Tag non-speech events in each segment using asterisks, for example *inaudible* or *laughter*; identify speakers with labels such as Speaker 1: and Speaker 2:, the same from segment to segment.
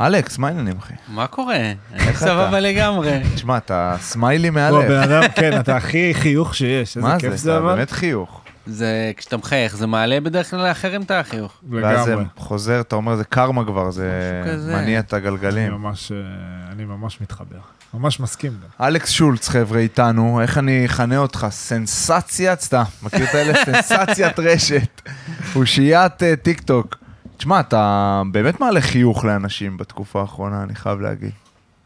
Speaker 1: אלכס, מה העניינים, אחי?
Speaker 2: מה קורה? אני
Speaker 1: איך אתה?
Speaker 2: סבבה לגמרי.
Speaker 1: תשמע, אתה סמיילי
Speaker 3: הוא
Speaker 1: מאלף.
Speaker 3: הבן אדם, כן, אתה הכי חיוך שיש, איזה
Speaker 1: מה
Speaker 3: לא, כיף
Speaker 1: זה?
Speaker 3: זה
Speaker 1: אתה
Speaker 3: אבל.
Speaker 1: באמת חיוך.
Speaker 2: זה כשאתה מחייך, זה מעלה בדרך כלל לאחרים את החיוך.
Speaker 1: ואז זה
Speaker 3: לגמרי.
Speaker 1: חוזר, אתה אומר, זה קרמה כבר, זה
Speaker 2: משהו כזה.
Speaker 1: מניע את
Speaker 3: אני
Speaker 1: הגלגלים.
Speaker 3: ממש, אה, אני ממש מתחבר. ממש מסכים גם.
Speaker 1: אלכס שולץ, חבר'ה, איתנו, איך אני אכנה אותך? סנסציית, סתם, מכיר את האלה?
Speaker 3: *laughs*
Speaker 1: סנסציית רשת. אושיית אה, טיק טוק. תשמע, אתה באמת מעלה חיוך לאנשים בתקופה האחרונה, אני חייב להגיד.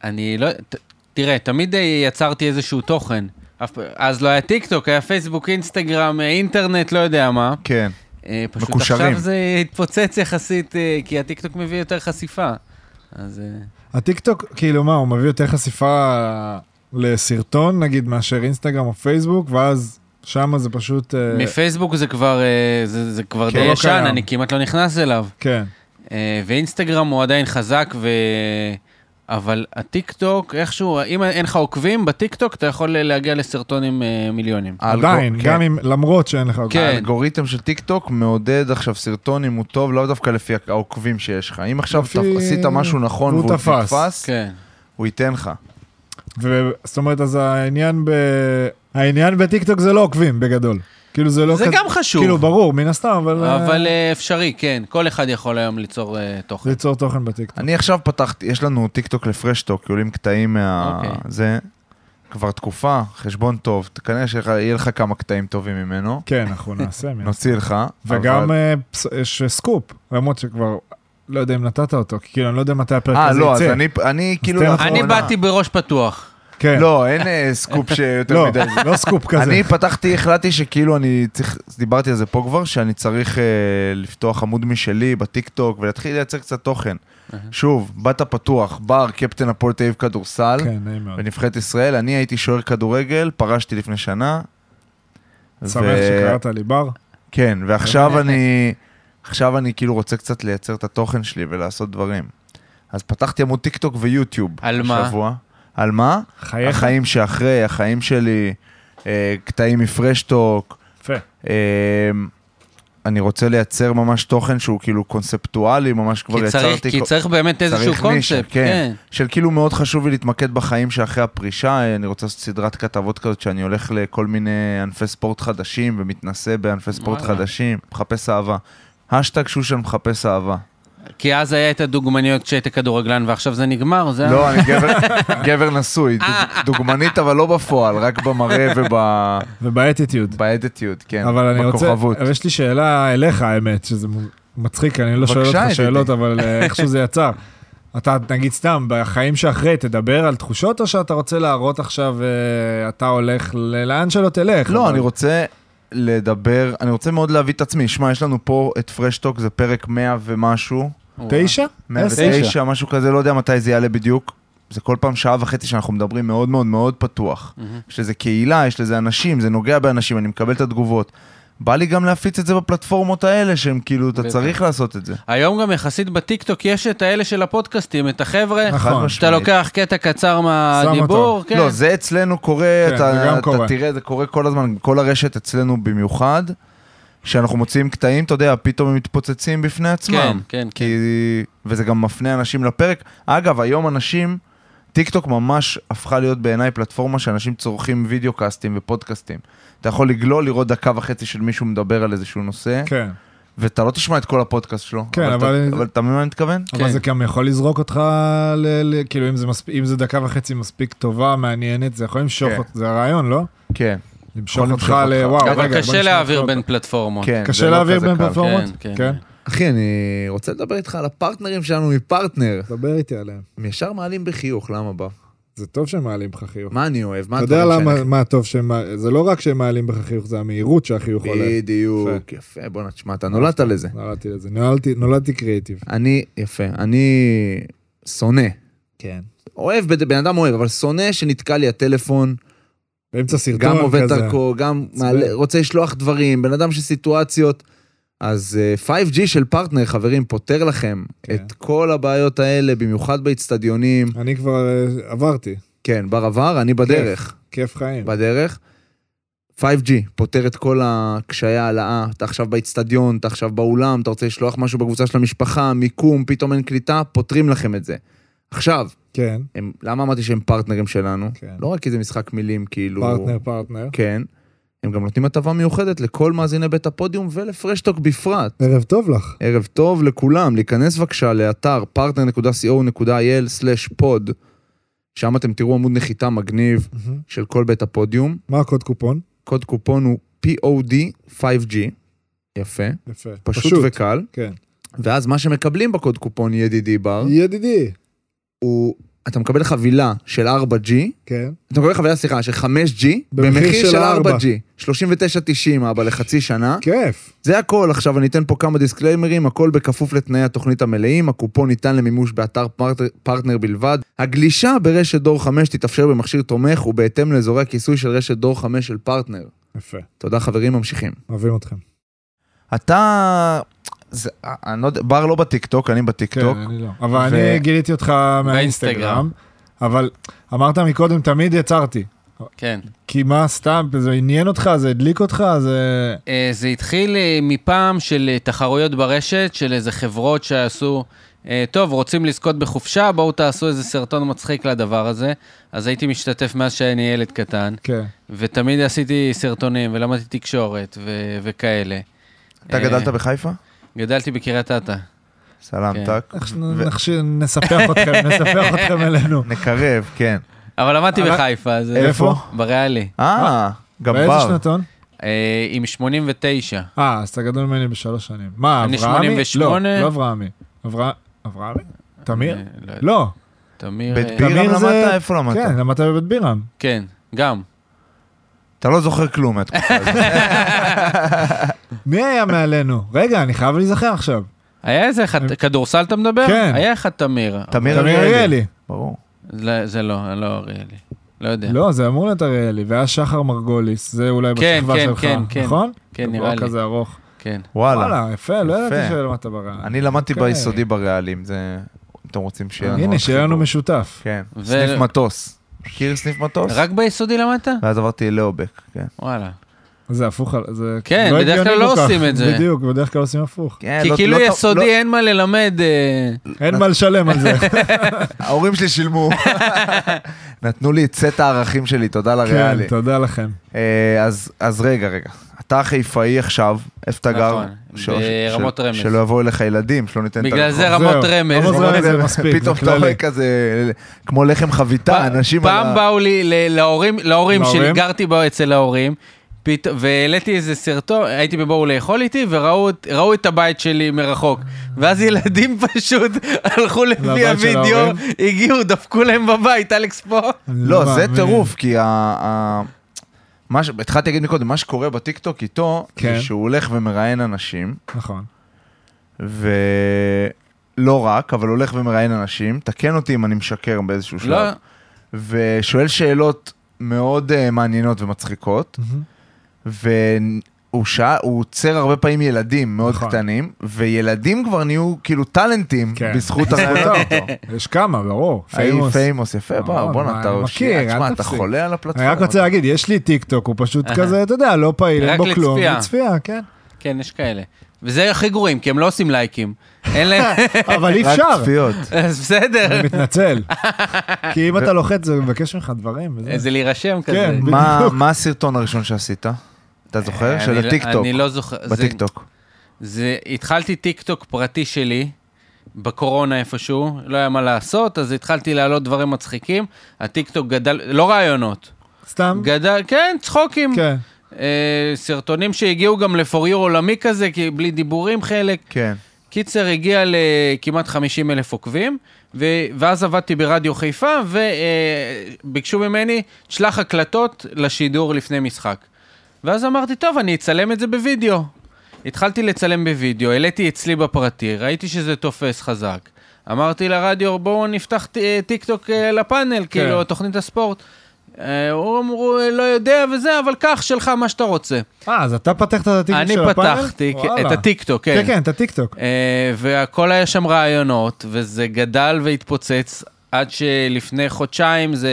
Speaker 2: אני לא... ת- תראה, תמיד אה, יצרתי איזשהו תוכן. אף פ- אז לא היה טיק טוק, היה פייסבוק, אינסטגרם, אה, אינטרנט, לא יודע מה.
Speaker 1: כן.
Speaker 2: אה, פשוט
Speaker 1: מקושרים.
Speaker 2: עכשיו זה התפוצץ יחסית, אה, כי הטיקטוק מביא יותר חשיפה. אז... אה,
Speaker 3: הטיקטוק, כאילו מה, הוא מביא יותר חשיפה לסרטון, נגיד, מאשר אינסטגרם או פייסבוק, ואז שם זה פשוט... אה,
Speaker 2: מפייסבוק זה כבר, אה, זה, זה כבר
Speaker 3: כן,
Speaker 2: די
Speaker 3: לא
Speaker 2: ישן,
Speaker 3: קיים.
Speaker 2: אני כמעט לא נכנס אליו.
Speaker 3: כן.
Speaker 2: אה, ואינסטגרם הוא עדיין חזק, ו... אבל הטיקטוק, איכשהו, אם אין לך עוקבים בטיקטוק, אתה יכול להגיע לסרטון עם אה, מיליונים.
Speaker 3: עדיין,
Speaker 1: האלגו-
Speaker 3: גם
Speaker 1: כן.
Speaker 3: אם, למרות שאין לך...
Speaker 2: כן.
Speaker 1: האלגוריתם של טיק טוק מעודד עכשיו סרטון אם הוא טוב, לאו דווקא לפי העוקבים שיש לך. אם עכשיו
Speaker 3: לפי-
Speaker 1: תפ- עשית משהו נכון
Speaker 3: והוא
Speaker 1: והוא
Speaker 3: תפס.
Speaker 1: תפס,
Speaker 2: כן.
Speaker 1: הוא ייתן לך.
Speaker 3: ו- זאת אומרת, אז העניין ב... העניין בטיקטוק זה לא עוקבים, בגדול. כאילו זה לא...
Speaker 2: זה
Speaker 3: כזה-
Speaker 2: גם חשוב.
Speaker 3: כאילו, ברור, מן הסתם, אבל... אה,
Speaker 2: אבל אה, אפשרי, כן. כל אחד יכול היום ליצור אה, תוכן.
Speaker 3: ליצור תוכן בטיקטוק.
Speaker 1: אני עכשיו פתחתי, יש לנו טיק טוק לפרשטוק, כי עולים קטעים מה...
Speaker 2: אוקיי.
Speaker 1: זה כבר תקופה, חשבון טוב, כנראה שיהיה לך כמה קטעים טובים ממנו,
Speaker 3: כן, אנחנו נעשה.
Speaker 2: לא
Speaker 3: מן
Speaker 1: נוציא לך.
Speaker 3: וגם
Speaker 1: אבל-
Speaker 3: אה, פס- יש סקופ, למרות שכבר, לא יודע אם נתת אותו, כי כאילו אני לא יודע מתי הפרק
Speaker 1: אה,
Speaker 3: הזה
Speaker 1: לא, אז
Speaker 3: יצא.
Speaker 1: אני, אני כאילו...
Speaker 3: תן
Speaker 1: לא-
Speaker 3: לך
Speaker 2: אני
Speaker 3: אחרונה.
Speaker 2: באתי בראש פתוח.
Speaker 3: כן.
Speaker 1: לא, אין אה, סקופ שיותר
Speaker 3: לא,
Speaker 1: מדי.
Speaker 3: זה לא סקופ כזה.
Speaker 1: אני פתחתי, החלטתי שכאילו אני צריך, דיברתי על זה פה כבר, שאני צריך אה, לפתוח עמוד משלי בטיקטוק ולהתחיל לייצר קצת תוכן. שוב, באת פתוח, בר, קפטן הפועל תל אביב כדורסל.
Speaker 3: כן, נעים מאוד.
Speaker 1: בנבחרת ישראל, אני הייתי שוער כדורגל, פרשתי לפני שנה.
Speaker 3: שמח שקראת לי בר.
Speaker 1: כן, ועכשיו אני, עכשיו אני כאילו רוצה קצת לייצר את התוכן שלי ולעשות דברים. אז פתחתי עמוד טיקטוק ויוטיוב.
Speaker 2: על מה?
Speaker 1: השבוע. על מה?
Speaker 3: חייך.
Speaker 1: החיים שאחרי, החיים שלי, אה, קטעים מפרשטוק.
Speaker 3: יפה.
Speaker 1: אה, אני רוצה לייצר ממש תוכן שהוא כאילו קונספטואלי, ממש כבר
Speaker 2: כי צריך,
Speaker 1: יצרתי...
Speaker 2: כי
Speaker 1: כל-
Speaker 2: צריך באמת איזשהו
Speaker 1: צריך נישה,
Speaker 2: קונספט.
Speaker 1: כן.
Speaker 2: כן.
Speaker 1: של כאילו מאוד חשוב לי להתמקד בחיים שאחרי הפרישה, אה, אני רוצה לעשות סדרת כתבות כזאת שאני הולך לכל מיני ענפי ספורט חדשים ומתנסה בענפי ספורט
Speaker 2: וואלה.
Speaker 1: חדשים, מחפש אהבה. השטג שושן מחפש
Speaker 2: *laughs*
Speaker 1: אהבה.
Speaker 2: כי אז היה את הדוגמניות כשהיית כדורגלן, ועכשיו זה נגמר, זה...
Speaker 1: לא, אני גבר, גבר נשוי,
Speaker 2: אה.
Speaker 1: דוג- דוגמנית אבל לא בפועל, רק
Speaker 2: *laughs*
Speaker 1: במראה
Speaker 3: ובאטיטיוד.
Speaker 1: ובאדיטיוד, כן,
Speaker 3: אבל אני רוצה,
Speaker 1: בכוכבות.
Speaker 3: אבל יש לי שאלה אליך האמת, שזה מ- מצחיק, אני לא שואל
Speaker 1: בבקשה,
Speaker 3: אותך
Speaker 1: ידידי.
Speaker 3: שאלות, אבל אה, איכשהו זה יצא. אתה, נגיד סתם, בחיים שאחרי, תדבר על תחושות, או שאתה רוצה להראות עכשיו, אה, אתה הולך ל- לאן שלא תלך?
Speaker 1: לא,
Speaker 3: אבל-
Speaker 1: אני רוצה לדבר, אני רוצה מאוד להביא את עצמי. שמע, יש לנו פה את פרשטוק, זה פרק 100 ומשהו.
Speaker 3: תשע? עשר?
Speaker 1: 109, משהו כזה, לא יודע מתי זה יעלה בדיוק. זה כל פעם שעה וחצי שאנחנו מדברים מאוד מאוד מאוד פתוח. יש לזה קהילה, יש לזה אנשים, זה נוגע באנשים, אני מקבל את התגובות. בא לי גם להפיץ את זה בפלטפורמות האלה, שהם כאילו, אתה
Speaker 2: בטח.
Speaker 1: צריך לעשות את זה.
Speaker 2: היום גם יחסית בטיקטוק יש את האלה של הפודקאסטים, את החבר'ה,
Speaker 3: נכון.
Speaker 1: חד
Speaker 2: שאתה
Speaker 1: משמעית.
Speaker 2: לוקח קטע קצר מהדיבור, כן.
Speaker 1: לא, זה אצלנו קורה,
Speaker 3: כן, זה
Speaker 1: אתה,
Speaker 3: גם
Speaker 1: אתה
Speaker 3: קורה.
Speaker 1: תראה, זה קורה כל הזמן, כל הרשת אצלנו במיוחד, שאנחנו מוציאים קטעים, אתה יודע, פתאום הם מתפוצצים בפני עצמם.
Speaker 2: כן, כן,
Speaker 1: כי... וזה גם מפנה אנשים לפרק. אגב, היום אנשים, טיק טוק ממש הפכה להיות בעיניי פלטפורמה שאנשים צורכים וידאו קאסטים ופודקאסטים. אתה יכול לגלול, לראות דקה וחצי של מישהו מדבר על איזשהו נושא, כן.
Speaker 3: כן.
Speaker 1: ואתה לא תשמע את כל הפודקאסט שלו.
Speaker 3: כן,
Speaker 1: אבל...
Speaker 3: אבל-
Speaker 1: אתה- אבל אתה מבין מה אני מתכוון?
Speaker 3: אבל
Speaker 2: כן.
Speaker 3: זה גם יכול לזרוק אותך, ל- ל- כאילו אם זה מספיק- אם זה דקה וחצי מספיק טובה, מעניינת, זה יכול למשוך
Speaker 1: כן.
Speaker 3: אותך, זה הרעיון, לא?
Speaker 1: כן,
Speaker 3: למשוך
Speaker 1: יכול
Speaker 3: אותך
Speaker 1: למשוך אותך.
Speaker 3: לוואו, כן. רגע, בוא
Speaker 2: אבל
Speaker 3: נשמע
Speaker 2: קשה להעביר
Speaker 3: אותו.
Speaker 2: בין פלטפורמות.
Speaker 1: כן. זה
Speaker 3: קשה
Speaker 1: לא
Speaker 3: להעביר
Speaker 1: כזה
Speaker 3: בין
Speaker 1: קל.
Speaker 3: פלטפורמות?
Speaker 2: כן,
Speaker 3: כן.
Speaker 2: כן.
Speaker 1: אחי, אני רוצה לדבר איתך על הפרטנרים שלנו מפרטנר.
Speaker 3: דבר איתי עליהם.
Speaker 1: הם ישר מעלים בחיוך, למה בא?
Speaker 3: זה טוב שהם מעלים לך חיוך.
Speaker 1: מה אני אוהב? מה
Speaker 3: אתה יודע למה, מה טוב שהם, מע- זה לא רק שהם מעלים בך חיוך, זה המהירות שהחיוך עולה.
Speaker 1: בדיוק, יפה, בוא'נה, תשמע, אתה נולדת לזה.
Speaker 3: נולדתי לזה, נולדתי, נולדתי קריאיטיב.
Speaker 1: אני, יפה, אני שונא.
Speaker 3: כן.
Speaker 1: אוהב, בד- בן אדם אוהב, אבל שונא שנתקע לי הטלפון,
Speaker 3: באמצע סרטון כזה.
Speaker 1: גם עובד דרכו, גם
Speaker 3: עצבן.
Speaker 1: מעלה- רוצה לשלוח דברים, בן אדם שסיטואציות. אז אה, 5G של פרטנר, חברים, פותר לכם
Speaker 3: כן.
Speaker 1: את כל הבעיות האלה, במיוחד באצטדיונים.
Speaker 3: אני כבר אה, עברתי,
Speaker 1: כן, בר עבר, אני בדרך.
Speaker 3: כיף חיים.
Speaker 1: בדרך.
Speaker 4: 5G פותר את כל הקשיי העלאה, אתה עכשיו באיצטדיון, אתה עכשיו באולם, אתה רוצה לשלוח משהו בקבוצה של המשפחה, מיקום, פתאום אין קליטה, פותרים לכם את זה. עכשיו,
Speaker 3: כן,
Speaker 4: הם, למה אמרתי שהם פרטנרים שלנו?
Speaker 3: כן.
Speaker 4: לא רק כי זה משחק מילים,
Speaker 1: לא.
Speaker 4: כאילו...
Speaker 3: פרטנר, פרטנר.
Speaker 4: כן. הם גם נותנים הטבה מיוחדת לכל מאזיני בית הפודיום ולפרשטוק בפרט.
Speaker 3: ערב טוב לך.
Speaker 4: ערב טוב לכולם, להיכנס בבקשה לאתר partner.co.il/pod, שם אתם תראו עמוד נחיתה מגניב
Speaker 3: מהמם.
Speaker 4: של כל בית הפודיום.
Speaker 3: מה הקוד קופון?
Speaker 4: קוד קופון הוא POD 5G, יפה,
Speaker 3: יפה.
Speaker 4: פשוט, וקל,
Speaker 3: כן.
Speaker 4: ואז מה שמקבלים בקוד קופון ידידי בר,
Speaker 3: ידידי.
Speaker 4: הוא, אתה מקבל חבילה של 4G,
Speaker 3: כן.
Speaker 4: אתה מקבל חבילה, סליחה, של 5G,
Speaker 3: במחיר
Speaker 4: במחיר
Speaker 3: של
Speaker 4: של
Speaker 3: 4G.
Speaker 4: 4G, 39.90 אבא לחצי שנה.
Speaker 3: כיף.
Speaker 4: זה הכל, עכשיו אני אתן פה כמה דיסקליימרים, הכל בכפוף לתנאי התוכנית המלאים, הקופון ניתן למימוש באתר פרט, פרטנר בלבד. הגלישה ברשת דור 5 תתאפשר במכשיר תומך ובהתאם לאזורי הכיסוי של רשת דור 5 של פרטנר.
Speaker 3: יפה.
Speaker 4: תודה חברים, ממשיכים.
Speaker 3: אוהבים אתכם.
Speaker 1: אתה... זה- אני לא יודע, בר לא בטיקטוק, אני בטיקטוק.
Speaker 3: כן, אני לא. אבל
Speaker 1: ו-
Speaker 3: אני גיליתי אותך מהאינסטגרם.
Speaker 2: באינסטגרם.
Speaker 3: אבל אמרת מקודם, תמיד יצרתי.
Speaker 2: כן.
Speaker 3: כי מה סתם, זה עניין אותך, זה הדליק אותך, זה...
Speaker 2: אה, זה התחיל אה, מפעם של אה, תחרויות ברשת, של איזה חברות שעשו, אה, טוב, רוצים לזכות בחופשה, בואו תעשו איזה סרטון מצחיק לדבר הזה. אז הייתי משתתף מאז שאני ילד קטן,
Speaker 3: כן.
Speaker 2: ותמיד עשיתי סרטונים ולמדתי תקשורת ו- וכאלה.
Speaker 1: אתה
Speaker 2: אה,
Speaker 1: גדלת בחיפה?
Speaker 2: גדלתי בקריית אתא.
Speaker 1: סלאם,
Speaker 2: כן.
Speaker 1: טאק.
Speaker 3: אנחנו
Speaker 1: ו-
Speaker 3: נחש- נספח אתכם, נספח אתכם אלינו.
Speaker 1: נקרב, כן.
Speaker 2: אבל למדתי
Speaker 3: אבל-
Speaker 2: בחיפה, אז...
Speaker 1: איפה?
Speaker 2: בריאלי.
Speaker 1: אה, גם
Speaker 3: באיזה
Speaker 1: בר.
Speaker 3: שנתון?
Speaker 2: אה, עם 89.
Speaker 3: אה, אז אתה גדול ממני בשלוש שנים. מה,
Speaker 2: אני
Speaker 3: אברהמי?
Speaker 2: 88.
Speaker 3: לא, לא אברהמי. אברהם- אברהמי? תמיר?
Speaker 2: אה, לא יודע.
Speaker 3: לא.
Speaker 2: תמיר...
Speaker 1: בית
Speaker 2: אה,
Speaker 1: בירה
Speaker 3: תמיר
Speaker 1: למדת?
Speaker 3: זה-
Speaker 1: איפה למדת?
Speaker 3: כן, למדת בבית בירם.
Speaker 2: כן, גם.
Speaker 1: אתה לא זוכר כלום מהתקופה
Speaker 3: *laughs*
Speaker 1: הזאת.
Speaker 3: מי היה מעלינו? רגע, אני חייב להיזכר עכשיו.
Speaker 2: היה איזה אחד, כדורסל אתה מדבר?
Speaker 3: כן.
Speaker 2: היה אחד תמיר.
Speaker 1: תמיר
Speaker 3: תמיר
Speaker 1: אריאלי.
Speaker 3: אריאלי.
Speaker 1: ברור.
Speaker 2: לא, זה לא, לא אריאלי. לא יודע.
Speaker 3: לא, זה אמור להיות אריאלי, והיה שחר מרגוליס, זה אולי
Speaker 2: כן,
Speaker 3: בשכבה
Speaker 2: כן,
Speaker 3: שלך,
Speaker 2: כן, כן.
Speaker 3: נכון?
Speaker 2: כן, נראה לי.
Speaker 3: דבר כזה ארוך.
Speaker 2: כן.
Speaker 1: וואלה.
Speaker 3: וואלה, יפה, לא
Speaker 1: יפה.
Speaker 3: ידעתי שלמדת ברעיון.
Speaker 1: אני למדתי
Speaker 3: אוקיי.
Speaker 1: ביסודי בריאלים, זה... אם אתם רוצים שיהיה לנו...
Speaker 3: הנה,
Speaker 1: עוד
Speaker 3: שיהיה לנו
Speaker 1: חיבור.
Speaker 3: משותף.
Speaker 1: כן,
Speaker 2: ו-
Speaker 1: סניף מטוס. מכיר סניף מטוס?
Speaker 2: רק ביסודי למדת?
Speaker 1: ואז עברתי ללאובק, כן.
Speaker 2: וואלה.
Speaker 3: זה הפוך, על- זה
Speaker 2: כן,
Speaker 3: לא
Speaker 2: בדרך כלל
Speaker 3: הגיוני
Speaker 2: לא
Speaker 3: כל כך.
Speaker 2: עושים את זה.
Speaker 3: בדיוק, בדרך כלל עושים הפוך.
Speaker 1: כן,
Speaker 2: כי
Speaker 1: לא-
Speaker 2: כאילו
Speaker 1: לא-
Speaker 2: יסודי
Speaker 1: לא-
Speaker 2: אין מה ללמד. אה,
Speaker 3: אין מה
Speaker 1: *laughs*
Speaker 3: לשלם על זה.
Speaker 1: לא- ההורים שלי
Speaker 2: *laughs*
Speaker 1: שילמו. נתנו לי את סט הערכים שלי, תודה לריאלי.
Speaker 3: כן, תודה לכם.
Speaker 1: אה, אז- אז רגע, רגע. אתה חיפאי עכשיו, איפה אתה גר?
Speaker 2: נכון,
Speaker 1: ש-
Speaker 2: ברמות
Speaker 1: ש-
Speaker 2: רמז.
Speaker 1: שלא יבואו אליך ילדים, שלא ניתן את
Speaker 2: בגלל זה
Speaker 1: הרחוב.
Speaker 2: רמות
Speaker 3: זהו,
Speaker 2: רמז.
Speaker 3: רמות
Speaker 1: רמות
Speaker 3: רמז זה
Speaker 1: רמז.
Speaker 3: מספיק, זה
Speaker 1: פתאום אתה
Speaker 3: כללי.
Speaker 1: רואה כזה, כמו לחם חביתה,
Speaker 2: פ-
Speaker 1: אנשים על ה...
Speaker 2: אה, פעם באו לי ל- להורים, להורים שלי,
Speaker 3: להורים?
Speaker 2: גרתי בו אצל ההורים, פת... והעליתי איזה סרטון, הייתי בבואו לאכול איתי, וראו את- ראו את הבית שלי מרחוק. ואז ילדים *laughs* פשוט הלכו לפי
Speaker 3: לבית של
Speaker 2: הוידאו,
Speaker 3: ההורים?
Speaker 2: הגיעו, דפקו להם בבית, אלכס פה.
Speaker 3: אני
Speaker 1: לא, זה
Speaker 3: מאמין.
Speaker 1: טירוף, כי ה... ה- מה ש... התחלתי להגיד מקודם, מה שקורה בטיקטוק איתו,
Speaker 3: כן.
Speaker 1: זה שהוא הולך ומראיין אנשים,
Speaker 3: נכון.
Speaker 1: ולא רק, אבל הולך ומראיין אנשים, תקן אותי אם אני משקר באיזשהו
Speaker 2: לא,
Speaker 1: שלב, ושואל שאלות מאוד אה, מעניינות ומצחיקות,
Speaker 3: מהמם.
Speaker 1: והוא שע... הוא עוצר הרבה פעמים ילדים מאוד
Speaker 3: נכון.
Speaker 1: קטנים, וילדים כבר נהיו כאילו טאלנטים
Speaker 3: כן. *laughs*
Speaker 1: בזכות הרעיון אותו.
Speaker 3: יש כמה, ברור.
Speaker 1: פיימוס.
Speaker 3: פיימוס.
Speaker 1: פיימוס, יפה, בוא,
Speaker 3: נכון,
Speaker 1: בוא'נה,
Speaker 3: מה,
Speaker 1: אתה...
Speaker 3: אני מכיר, אל
Speaker 1: תשמע, אתה
Speaker 3: תפסיק.
Speaker 1: חולה על
Speaker 3: אני
Speaker 1: הפלטפורמה.
Speaker 3: רק רוצה להגיד, יש לי טיק טוק, הוא פשוט
Speaker 2: אהה.
Speaker 3: כזה, אתה יודע, לא פעיל, אין
Speaker 2: רק
Speaker 3: בו כלום.
Speaker 2: לצפייה.
Speaker 3: לצפייה,
Speaker 2: *laughs*
Speaker 3: כן.
Speaker 2: כן, יש כאלה. וזה הכי גרועים, כי הם לא עושים לייקים. אין
Speaker 3: *laughs*
Speaker 2: להם...
Speaker 3: אבל אי
Speaker 1: רק
Speaker 3: אפשר. *laughs*
Speaker 1: צפיות.
Speaker 2: אז בסדר.
Speaker 3: אני מתנצל. כי אם אתה לוחץ, זה מבקש ממך דברים. וזה.
Speaker 2: זה להירשם כזה.
Speaker 3: כן,
Speaker 1: מה
Speaker 3: בדיוק.
Speaker 1: מה הסרטון הראשון שעשית? אתה זוכר?
Speaker 2: אני
Speaker 1: של
Speaker 2: לא-
Speaker 1: הטיקטוק.
Speaker 2: אני לא זוכר. זה-
Speaker 1: בטיקטוק.
Speaker 2: זה, התחלתי טיק טוק פרטי שלי, בקורונה איפשהו, לא היה מה לעשות, אז התחלתי להעלות דברים מצחיקים. הטיק טוק גדל, לא רעיונות,
Speaker 3: סתם?
Speaker 2: גדל, כן, צחוקים.
Speaker 3: כן.
Speaker 2: אה, סרטונים שהגיעו גם לפוריור עולמי כזה, כי בלי דיבורים חלק.
Speaker 1: כן.
Speaker 2: קיצר, הגיע לכמעט 50 אלף עוקבים, ו... ואז עבדתי ברדיו חיפה, וביקשו ממני, תשלח הקלטות לשידור לפני משחק. ואז אמרתי, טוב, אני אצלם את זה בווידאו. התחלתי לצלם בווידאו, העליתי אצלי בפרטי, ראיתי שזה תופס חזק. אמרתי לרדיו, בואו נפתח ט- אה, טיק טוק אה,
Speaker 3: כן.
Speaker 2: לפאנל, כאילו, תוכנית הספורט. אה, הוא אמרו, "אה, לא יודע וזה, אבל קח שלך מה שאתה רוצה.
Speaker 3: אה, אז אתה פתחת את הטיקטוק
Speaker 2: אני
Speaker 3: של הפאנל?
Speaker 2: פתחתי כן,
Speaker 3: וואלה.
Speaker 2: את הטיקטוק,
Speaker 3: כן, כן, את הטיקטוק.
Speaker 2: אה, והכל היה שם רעיונות, וזה גדל והתפוצץ, עד שלפני חודשיים זה...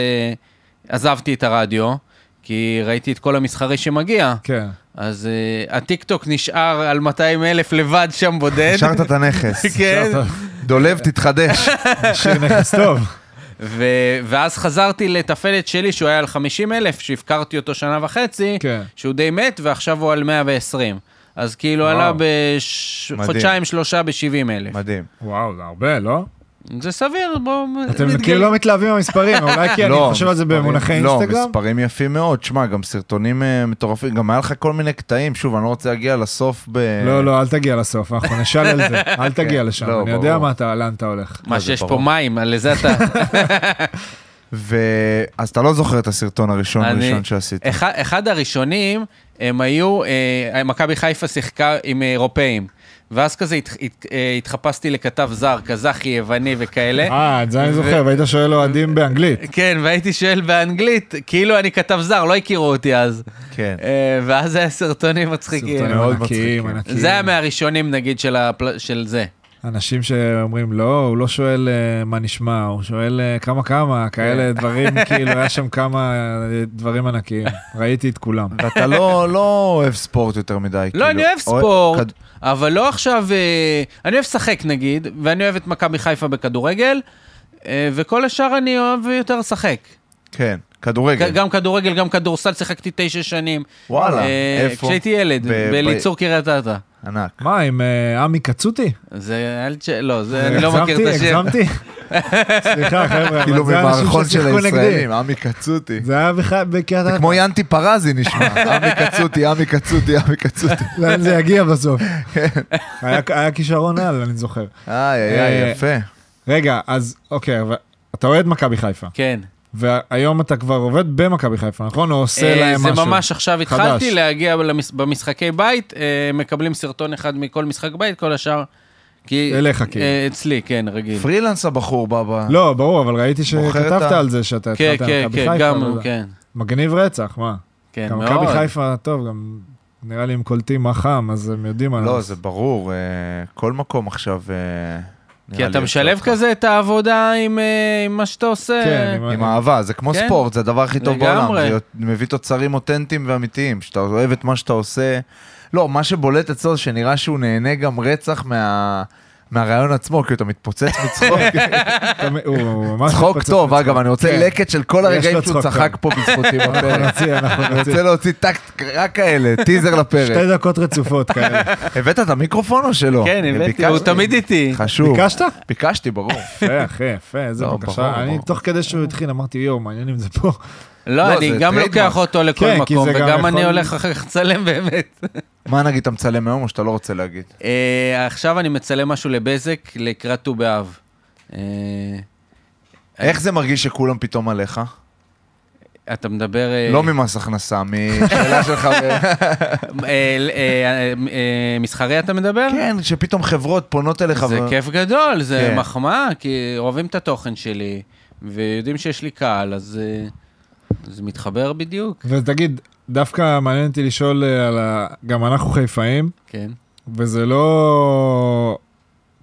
Speaker 2: עזבתי את הרדיו, כי ראיתי את כל המסחרי שמגיע,
Speaker 3: כן.
Speaker 2: אז uh, הטיקטוק נשאר על 200 אלף לבד שם בודד.
Speaker 1: השארת את הנכס.
Speaker 2: *laughs* כן,
Speaker 3: עכשיו
Speaker 1: דולב,
Speaker 2: *laughs*
Speaker 1: תתחדש.
Speaker 3: אתה שיר נכס טוב.
Speaker 2: ו- ואז חזרתי לתפלת שלי שהוא היה על 50 אלף, שהפקרתי אותו שנה וחצי,
Speaker 3: כן.
Speaker 2: שהוא די מת, ועכשיו הוא על 120. אז כאילו
Speaker 1: וואו.
Speaker 2: עלה בחודשיים שלושה ב-70 אלף.
Speaker 1: מדהים.
Speaker 3: וואו, זה הרבה, לא?
Speaker 2: זה סביר, בואו...
Speaker 3: אתם כאילו לא מתלהבים מהמספרים, אולי כי כן, אני
Speaker 1: לא,
Speaker 3: חושב על זה
Speaker 1: מספרים-
Speaker 3: במונחי
Speaker 1: לא,
Speaker 3: אינסטגרם.
Speaker 1: מספרים יפים מאוד. שמע, גם סרטונים אה, מטורפים. גם היה לך כל מיני קטעים. שוב, אני לא רוצה להגיע לסוף ב...
Speaker 3: לא, לא, אל תגיע לסוף, אנחנו נשאל על זה. אל תגיע
Speaker 1: כן,
Speaker 3: לשם,
Speaker 1: לא,
Speaker 3: אני יודע
Speaker 1: ברור.
Speaker 3: מה אתה, לאן אתה הולך.
Speaker 2: מה
Speaker 1: לא, זה
Speaker 2: שיש פה
Speaker 1: ברור.
Speaker 2: מים, על
Speaker 1: *laughs*
Speaker 2: זה אתה...
Speaker 1: ו- אז אתה לא זוכר את הסרטון הראשון
Speaker 2: אני-
Speaker 1: הראשון שעשית.
Speaker 2: אחד, אחד הראשונים, הם היו, אה, מכבי חיפה שיחקה עם אה, אירופאים. ואז כזה הת, הת, אה, התחפשתי לכתב זר, קזחי, יווני וכאלה.
Speaker 3: אה, את זה אני
Speaker 2: ו-
Speaker 3: זוכר, והיית שואל אוהדים באנגלית.
Speaker 2: כן, והייתי שואל באנגלית, כאילו אני כתב זר, לא הכירו אותי אז.
Speaker 1: כן.
Speaker 2: אה, ואז היה סרטונים מצחיקים.
Speaker 3: סרטונים
Speaker 1: מאוד
Speaker 3: ענקיים,
Speaker 1: מצחיקים.
Speaker 3: ענקיים.
Speaker 2: כן. זה היה מהראשונים, נגיד, של, הפל... של זה.
Speaker 3: אנשים שאומרים לא, הוא לא שואל אה, מה נשמע, הוא שואל אה, כמה כמה, כאלה
Speaker 2: כן. *laughs*
Speaker 3: דברים, כאילו, היה שם כמה אה, דברים ענקיים. ראיתי את כולם.
Speaker 1: ואתה לא לא אוהב ספורט יותר מדי.
Speaker 2: לא,
Speaker 1: כאילו.
Speaker 2: אני אוהב
Speaker 1: אוהב-
Speaker 2: ספורט,
Speaker 1: כד-
Speaker 2: אבל לא עכשיו... אה, אני אוהב לשחק, נגיד, ואני אוהב את מכבי חיפה בכדורגל, אה, וכל השאר אני אוהב יותר לשחק.
Speaker 1: כן, כדורגל.
Speaker 3: אוקיי.
Speaker 2: ג- גם כדורגל, גם כדורסל, שיחקתי תשע שנים.
Speaker 1: וואלה,
Speaker 2: אה,
Speaker 1: איפה?
Speaker 2: כשהייתי ילד,
Speaker 1: ב- ב-
Speaker 2: בליצור קריית אתא.
Speaker 1: ענק.
Speaker 3: מה, עם אה, עמי קצוטי?
Speaker 2: זה היה... לצ'- לא, זה- אני לא מכיר את
Speaker 3: הגזמתי,
Speaker 2: השם.
Speaker 3: הגזמתי?
Speaker 2: *laughs*
Speaker 3: סליחה, חבר'ה,
Speaker 1: כאילו
Speaker 3: אבל זה אנשים
Speaker 1: ממערכון של
Speaker 3: ששיחקו נגדי.
Speaker 1: הישראלים, עמי קצוטי.
Speaker 3: זה היה בכלל בקריית
Speaker 1: זה
Speaker 3: אתא.
Speaker 1: כמו ינטי פרזי
Speaker 2: *laughs*
Speaker 1: נשמע, עמי קצוטי, עמי קצוטי, עמי קצוטי.
Speaker 3: *laughs* לאן זה יגיע
Speaker 2: *laughs*
Speaker 3: בסוף.
Speaker 2: כן.
Speaker 3: היה- היה כישרון על, אני זוכר.
Speaker 1: איי, איי, איי,
Speaker 3: אה,
Speaker 1: יפה.
Speaker 3: רגע, אז אוקיי, אבל אתה אוהד מכבי חיפה,
Speaker 2: כן.
Speaker 3: והיום אתה כבר עובד במכבי חיפה, נכון? או עושה
Speaker 2: אה,
Speaker 3: להם משהו?
Speaker 2: זה ממש עכשיו
Speaker 3: חדש.
Speaker 2: התחלתי להגיע למס- במשחקי בית, אה, מקבלים סרטון אחד מכל משחק בית, כל השאר... כי-
Speaker 3: אליך, כאילו.
Speaker 2: אה, אצלי, כן, רגיל.
Speaker 1: פרילנס הבחור בא ב...
Speaker 3: לא, ברור, אבל ראיתי
Speaker 1: מוכר את
Speaker 3: שכתבת
Speaker 1: ה-
Speaker 3: על זה שאתה
Speaker 2: כן,
Speaker 3: התחלת
Speaker 2: כן,
Speaker 3: עם מכבי
Speaker 2: כן,
Speaker 3: חיפה.
Speaker 2: גם,
Speaker 3: וזה.
Speaker 2: כן.
Speaker 3: מגניב רצח, מה?
Speaker 2: כן,
Speaker 3: גם
Speaker 2: מאוד.
Speaker 3: מכבי חיפה, טוב, גם נראה לי הם קולטים מה חם, אז הם יודעים מה...
Speaker 1: לא,
Speaker 3: לעשות.
Speaker 1: זה ברור, אה, כל מקום עכשיו... אה, נראה
Speaker 2: כי
Speaker 1: לי
Speaker 2: אתה
Speaker 1: יש
Speaker 2: משלב
Speaker 1: אותך.
Speaker 2: כזה את העבודה עם אה, עם מה שאתה עושה.
Speaker 3: כן, עם
Speaker 1: עם אהבה, זה כמו
Speaker 2: כן.
Speaker 1: ספורט, זה הדבר הכי טוב
Speaker 2: לגמרי.
Speaker 1: בעולם. זה יות- מביא תוצרים אותנטיים ואמיתיים, שאתה אוהב את מה שאתה עושה. לא, מה שבולט אצלו זה שנראה שהוא נהנה גם רצח מה... מהרעיון עצמו, כי אתה מתפוצץ מצחוק.
Speaker 3: *laughs* אתה מ- הוא ממש
Speaker 1: צחוק
Speaker 3: מתפוצץ
Speaker 1: טוב,
Speaker 3: מצחוק.
Speaker 1: אגב, אני רוצה
Speaker 3: כן.
Speaker 1: לקט של כל
Speaker 3: יש
Speaker 1: הרגעים
Speaker 3: לו
Speaker 1: שהוא
Speaker 3: צחוק
Speaker 1: צחק
Speaker 3: טוב.
Speaker 1: פה בזכותי
Speaker 3: אנחנו
Speaker 1: בפרק.
Speaker 3: נוציא, אנחנו
Speaker 1: אני
Speaker 3: נוציא.
Speaker 1: רוצה להוציא טקט, רק כאלה, טיזר לפרק.
Speaker 3: שתי דקות רצופות כאלה.
Speaker 2: *laughs*
Speaker 1: הבאת את המיקרופון או שלא?
Speaker 2: כן, הבאתי,
Speaker 1: ביקשתי.
Speaker 2: הוא תמיד איתי.
Speaker 1: חשוב.
Speaker 3: ביקשת?
Speaker 1: ביקשתי, ברור.
Speaker 3: יפה, אחי, יפה, איזה
Speaker 1: לא, ברור,
Speaker 3: בקשה. אני,
Speaker 1: ברור.
Speaker 3: תוך כדי שהוא התחיל, אמרתי, יואו, מעניין אם זה פה. *laughs*
Speaker 2: לא,
Speaker 1: לא,
Speaker 2: אני
Speaker 1: זה
Speaker 2: גם
Speaker 1: טריידמרק.
Speaker 2: לוקח אותו לכל
Speaker 3: כן, כי
Speaker 2: מקום,
Speaker 3: זה גם
Speaker 2: וגם אני
Speaker 3: יכול-
Speaker 2: הולך אחר כך לצלם באמת.
Speaker 1: מה נגיד, אתה מצלם היום או שאתה לא רוצה להגיד?
Speaker 2: *laughs* אה, עכשיו אני מצלם משהו לבזק לקראת ט"ו באב. אה,
Speaker 3: אה?
Speaker 1: איך זה מרגיש שכולם פתאום עליך?
Speaker 2: אתה מדבר... אה,
Speaker 1: לא ממס הכנסה, משאלה שלך.
Speaker 2: *laughs* אה, אה, אה, אה, מסחרי אתה מדבר?
Speaker 1: כן, שפתאום חברות פונות אליך.
Speaker 2: זה
Speaker 1: ו-
Speaker 2: כיף גדול, זה
Speaker 1: כן.
Speaker 2: מחמאה, כי אוהבים את התוכן שלי, ויודעים שיש לי קהל, אז אה, זה מתחבר בדיוק,
Speaker 3: ותגיד, דווקא מעניין אותי לשאול אה, על ה... גם אנחנו חיפאים,
Speaker 2: כן.
Speaker 3: וזה לא...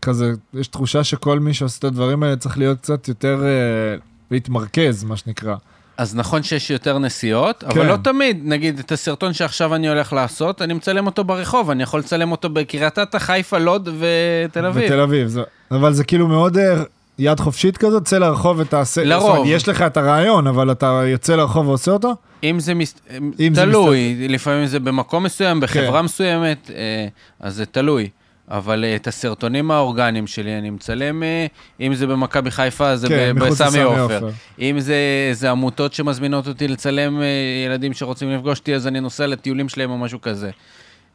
Speaker 3: כזה, יש תחושה שכל מי שעושה את הדברים האלה צריך להיות קצת יותר... אה, להתמרכז, מה שנקרא.
Speaker 2: אז נכון שיש יותר נסיעות, אבל
Speaker 3: כן.
Speaker 2: לא תמיד. נגיד, את הסרטון שעכשיו אני הולך לעשות, אני מצלם אותו ברחוב, אני יכול לצלם אותו בקריית אתא, חיפה, לוד ותל אביב.
Speaker 3: בתל אביב. זה... אבל זה כאילו מאוד אה, יד חופשית כזאת, צא לרחוב ותעשה...
Speaker 2: לרוב.
Speaker 3: זאת אומרת, יש לך את הרעיון, אבל אתה יוצא לרחוב ועושה אותו?
Speaker 2: אם זה מס...
Speaker 3: אם זה כן.
Speaker 2: תלוי, לפעמים זה במקום מסוים, בחברה מסוימת, אה, אז זה תלוי. אבל אה, את הסרטונים האורגניים שלי אני מצלם, אה, אם זה במכבי חיפה, אז זה
Speaker 3: כן,
Speaker 2: ב-
Speaker 3: מחוץ
Speaker 2: בסמי
Speaker 3: לסמי
Speaker 2: עופר.
Speaker 3: עופר.
Speaker 2: אם זה, זה עמותות שמזמינות אותי לצלם אה, ילדים שרוצים לפגוש אותי, אז אני נוסע לטיולים שלהם או משהו כזה.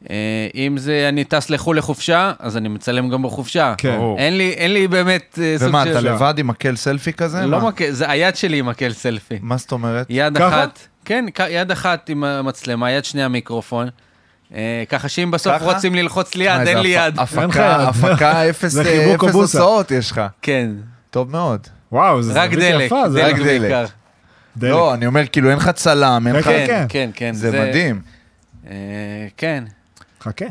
Speaker 2: אה, אם זה אני טס לחו"ל לחופשה, אז אני מצלם גם בחופשה.
Speaker 3: כן.
Speaker 1: ברור.
Speaker 2: אין לי, אין לי באמת אה, סוג
Speaker 1: ומה,
Speaker 2: של...
Speaker 1: אתה לבד עם מקל סלפי כזה?
Speaker 2: לא
Speaker 1: מה?
Speaker 2: מקל, זה היד שלי עם מקל סלפי.
Speaker 1: מה זאת אומרת?
Speaker 2: יד
Speaker 3: ככה?
Speaker 2: אחת, כן, כ- יד אחת עם המצלמה, יד שנייה מיקרופון. אה, ככה שאם בסוף
Speaker 1: ככה?
Speaker 2: רוצים ללחוץ לי
Speaker 1: מה,
Speaker 2: יד,
Speaker 1: זה
Speaker 2: אין לי
Speaker 1: הפ-
Speaker 2: יד.
Speaker 3: אין לך
Speaker 1: הפקה,
Speaker 3: יד.
Speaker 1: הפקה אפס אה,
Speaker 3: זה חיבוק או
Speaker 1: אפס
Speaker 3: בוסה.
Speaker 1: הוצאות יש לך.
Speaker 2: כן,
Speaker 1: טוב מאוד.
Speaker 3: וואו, זה
Speaker 2: רק
Speaker 3: זווית
Speaker 2: דלק,
Speaker 3: יפה, זה
Speaker 2: דלק
Speaker 1: רק דלק.
Speaker 2: בעיקר.
Speaker 3: דלק.
Speaker 1: לא, אני אומר, כאילו, אין לך צלם, אין לך...
Speaker 3: כן,
Speaker 2: כן, כן, כן.
Speaker 1: זה מדהים.
Speaker 2: אה, כן.
Speaker 3: חכה.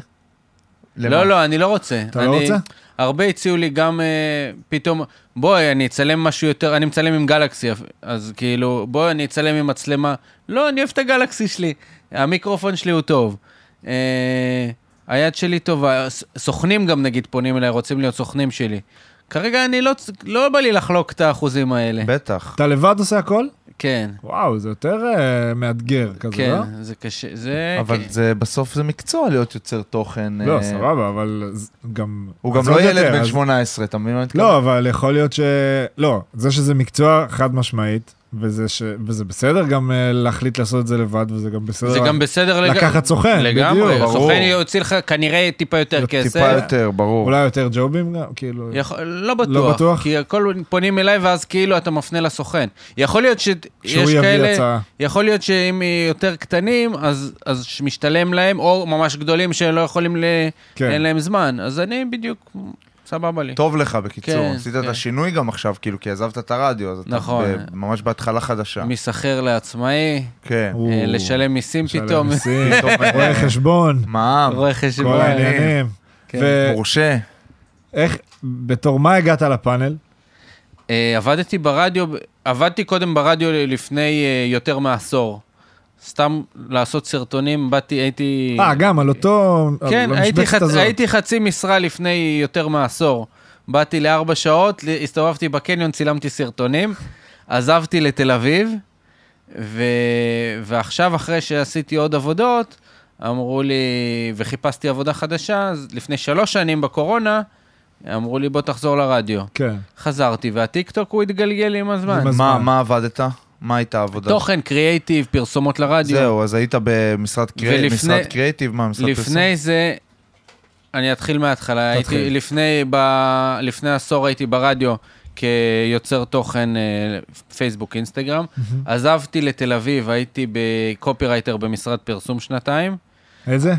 Speaker 1: למה?
Speaker 2: לא, לא, אני לא רוצה.
Speaker 3: אתה לא
Speaker 2: אני-
Speaker 3: רוצה?
Speaker 2: הרבה הציעו לי גם אה, פתאום, בואי, אני אצלם משהו יותר, אני מצלם עם גלקסי, אז כאילו, בואי, אני אצלם עם מצלמה. לא, אני אוהב את הגלקסי שלי, המיקרופון שלי הוא טוב. אה, היד שלי טובה, ס- סוכנים גם נגיד פונים אליי, רוצים להיות סוכנים שלי. כרגע אני לא, צ- לא בא לי לחלוק את האחוזים האלה.
Speaker 1: בטח.
Speaker 3: אתה לבד עושה הכל?
Speaker 2: כן,
Speaker 3: וואו, זה יותר אה, מאתגר כזה,
Speaker 2: כן,
Speaker 3: לא?
Speaker 2: זה קשה, זה...
Speaker 1: אבל
Speaker 2: כן.
Speaker 1: זה בסוף זה מקצוע להיות יוצר תוכן.
Speaker 3: לא,
Speaker 1: אה,
Speaker 3: סבבה, אבל ז- גם...
Speaker 1: הוא גם
Speaker 3: אז
Speaker 1: לא
Speaker 3: עוד
Speaker 1: ילד
Speaker 3: יותר,
Speaker 1: בן
Speaker 3: אז-
Speaker 1: 18, אתה מבין מה אני מתכוון?
Speaker 3: לא, אבל יכול להיות ש... לא, זה שזה מקצוע חד משמעית, וזה, ש... וזה בסדר גם אה, להחליט לעשות את זה לבד, וזה גם בסדר
Speaker 2: זה גם בסדר לג-
Speaker 3: לא לקחת סוכן,
Speaker 2: לגמרי,
Speaker 3: בדיוק, ברור.
Speaker 2: הסוכן יוציא לך כנראה טיפה יותר כסף.
Speaker 1: טיפה יותר, ברור.
Speaker 3: אולי יותר ג'ובים גם, כאילו...
Speaker 2: יכול, לא בטוח.
Speaker 3: לא בטוח?
Speaker 2: כי הכל פונים אליי ואז כאילו אתה מפנה לסוכן. יכול להיות שיש
Speaker 3: שהוא יביא
Speaker 2: כאלה,
Speaker 3: הצעה.
Speaker 2: יכול להיות שאם יותר קטנים, אז, אז משתלם להם, או ממש גדולים שלא יכולים, ל...
Speaker 3: כן.
Speaker 2: כן. אין להם זמן. אז אני בדיוק, סבבה לי.
Speaker 1: טוב לך, בקיצור.
Speaker 2: כן,
Speaker 1: עשית את
Speaker 2: כן.
Speaker 1: השינוי גם עכשיו, כאילו, כי עזבת את הרדיו, אז אתה
Speaker 2: נכון.
Speaker 1: ב- ממש בהתחלה חדשה.
Speaker 2: מסחר לעצמאי,
Speaker 1: כן.
Speaker 3: הוא-
Speaker 2: אה, לשלם מיסים
Speaker 3: לשלם
Speaker 2: פתאום, *laughs*
Speaker 3: מיסים,
Speaker 1: פתאום, אה,
Speaker 3: רואה חשבון,
Speaker 1: מע"מ,
Speaker 2: רואה
Speaker 3: כל
Speaker 2: חשבון.
Speaker 3: העניינים.
Speaker 2: כן.
Speaker 1: מורשה.
Speaker 3: ואיך, בתור מה הגעת לפאנל?
Speaker 2: אה, עבדתי ברדיו, עבדתי קודם ברדיו לפני אה, יותר מעשור. סתם לעשות סרטונים, באתי, הייתי...
Speaker 3: אה, גם על אותו... על
Speaker 2: כן, הייתי,
Speaker 3: המשבצת
Speaker 2: חצ...
Speaker 3: לא הזאת.
Speaker 2: הייתי חצי משרה לפני יותר מעשור. באתי לארבע שעות, ל- הסתובבתי בקניון, צילמתי סרטונים, עזבתי לתל אביב, ו... ועכשיו, אחרי שעשיתי עוד עבודות, אמרו לי, וחיפשתי עבודה חדשה, אז לפני שלוש שנים בקורונה, אמרו לי, בוא תחזור לרדיו.
Speaker 3: כן.
Speaker 2: חזרתי, והטיקטוק הוא התגלגל עם הזמן.
Speaker 3: עם הזמן.
Speaker 1: מה- מה עבדת? מה הייתה העבודה?
Speaker 2: תוכן, קריאייטיב, פרסומות לרדיו.
Speaker 1: זהו, אז היית במשרד קרי-
Speaker 2: ולפני-
Speaker 1: משרד קריאיטיב, מה, משרד פרסום?
Speaker 2: לפני זה, אני אתחיל מההתחלה.
Speaker 3: תתחיל.
Speaker 2: הייתי לפני, ב... לפני עשור הייתי ברדיו כיוצר תוכן אה, פייסבוק, אינסטגרם. עזבתי לתל אביב, הייתי בקופירייטר במשרד פרסום שנתיים,
Speaker 3: איזה?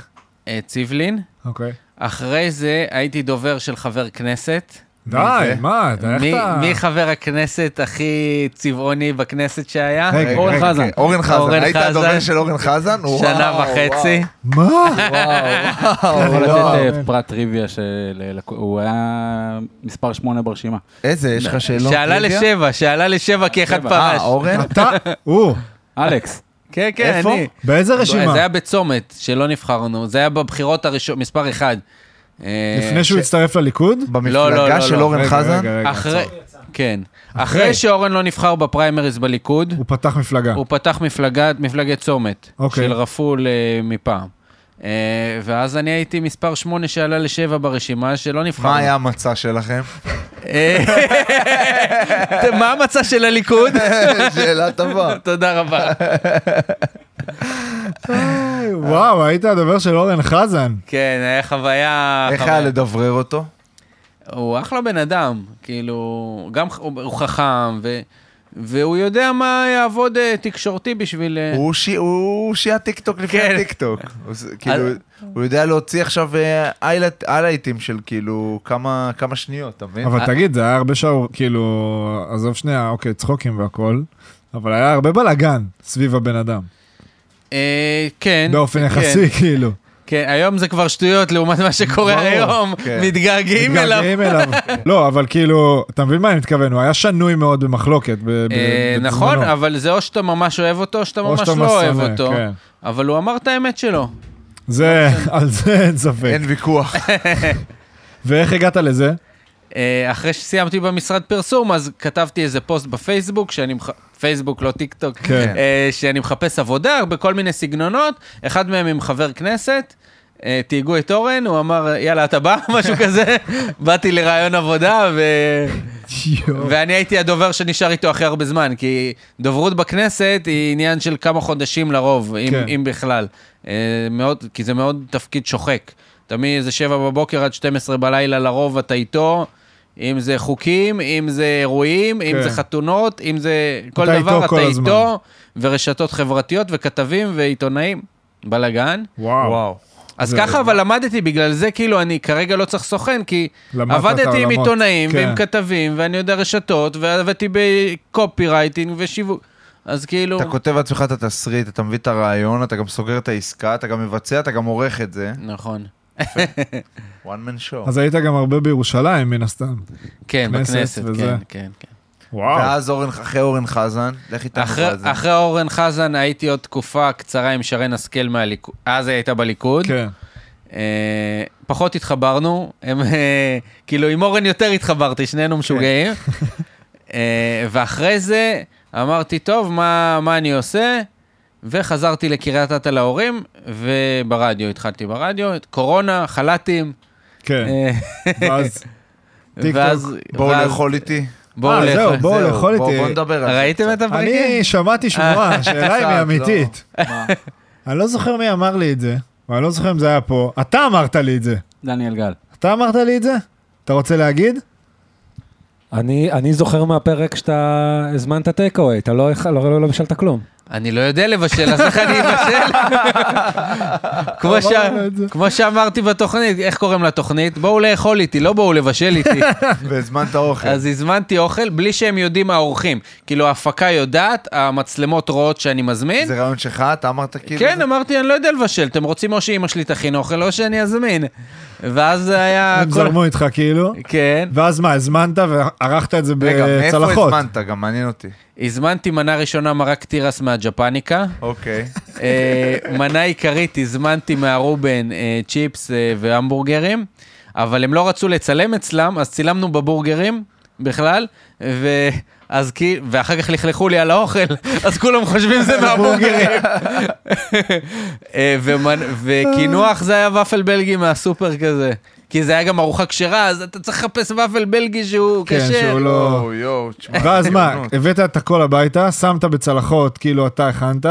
Speaker 2: אה, ציבלין.
Speaker 3: אוקיי.
Speaker 2: אחרי זה הייתי דובר של חבר כנסת.
Speaker 3: די, מה, אתה- איך
Speaker 2: מי,
Speaker 3: אתה...
Speaker 2: מי חבר הכנסת הכי צבעוני בכנסת שהיה?
Speaker 3: רגע,
Speaker 1: רגע,
Speaker 3: אורן
Speaker 1: רגע,
Speaker 3: חזן.
Speaker 1: כן, אורן חזן.
Speaker 2: אורן
Speaker 1: היית
Speaker 2: חזן.
Speaker 1: הדובר של אורן חזן? וואו,
Speaker 2: שנה וחצי. *laughs*
Speaker 3: מה?
Speaker 1: וואו,
Speaker 5: יכול
Speaker 1: וואו.
Speaker 3: לא,
Speaker 5: לתת
Speaker 3: אבל-
Speaker 5: אה, פרט טריוויה שהוא היה מספר 8 ברשימה.
Speaker 1: איזה, יש לך שאלות?
Speaker 2: שעלה
Speaker 1: טריוויה?
Speaker 2: לשבע, שעלה לשבע כאחד
Speaker 5: שבע.
Speaker 2: פרש.
Speaker 1: אה, אורן?
Speaker 3: אתה... הוא.
Speaker 5: אלכס,
Speaker 2: כן, כן,
Speaker 1: איפה?
Speaker 2: אני.
Speaker 3: באיזה רשימה?
Speaker 2: זה היה בצומת, שלא נבחרנו, זה היה בבחירות הראשון, מספר אחד. אה,
Speaker 3: לפני שהוא הצטרף לליכוד?
Speaker 2: לא, לא,
Speaker 1: במפלגה
Speaker 2: לא,
Speaker 1: של
Speaker 2: לא.
Speaker 1: אורן
Speaker 3: רגע,
Speaker 1: חזן?
Speaker 3: רגע, רגע,
Speaker 2: אחרי,
Speaker 3: עצור.
Speaker 2: כן.
Speaker 3: אחרי.
Speaker 2: אחרי שאורן לא נבחר בפריימריז בליכוד,
Speaker 3: הוא פתח מפלגה.
Speaker 2: הוא פתח מפלגה, מפלגת צומת,
Speaker 3: אוקיי.
Speaker 2: של רפול אה, מפעם. אה, ואז אני הייתי מספר שמונה שעלה לשבע ברשימה, שלא נבחרנו.
Speaker 1: מה היה המצע שלכם? *laughs*
Speaker 2: אה, *laughs* מה המצע
Speaker 1: *laughs*
Speaker 2: של הליכוד?
Speaker 1: שאלה טובה.
Speaker 2: תודה רבה.
Speaker 3: וואו, היית הדובר של אורן חזן.
Speaker 2: כן, היה חוויה...
Speaker 1: איך
Speaker 2: חוויה-
Speaker 1: היה לדברר אותו?
Speaker 2: הוא אחלה בן אדם, כאילו, גם ח- הוא הוא חכם, ו, והוא יודע מה יעבוד אה, תקשורתי בשביל... אה,
Speaker 1: הוא שי- הוא שיעה טיקטוק לפני
Speaker 2: כן.
Speaker 1: הטיקטוק. הוא ס- כאילו, הוא יודע להוציא עכשיו אה, highlight- highlightים של כאילו כמה כמה שניות, אתה מבין?
Speaker 2: אה-
Speaker 3: אבל תגיד, זה היה הרבה שער, כאילו, עזוב שנייה, אוקיי, צחוקים והכל, אבל היה הרבה בלאגן סביב הבן אדם.
Speaker 2: אה, כן.
Speaker 3: באופן
Speaker 2: כן,
Speaker 3: יחסי, *laughs* כאילו.
Speaker 2: כן, היום זה כבר שטויות לעומת מה שקורה
Speaker 3: ברור,
Speaker 2: היום,
Speaker 1: כן.
Speaker 2: מתגעגעים אליו.
Speaker 3: מתגעגעים אליו.
Speaker 2: *laughs*
Speaker 3: לא, אבל כאילו, אתה מבין מה אני מתכוון? הוא היה שנוי מאוד במחלוקת. ב- ב-
Speaker 2: אה,
Speaker 3: בזמנו.
Speaker 2: נכון, אבל זה או שאתה ממש אוהב אותו, או שאתה
Speaker 3: או
Speaker 2: ממש
Speaker 3: שאתה
Speaker 2: לא אוהב
Speaker 3: משונא,
Speaker 2: אותו.
Speaker 3: כן.
Speaker 2: אבל הוא אמר את האמת שלו.
Speaker 3: זה, *laughs* על זה אין ספק.
Speaker 1: אין ויכוח.
Speaker 3: ואיך הגעת לזה?
Speaker 2: אה, אחרי שסיימתי במשרד פרסום, אז כתבתי איזה פוסט בפייסבוק, שאני מח... פייסבוק, לא טיק טוק,
Speaker 3: כן.
Speaker 2: אה, שאני מחפש עבודה בכל מיני סגנונות, אחד מהם עם חבר כנסת. אה, תהיגו את אורן, הוא אמר, יאללה, אתה בא? *laughs* משהו כזה. באתי לראיון עבודה, ו...
Speaker 3: יואו.
Speaker 2: ואני הייתי הדובר שנשאר איתו הכי הרבה זמן, כי דוברות בכנסת היא עניין של כמה חודשים לרוב, אם,
Speaker 3: כן.
Speaker 2: אם בכלל. אה, מאוד, כי זה מאוד תפקיד שוחק. אתה מאיזה 7 בבוקר עד 12 בלילה לרוב אתה איתו, אם זה חוקים, אם זה אירועים, אם
Speaker 3: כן.
Speaker 2: זה חתונות, אם זה כל
Speaker 3: אתה
Speaker 2: דבר,
Speaker 3: איתו
Speaker 2: אתה
Speaker 3: כל הזמן.
Speaker 2: איתו, ורשתות חברתיות וכתבים ועיתונאים. בלאגן.
Speaker 3: וואו.
Speaker 1: וואו.
Speaker 2: אז
Speaker 3: אה, זה-
Speaker 2: ככה, אבל למדתי, בגלל זה כאילו אני כרגע לא צריך סוכן, כי
Speaker 3: למדת את
Speaker 2: עבדתי עם
Speaker 3: העולמות.
Speaker 2: עיתונאים ועם
Speaker 3: כן.
Speaker 2: כתבים, ואני יודע רשתות, ועבדתי בקופי רייטינג ושיווק. אז כאילו,
Speaker 1: אתה כותב לעצמך את התסריט, אתה מביא את הרעיון, אתה גם סוגר את העסקה, אתה גם מבצע, אתה גם עורך את זה.
Speaker 2: נכון.
Speaker 1: one man show.
Speaker 3: אז היית גם הרבה בירושלים, מן הסתם.
Speaker 2: כן,
Speaker 3: כנסת
Speaker 2: בכנסת,
Speaker 3: וזה.
Speaker 2: כן, כן, כן.
Speaker 3: וואו.
Speaker 1: ואז אורן, אחרי אורן חזן, לך איתנו
Speaker 2: אחרי-
Speaker 1: חזן.
Speaker 2: אחרי אורן חזן הייתי עוד תקופה קצרה עם שרן השכל מהליכוד, אז היא הייתה בליכוד.
Speaker 3: כן.
Speaker 2: אה, פחות התחברנו, הם, אה, כאילו עם אורן יותר התחברתי, שנינו משוגעים.
Speaker 3: כן.
Speaker 2: אה, ואחרי זה אמרתי, טוב, מה, מה אני עושה? וחזרתי לקריית אתא להורים, וברדיו, התחלתי ברדיו, קורונה, חל"תים.
Speaker 3: כן.
Speaker 2: אה,
Speaker 3: ואז... טיקטוק,
Speaker 2: ואז-
Speaker 1: בואו
Speaker 2: ואז-
Speaker 1: לאכול איתי.
Speaker 2: בואו
Speaker 3: אה,
Speaker 2: לאכול.
Speaker 3: זהו, בואו
Speaker 1: זהו,
Speaker 3: לאכול
Speaker 1: בואו-
Speaker 3: איתי.
Speaker 1: בואו נדבר על זה.
Speaker 2: ראיתם את הפרקים?
Speaker 3: אני שמעתי
Speaker 1: *laughs*
Speaker 3: שמועה, השאלה אם היא
Speaker 1: קצת,
Speaker 3: אמיתית.
Speaker 1: כן. לא. מה?
Speaker 3: אני לא זוכר מי אמר לי את זה, ואני לא זוכר אם זה היה פה. אתה אמרת לי את זה.
Speaker 5: דניאל גל.
Speaker 3: אתה אמרת לי את זה? אתה רוצה להגיד?
Speaker 6: אני, אני זוכר מהפרק שאתה הזמנת טייק אווי, אתה לא, הכ- לא, לא, לא בשלת כלום.
Speaker 2: אני לא יודע לבשל, אז איך אני אבשל?
Speaker 3: *laughs*
Speaker 2: כמו ש-
Speaker 3: אמרנו את זה.
Speaker 2: כמו שאמרתי בתוכנית, איך קוראים לתוכנית? בואו לאכול איתי, לא בואו לבשל
Speaker 3: *laughs*
Speaker 2: איתי.
Speaker 1: והזמנת אוכל.
Speaker 2: אז הזמנתי אוכל בלי שהם יודעים האורחים. כאילו, ההפקה יודעת, המצלמות רואות שאני מזמין.
Speaker 1: זה רעיון שלך, אתה אמרת כאילו?
Speaker 2: כן,
Speaker 1: זה-
Speaker 2: אמרתי, אני לא יודע לבשל, אתם רוצים או שאימא שלי תכין אוכל או שאני אזמין. ואז זה
Speaker 1: אה,
Speaker 2: היה...
Speaker 3: הם
Speaker 2: כל-
Speaker 3: זרמו איתך כאילו.
Speaker 2: כן.
Speaker 3: ואז מה, הזמנת וערכת את זה
Speaker 1: רגע, מאיפה
Speaker 3: בצלחות.
Speaker 1: הזמנת? גם מעניין אותי.
Speaker 2: הזמנתי מנה ראשונה מרק תירס מהג'פניקה.
Speaker 1: אוקיי.
Speaker 2: אה, מנה עיקרית הזמנתי מהרובן אה, צ'יפס אה, והמבורגרים, אבל הם לא רצו לצלם אצלם, אז צילמנו בבורגרים בכלל, ו... אז כי... ואחר כך לכלכו לי על האוכל, אז כולם חושבים זה מהבורגרים. אה, ומנ- וקינוח זה היה ופל בלגי מהסופר כזה. כי זה היה גם ארוחה כשרה, אז אתה צריך לחפש ופל בלגי שהוא
Speaker 3: כן,
Speaker 2: כשר.
Speaker 3: שהוא לא-
Speaker 1: יואו, יואו, תשמע.
Speaker 3: ואז מה,
Speaker 1: טירונות.
Speaker 3: הבאת את הכל הביתה, שמת בצלחות, כאילו אתה הכנת,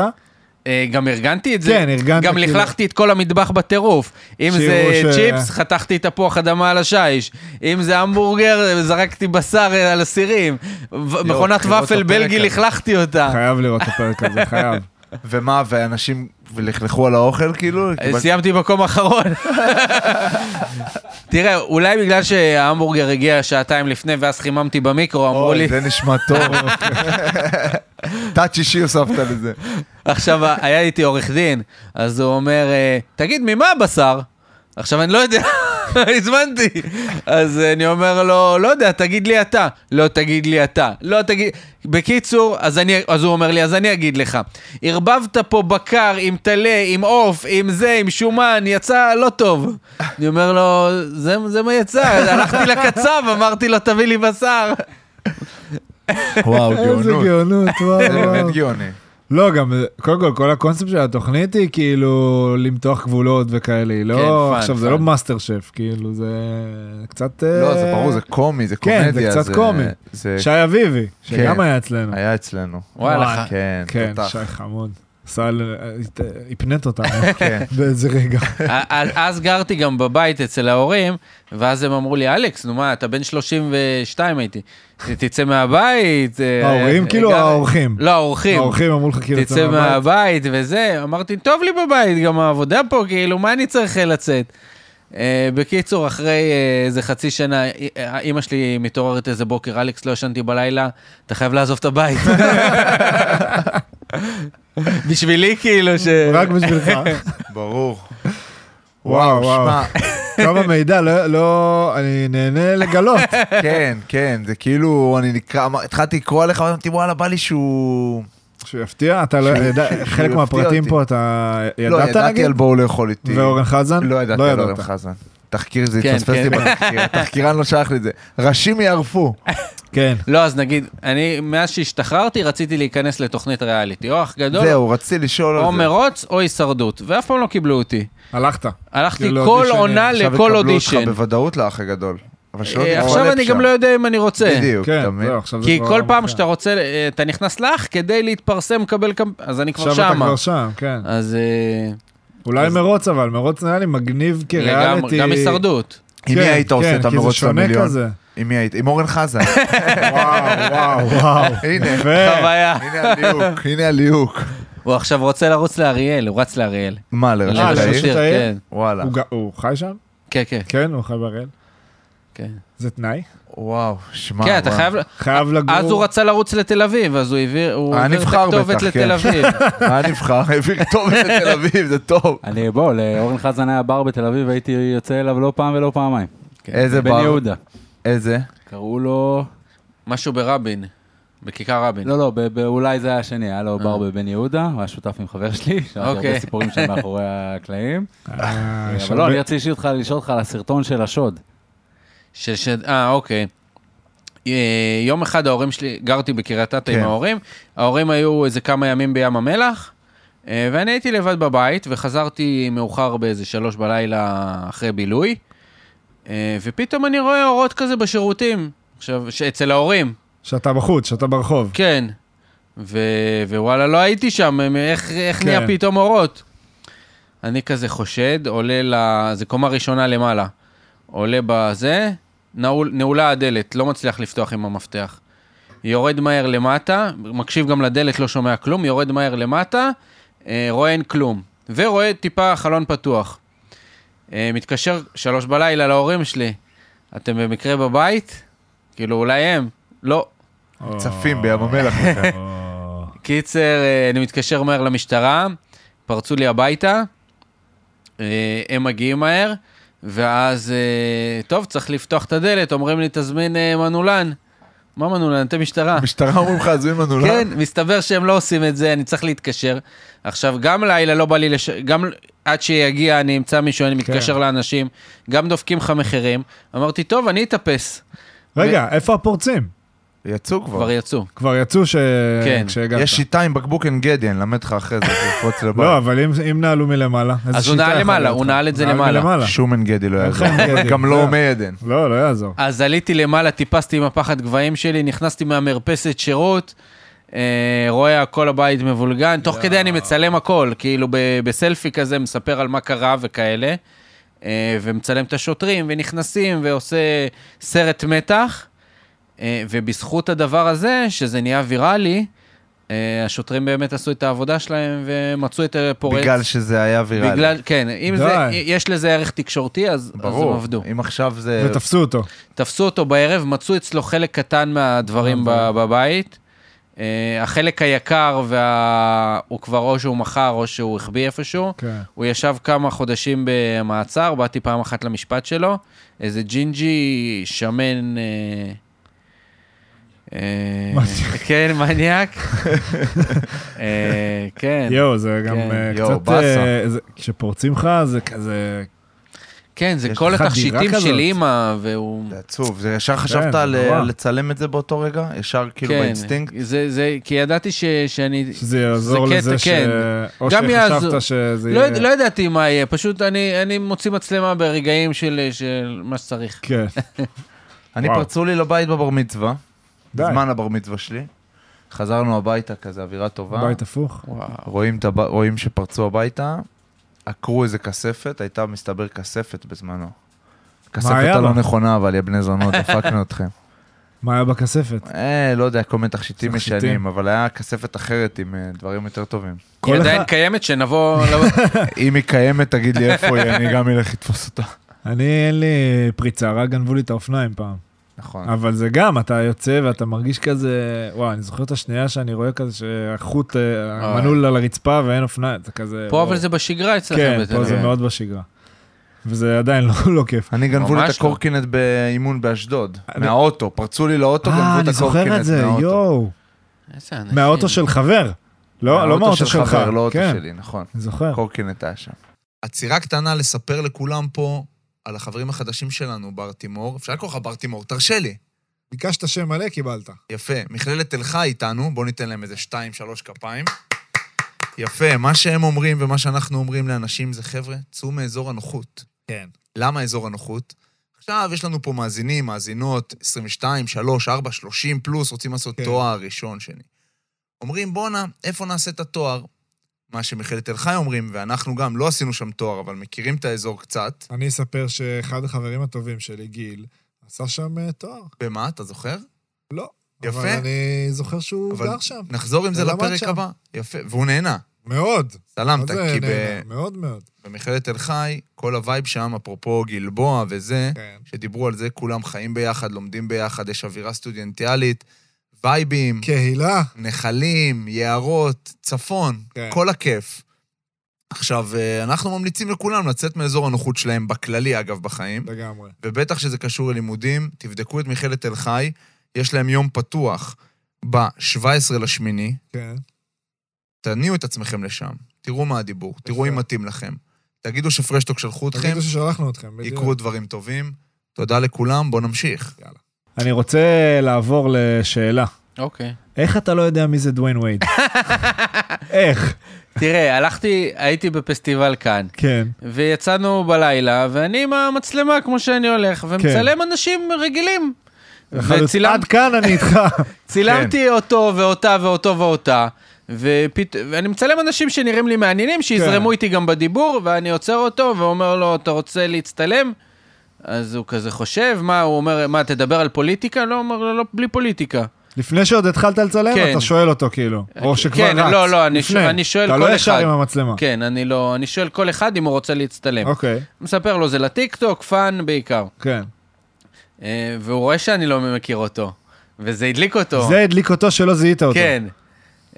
Speaker 2: אה, גם ארגנתי את זה.
Speaker 3: כן, ארגנת
Speaker 2: גם
Speaker 3: כאילו.
Speaker 2: לכלכתי את כל המטבח בטירוף. אם
Speaker 3: שיראו
Speaker 2: זה
Speaker 3: ש-
Speaker 2: צ'יפס, חתכתי תפוח אדמה על השיש. אם זה המבורגר, זרקתי בשר אה, על הסירים. ו- מכונת
Speaker 1: בחירות
Speaker 2: ופל
Speaker 1: הפרק
Speaker 2: בלגי,
Speaker 1: הזה.
Speaker 2: לכלכתי אותה.
Speaker 3: חייב לראות את הפרק הזה,
Speaker 1: *laughs*
Speaker 3: חייב.
Speaker 1: ומה, ואנשים לכלכו על האוכל
Speaker 2: אה,
Speaker 1: כאילו? קיבלת-
Speaker 2: סיימתי מקום אחרון. *laughs* תראה, אולי בגלל שההמבורגר הגיע שעתיים לפני ואז חיממתי במיקרו, אמרו לי,
Speaker 1: אוי, זה נשמע טוב. תת שישי הוספת
Speaker 3: *laughs*
Speaker 1: לזה.
Speaker 2: עכשיו אה, היה איתי עורך דין, אז הוא אומר, אה, תגיד, ממה הבשר? עכשיו, אני לא יודע, *laughs* הזמנתי. אז אני אומר לו, לא יודע, תגיד לי אתה. לא, תגיד לי אתה. לא, תגיד... בקיצור, אז, אני, אז הוא אומר לי, אז אני אגיד לך. ערבבת פה בקר עם טלה, עם עוף, עם זה, עם שומן, יצא לא טוב. אני אומר לו, זה, זה מה יצא, הלכתי לקצב, אמרתי לו, תביא לי בשר.
Speaker 1: וואו,
Speaker 3: איזה
Speaker 1: *laughs*
Speaker 3: גאונות,
Speaker 1: זה
Speaker 3: וואו, וואו.
Speaker 1: באמת גאוני.
Speaker 3: לא, גם, קודם כל, כל הקונספט של התוכנית היא כאילו למתוח גבולות וכאלה, היא לא,
Speaker 2: כן, fun,
Speaker 3: עכשיו זה לא
Speaker 2: fun.
Speaker 3: מאסטר שף, כאילו זה קצת...
Speaker 1: לא,
Speaker 3: אה,
Speaker 1: זה ברור, זה קומי, זה
Speaker 3: כן,
Speaker 1: קומדיה.
Speaker 3: זה קצת קומי.
Speaker 1: זה
Speaker 3: שי אביבי, שגם
Speaker 1: כן.
Speaker 3: היה אצלנו.
Speaker 1: היה אצלנו.
Speaker 2: וואלה.
Speaker 1: כן,
Speaker 3: כן,
Speaker 1: תותח.
Speaker 3: שי חמוד. סל, אה, הפנית אותנו
Speaker 1: כן.
Speaker 3: *laughs* באיזה רגע.
Speaker 2: אז אז גרתי גם בבית אצל ההורים, ואז הם אמרו לי, אלכס, נו מה, אתה בן 32 הייתי, ת- תצא מהבית. אה,
Speaker 3: ההורים
Speaker 2: אה,
Speaker 3: כאילו,
Speaker 2: גר-
Speaker 3: האורחים?
Speaker 2: לא, האורחים.
Speaker 3: האורחים אמרו לך כאילו,
Speaker 2: תצא מהבית וזה, אמרתי, טוב לי בבית, גם העבודה פה, כאילו, מה אני צריך אה, לצאת? אה, בקיצור, אחרי אה, איזה חצי שנה, אה, אה, אימא שלי מתעוררת איזה בוקר, אלכס, לא ישנתי בלילה, אתה חייב לעזוב את הבית. *laughs* בשבילי, כאילו, ש...
Speaker 3: רק
Speaker 1: *laughs*
Speaker 3: בשבילך.
Speaker 1: ברור.
Speaker 3: *laughs* וואו, וואו.
Speaker 1: שמע,
Speaker 3: כמה מידע, לא- לא, אני נהנה לגלות.
Speaker 1: כן, כן, זה כאילו, אני נקרא, אמר- התחלתי לקרוא עליך, אמרתי, וואלה, בא לי שהוא...
Speaker 3: שהוא יפתיע, אתה לא
Speaker 1: שהוא-
Speaker 3: יודע,
Speaker 1: שהוא
Speaker 3: חלק
Speaker 1: יפתיע
Speaker 3: מהפרטים
Speaker 1: אותי.
Speaker 3: פה אתה
Speaker 1: לא,
Speaker 3: ידעת
Speaker 1: ידעתי
Speaker 3: נגיד?
Speaker 1: על בואו לאכול איתי.
Speaker 3: ואורן חזן?
Speaker 1: לא ידעתי על אורן חזן. תחקיר זה
Speaker 2: כן,
Speaker 1: התפספס לי
Speaker 2: כן.
Speaker 1: בתחקיר, התחקירן לא שלח לי את זה. ראשים יערפו.
Speaker 3: כן.
Speaker 2: לא, אז נגיד, אני, מאז שהשתחררתי, רציתי להיכנס לתוכנית ריאליטי. או אח גדול,
Speaker 1: זהו, רציתי לשאול על זה.
Speaker 2: או מרוץ, או הישרדות. ואף פעם לא קיבלו אותי.
Speaker 3: הלכת.
Speaker 2: הלכתי
Speaker 3: כאילו,
Speaker 2: כל
Speaker 3: אודישנים.
Speaker 2: עונה
Speaker 1: עכשיו
Speaker 2: לכל
Speaker 1: יקבלו אותך
Speaker 2: אודישן.
Speaker 1: בוודאות לאח הגדול. אבל שלא
Speaker 2: אה,
Speaker 1: תתפלפ
Speaker 2: עכשיו אני
Speaker 1: שם.
Speaker 2: גם לא יודע אם אני רוצה.
Speaker 1: בדיוק,
Speaker 3: כן,
Speaker 1: אתה מבין?
Speaker 3: זהו, עכשיו זה
Speaker 2: כי
Speaker 3: כבר לא
Speaker 2: כל פעם
Speaker 3: מוכר.
Speaker 2: שאתה רוצה, אה, אתה נכנס לך כדי להתפרסם, לקבל קמפ... אז אני כבר
Speaker 3: עכשיו אתה
Speaker 2: שמה.
Speaker 3: כבר שם, כן.
Speaker 2: אז אה,
Speaker 3: אולי
Speaker 2: אז-
Speaker 3: מרוץ אבל, מרוץ נראה לי מגניב
Speaker 2: לגמרי,
Speaker 3: כריאליטי.
Speaker 2: גם הישרדות.
Speaker 1: עם
Speaker 3: כן,
Speaker 1: מי היית עושה
Speaker 3: כן,
Speaker 1: את
Speaker 3: כי זה
Speaker 1: המרוץ
Speaker 3: שונה
Speaker 1: למיליון?
Speaker 3: כזה.
Speaker 1: עם מי היית? עם אורן חזן.
Speaker 3: *laughs* וואו, וואו, וואו.
Speaker 1: הנה,
Speaker 3: יפה.
Speaker 2: חוויה.
Speaker 1: הנה הליהוק, הנה הליהוק.
Speaker 2: הוא עכשיו רוצה לרוץ לאריאל, הוא רץ לאריאל.
Speaker 1: אה, מה, לראשי
Speaker 2: לא,
Speaker 3: לראשות
Speaker 2: לראשות
Speaker 1: העיר?
Speaker 2: העיר,
Speaker 3: העיר?
Speaker 2: כן.
Speaker 1: וואלה.
Speaker 3: הוא ג- הוא חי שם?
Speaker 2: כן, כן.
Speaker 3: כן, הוא חי בהראל.
Speaker 2: כן.
Speaker 3: זה תנאי?
Speaker 1: וואו, שמע.
Speaker 2: כן, אתה
Speaker 1: וואו.
Speaker 2: חייב...
Speaker 3: חייב לגור...
Speaker 2: אז הוא רצה לרוץ לתל אביב, אז הוא העביר הוא
Speaker 1: היה
Speaker 2: העביר את
Speaker 1: נבחר
Speaker 2: הכתובת
Speaker 1: בטח,
Speaker 2: לתל
Speaker 1: כן. *laughs*
Speaker 2: אביב.
Speaker 1: *laughs* מה נבחר? העביר טוב לתל אביב, זה טוב.
Speaker 5: אני, בוא, לאורן חזן היה בר בתל אביב, הייתי יוצא אליו לא פעם ולא פעמיים.
Speaker 2: *laughs* כן.
Speaker 1: איזה
Speaker 5: בן
Speaker 1: בר?
Speaker 5: יהודה.
Speaker 1: איזה?
Speaker 5: קראו לו...
Speaker 2: משהו ברבין, בכיכר רבין.
Speaker 5: לא, לא, ב- ב- אולי זה היה השני, היה לו בר
Speaker 2: אה.
Speaker 5: בבן יהודה, הוא היה שותף עם חבר שלי, שמעתי
Speaker 2: אוקיי.
Speaker 5: הרבה סיפורים שם מאחורי הקלעים.
Speaker 3: אה, יש
Speaker 5: אבל לא,
Speaker 3: הרבה-
Speaker 5: אני רציתי לשאול אותך- לשאול אותך על הסרטון של השוד.
Speaker 2: של שד... אה, אוקיי. אה, יום אחד ההורים שלי, גרתי בקריית אתא עם
Speaker 1: כן.
Speaker 2: ההורים, ההורים היו איזה כמה ימים בים המלח, אה, ואני הייתי לבד בבית, וחזרתי מאוחר באיזה שלוש בלילה אחרי בילוי, אה, ופתאום אני רואה אורות כזה בשירותים, עכשיו, ש- אצל ההורים,
Speaker 3: שאתה בחוץ, שאתה ברחוב.
Speaker 2: כן. ו... ווואלה, לא הייתי שם, הם- איך, איך
Speaker 3: כן.
Speaker 2: נהיה פתאום אורות? אני כזה חושד, עולה ל... זה קומה ראשונה למעלה. עולה בזה, נעול, נעולה הדלת, לא מצליח לפתוח עם המפתח. יורד מהר למטה, מקשיב גם לדלת, לא שומע כלום, יורד מהר למטה, אה, רואה אין כלום. ורואה טיפה חלון פתוח. אה, מתקשר שלוש בלילה להורים שלי, אתם במקרה בבית? כאילו, אולי הם? לא,
Speaker 1: צפים בים
Speaker 3: *laughs*
Speaker 1: המלח.
Speaker 3: כן. או.
Speaker 2: קיצר, אה, אני מתקשר מהר למשטרה, פרצו לי הביתה, אה, הם מגיעים מהר, ואז, אה, טוב, צריך לפתוח את הדלת, אומרים לי, תזמין אה, מנעולן. מה מנעולן? אתם משטרה.
Speaker 1: המשטרה אומרים לך, עזבי ממנו, לא?
Speaker 2: כן, מסתבר שהם לא עושים את זה, אני צריך להתקשר. עכשיו, גם לילה לא בא לי לש... גם עד שיגיע אני אמצא מישהו, אני מתקשר לאנשים, גם דופקים לך מחירים. אמרתי, טוב, אני אתאפס. כן,
Speaker 3: רגע, איפה הפורצים?
Speaker 1: יצאו כבר.
Speaker 2: כבר יצאו.
Speaker 3: כבר יצאו ש...
Speaker 2: כן.
Speaker 3: כשהגעת.
Speaker 1: יש שיטה עם בקבוק עין גדי, אני אלמד לך אחרי זה, *laughs* לפרוץ לבית.
Speaker 3: לא, אבל אם- אם נעלו מלמעלה, איזה שיטה
Speaker 2: אז הוא נעל
Speaker 3: יכולה
Speaker 2: למעלה,
Speaker 3: להיות
Speaker 2: הוא
Speaker 3: לך?
Speaker 2: נעל את זה
Speaker 3: נעל
Speaker 2: למעלה.
Speaker 1: שום עין גדי לא יעזור.
Speaker 3: אין לך עין גדי,
Speaker 1: גם
Speaker 3: זהו.
Speaker 1: לא מי עדן.
Speaker 3: לא, לא יעזור.
Speaker 2: אז עליתי למעלה, טיפסתי עם הפחד גבהים שלי, נכנסתי מהמרפסת שירות, אה, רואה הכל הבית מבולגן, תוך כדי אני מצלם הכל, כאילו ב- בסלפי כזה, מספר על מה קרה וכאלה, אה, ומצלם את השוטרים, ונכנסים, ועושה סרט מתח, אה, ובזכות הדבר הזה, שזה נהיה ויראלי, אה, השוטרים באמת עשו את העבודה שלהם ומצאו את הפורץ.
Speaker 1: בגלל שזה היה ויראלי.
Speaker 2: בגלל, כן, אם
Speaker 3: די.
Speaker 2: זה, יש לזה ערך תקשורתי, אז, אז הם
Speaker 1: ברור.
Speaker 2: עבדו.
Speaker 1: אם עכשיו
Speaker 2: אה,
Speaker 1: זה...
Speaker 3: ותפסו אותו.
Speaker 2: תפסו אותו בערב, מצאו אצלו חלק קטן מהדברים ב- בבית. אה, החלק היקר, וה... הוא כבר או שהוא מכר או שהוא החביא איפשהו.
Speaker 3: כן.
Speaker 2: הוא ישב כמה חודשים במעצר, באתי פעם אחת למשפט שלו. איזה ג'ינג'י שמן... אה, אה,
Speaker 3: מניאק.
Speaker 2: כן,
Speaker 3: *laughs*
Speaker 2: מניאק. אה, כן,
Speaker 3: יואו, זה גם
Speaker 2: כן.
Speaker 3: אה,
Speaker 1: יואו,
Speaker 3: קצת...
Speaker 1: באסה.
Speaker 3: אה, זה- כשפורצים לך, זה כזה...
Speaker 2: כן, זה
Speaker 1: יש
Speaker 2: כל
Speaker 3: לך דירה
Speaker 2: התכשיטים
Speaker 3: כזאת?
Speaker 2: של אימא, והוא...
Speaker 1: זה עצוב. זה ישר חשבת
Speaker 3: זה
Speaker 1: על אה,
Speaker 3: נורא.
Speaker 1: לצלם את זה באותו רגע? ישר כאילו
Speaker 2: כן,
Speaker 1: באינסטינקט?
Speaker 2: זה, זה, כי ידעתי ש, שאני...
Speaker 3: שזה יעזור
Speaker 2: זה קטע,
Speaker 3: לזה ש...
Speaker 2: כן.
Speaker 3: או
Speaker 2: גם יעזור.
Speaker 3: שחשבת שזה
Speaker 2: לא,
Speaker 3: יהיה...
Speaker 2: יד- לא ידעתי מה יהיה, פשוט אני, אני מוציא מצלמה ברגעים של, של מה שצריך.
Speaker 3: כן.
Speaker 1: אני
Speaker 3: וואו.
Speaker 1: פרצו לי לבית בבר מצווה,
Speaker 3: די.
Speaker 1: בזמן הבר מצווה שלי. חזרנו הביתה כזה, אווירה טובה.
Speaker 3: בית הפוך.
Speaker 1: רואים, את הב... רואים שפרצו הביתה, עקרו איזה כספת, הייתה מסתבר כספת בזמנו. כספת
Speaker 3: היה
Speaker 1: הלא
Speaker 3: בה?
Speaker 1: נכונה, אבל יא בני זונות, *laughs* דפקנו אתכם.
Speaker 3: מה היה בכספת?
Speaker 1: אה, לא יודע, כל מיני תכשיטים
Speaker 3: תכשיטים.
Speaker 1: ישנים, אבל היה כספת אחרת עם אה, דברים יותר טובים. *laughs*
Speaker 3: כל
Speaker 2: היא עדיין
Speaker 3: אחד-
Speaker 2: קיימת,
Speaker 3: *laughs*
Speaker 2: שנבוא... לא-
Speaker 1: אם היא קיימת, תגיד לי איפה היא, אני גם אלך לתפוס אותה.
Speaker 3: אני, אין לי פריצה, רק גנבו לי את האופניים פעם.
Speaker 1: נכון.
Speaker 3: אבל זה גם, אתה יוצא ואתה מרגיש כזה... וואי, אני זוכר את השנייה שאני רואה כזה שהחוט, אה,
Speaker 2: אוי.
Speaker 3: המנעול על הרצפה ואין אופניים, זה כזה...
Speaker 2: פה
Speaker 3: וואו.
Speaker 2: אבל זה בשגרה אצלכם.
Speaker 3: כן,
Speaker 2: בתל
Speaker 3: פה
Speaker 2: אביב.
Speaker 3: זה מאוד בשגרה. וזה עדיין לא- לא כיף.
Speaker 1: אני גנבו לי את
Speaker 2: ממש לא.
Speaker 1: הקורקינט באימון באשדוד,
Speaker 3: אני-
Speaker 1: מהאוטו, פרצו לי לאוטו,
Speaker 3: אה,
Speaker 1: גנבו את
Speaker 3: אני זוכר את
Speaker 1: הקורקינט
Speaker 3: זה,
Speaker 1: מהאוטו.
Speaker 3: יואו.
Speaker 2: איזה אנשים.
Speaker 3: מהאוטו של חבר. לא, לא מהאוטו שלך.
Speaker 1: חבר, לא אוטו
Speaker 3: כן,
Speaker 1: שלי, נכון.
Speaker 3: אני זוכר.
Speaker 1: קורקינט היה שם.
Speaker 4: עצירה קטנה לספר לכולם פה על החברים החדשים שלנו, בר תימור. אפשר לקרוא לך בר תימור, תרשה לי.
Speaker 3: ביקשת שם מלא, קיבלת.
Speaker 4: יפה. מכללת תל חי איתנו, בואו ניתן להם איזה שתיים, שלוש כפיים. יפה, מה שהם אומרים ומה שאנחנו אומרים לאנשים זה, חבר'ה, צאו מאזור הנוחות.
Speaker 3: כן.
Speaker 4: למה אזור הנוחות? עכשיו יש לנו פה מאזינים, מאזינות, 22, 3, 4, 30 פלוס, רוצים לעשות
Speaker 3: כן.
Speaker 4: כן. תואר ראשון, שני. אומרים, בואנה, איפה נעשה את התואר? מה שמכללת תל חי אומרים, ואנחנו גם לא עשינו שם תואר, אבל מכירים את האזור קצת.
Speaker 3: אני אספר שאחד החברים הטובים שלי, גיל, עשה שם אה, תואר.
Speaker 4: במה, אתה זוכר?
Speaker 3: לא.
Speaker 4: יפה.
Speaker 3: אבל אני זוכר שהוא
Speaker 4: אבל-
Speaker 3: גר שם.
Speaker 4: נחזור עם זה
Speaker 3: ולמד
Speaker 4: לפרק
Speaker 3: שם.
Speaker 4: הבא. יפה, והוא נהנה.
Speaker 7: מאוד. מה
Speaker 4: סלמת,
Speaker 7: זה
Speaker 4: כי ב-
Speaker 7: נהנה? מאוד מאוד.
Speaker 4: במכללת תל חי, כל הווייב שם, אפרופו גלבוע וזה,
Speaker 7: כן.
Speaker 4: שדיברו על זה, כולם חיים ביחד, לומדים ביחד, יש אווירה סטודנטיאלית, וייבים,
Speaker 7: קהילה.
Speaker 4: נחלים, יערות, צפון,
Speaker 7: כן.
Speaker 4: כל הכיף. עכשיו, אה, אנחנו ממליצים לכולם לצאת מאזור הנוחות שלהם, בכללי, אגב, בחיים.
Speaker 7: לגמרי.
Speaker 4: ובטח שזה קשור ללימודים, תבדקו את מכללת תל חי, יש להם יום פתוח ב-17 לשמיני,
Speaker 7: כן.
Speaker 4: תניעו את עצמכם לשם, תראו מה הדיבור, תראו אם מתאים לכם. תגידו שפרשטוק שלחו אתכם,
Speaker 7: תגידו ששלחנו אתכם, בדיוק.
Speaker 4: יקרו דברים טובים. תודה לכולם, בואו נמשיך.
Speaker 3: אני רוצה לעבור לשאלה.
Speaker 2: אוקיי.
Speaker 3: איך אתה לא יודע מי זה דוויין
Speaker 2: *laughs*
Speaker 3: וייד? איך?
Speaker 2: תראה, הלכתי, הייתי בפסטיבל כאן,
Speaker 3: כן.
Speaker 2: ויצאנו בלילה, ואני עם המצלמה כמו שאני הולך, ומצלם אנשים רגילים. וצילם-
Speaker 3: כן. עד כאן אני איתך.
Speaker 2: *laughs* צילמתי
Speaker 3: כן.
Speaker 2: אותו ואותה ואותו ואותה, ופת... ואני מצלם אנשים שנראים לי מעניינים,
Speaker 3: כן.
Speaker 2: שיזרמו איתי גם בדיבור, ואני עוצר אותו ואומר לו, אתה רוצה להצטלם? אז הוא כזה חושב, מה, הוא אומר, מה, תדבר על פוליטיקה? לא, הוא אומר לו, לא, בלי פוליטיקה.
Speaker 3: לפני שעוד התחלת לצלם,
Speaker 2: כן.
Speaker 3: אתה שואל אותו כאילו. או שכבר רץ.
Speaker 2: כן, לא, לא, אני,
Speaker 3: לפני.
Speaker 2: ש... אני שואל כל אחד.
Speaker 3: אתה לא ישר עם המצלמה.
Speaker 2: כן, אני לא, אני שואל כל אחד אם הוא רוצה להצטלם.
Speaker 3: אוקיי,
Speaker 2: מספר לו, זה לטיקטוק, פאן בעיקר.
Speaker 3: כן.
Speaker 2: אה, והוא רואה שאני לא מכיר אותו, וזה הדליק אותו.
Speaker 3: זה הדליק אותו שלא זיהית אותו.
Speaker 2: כן.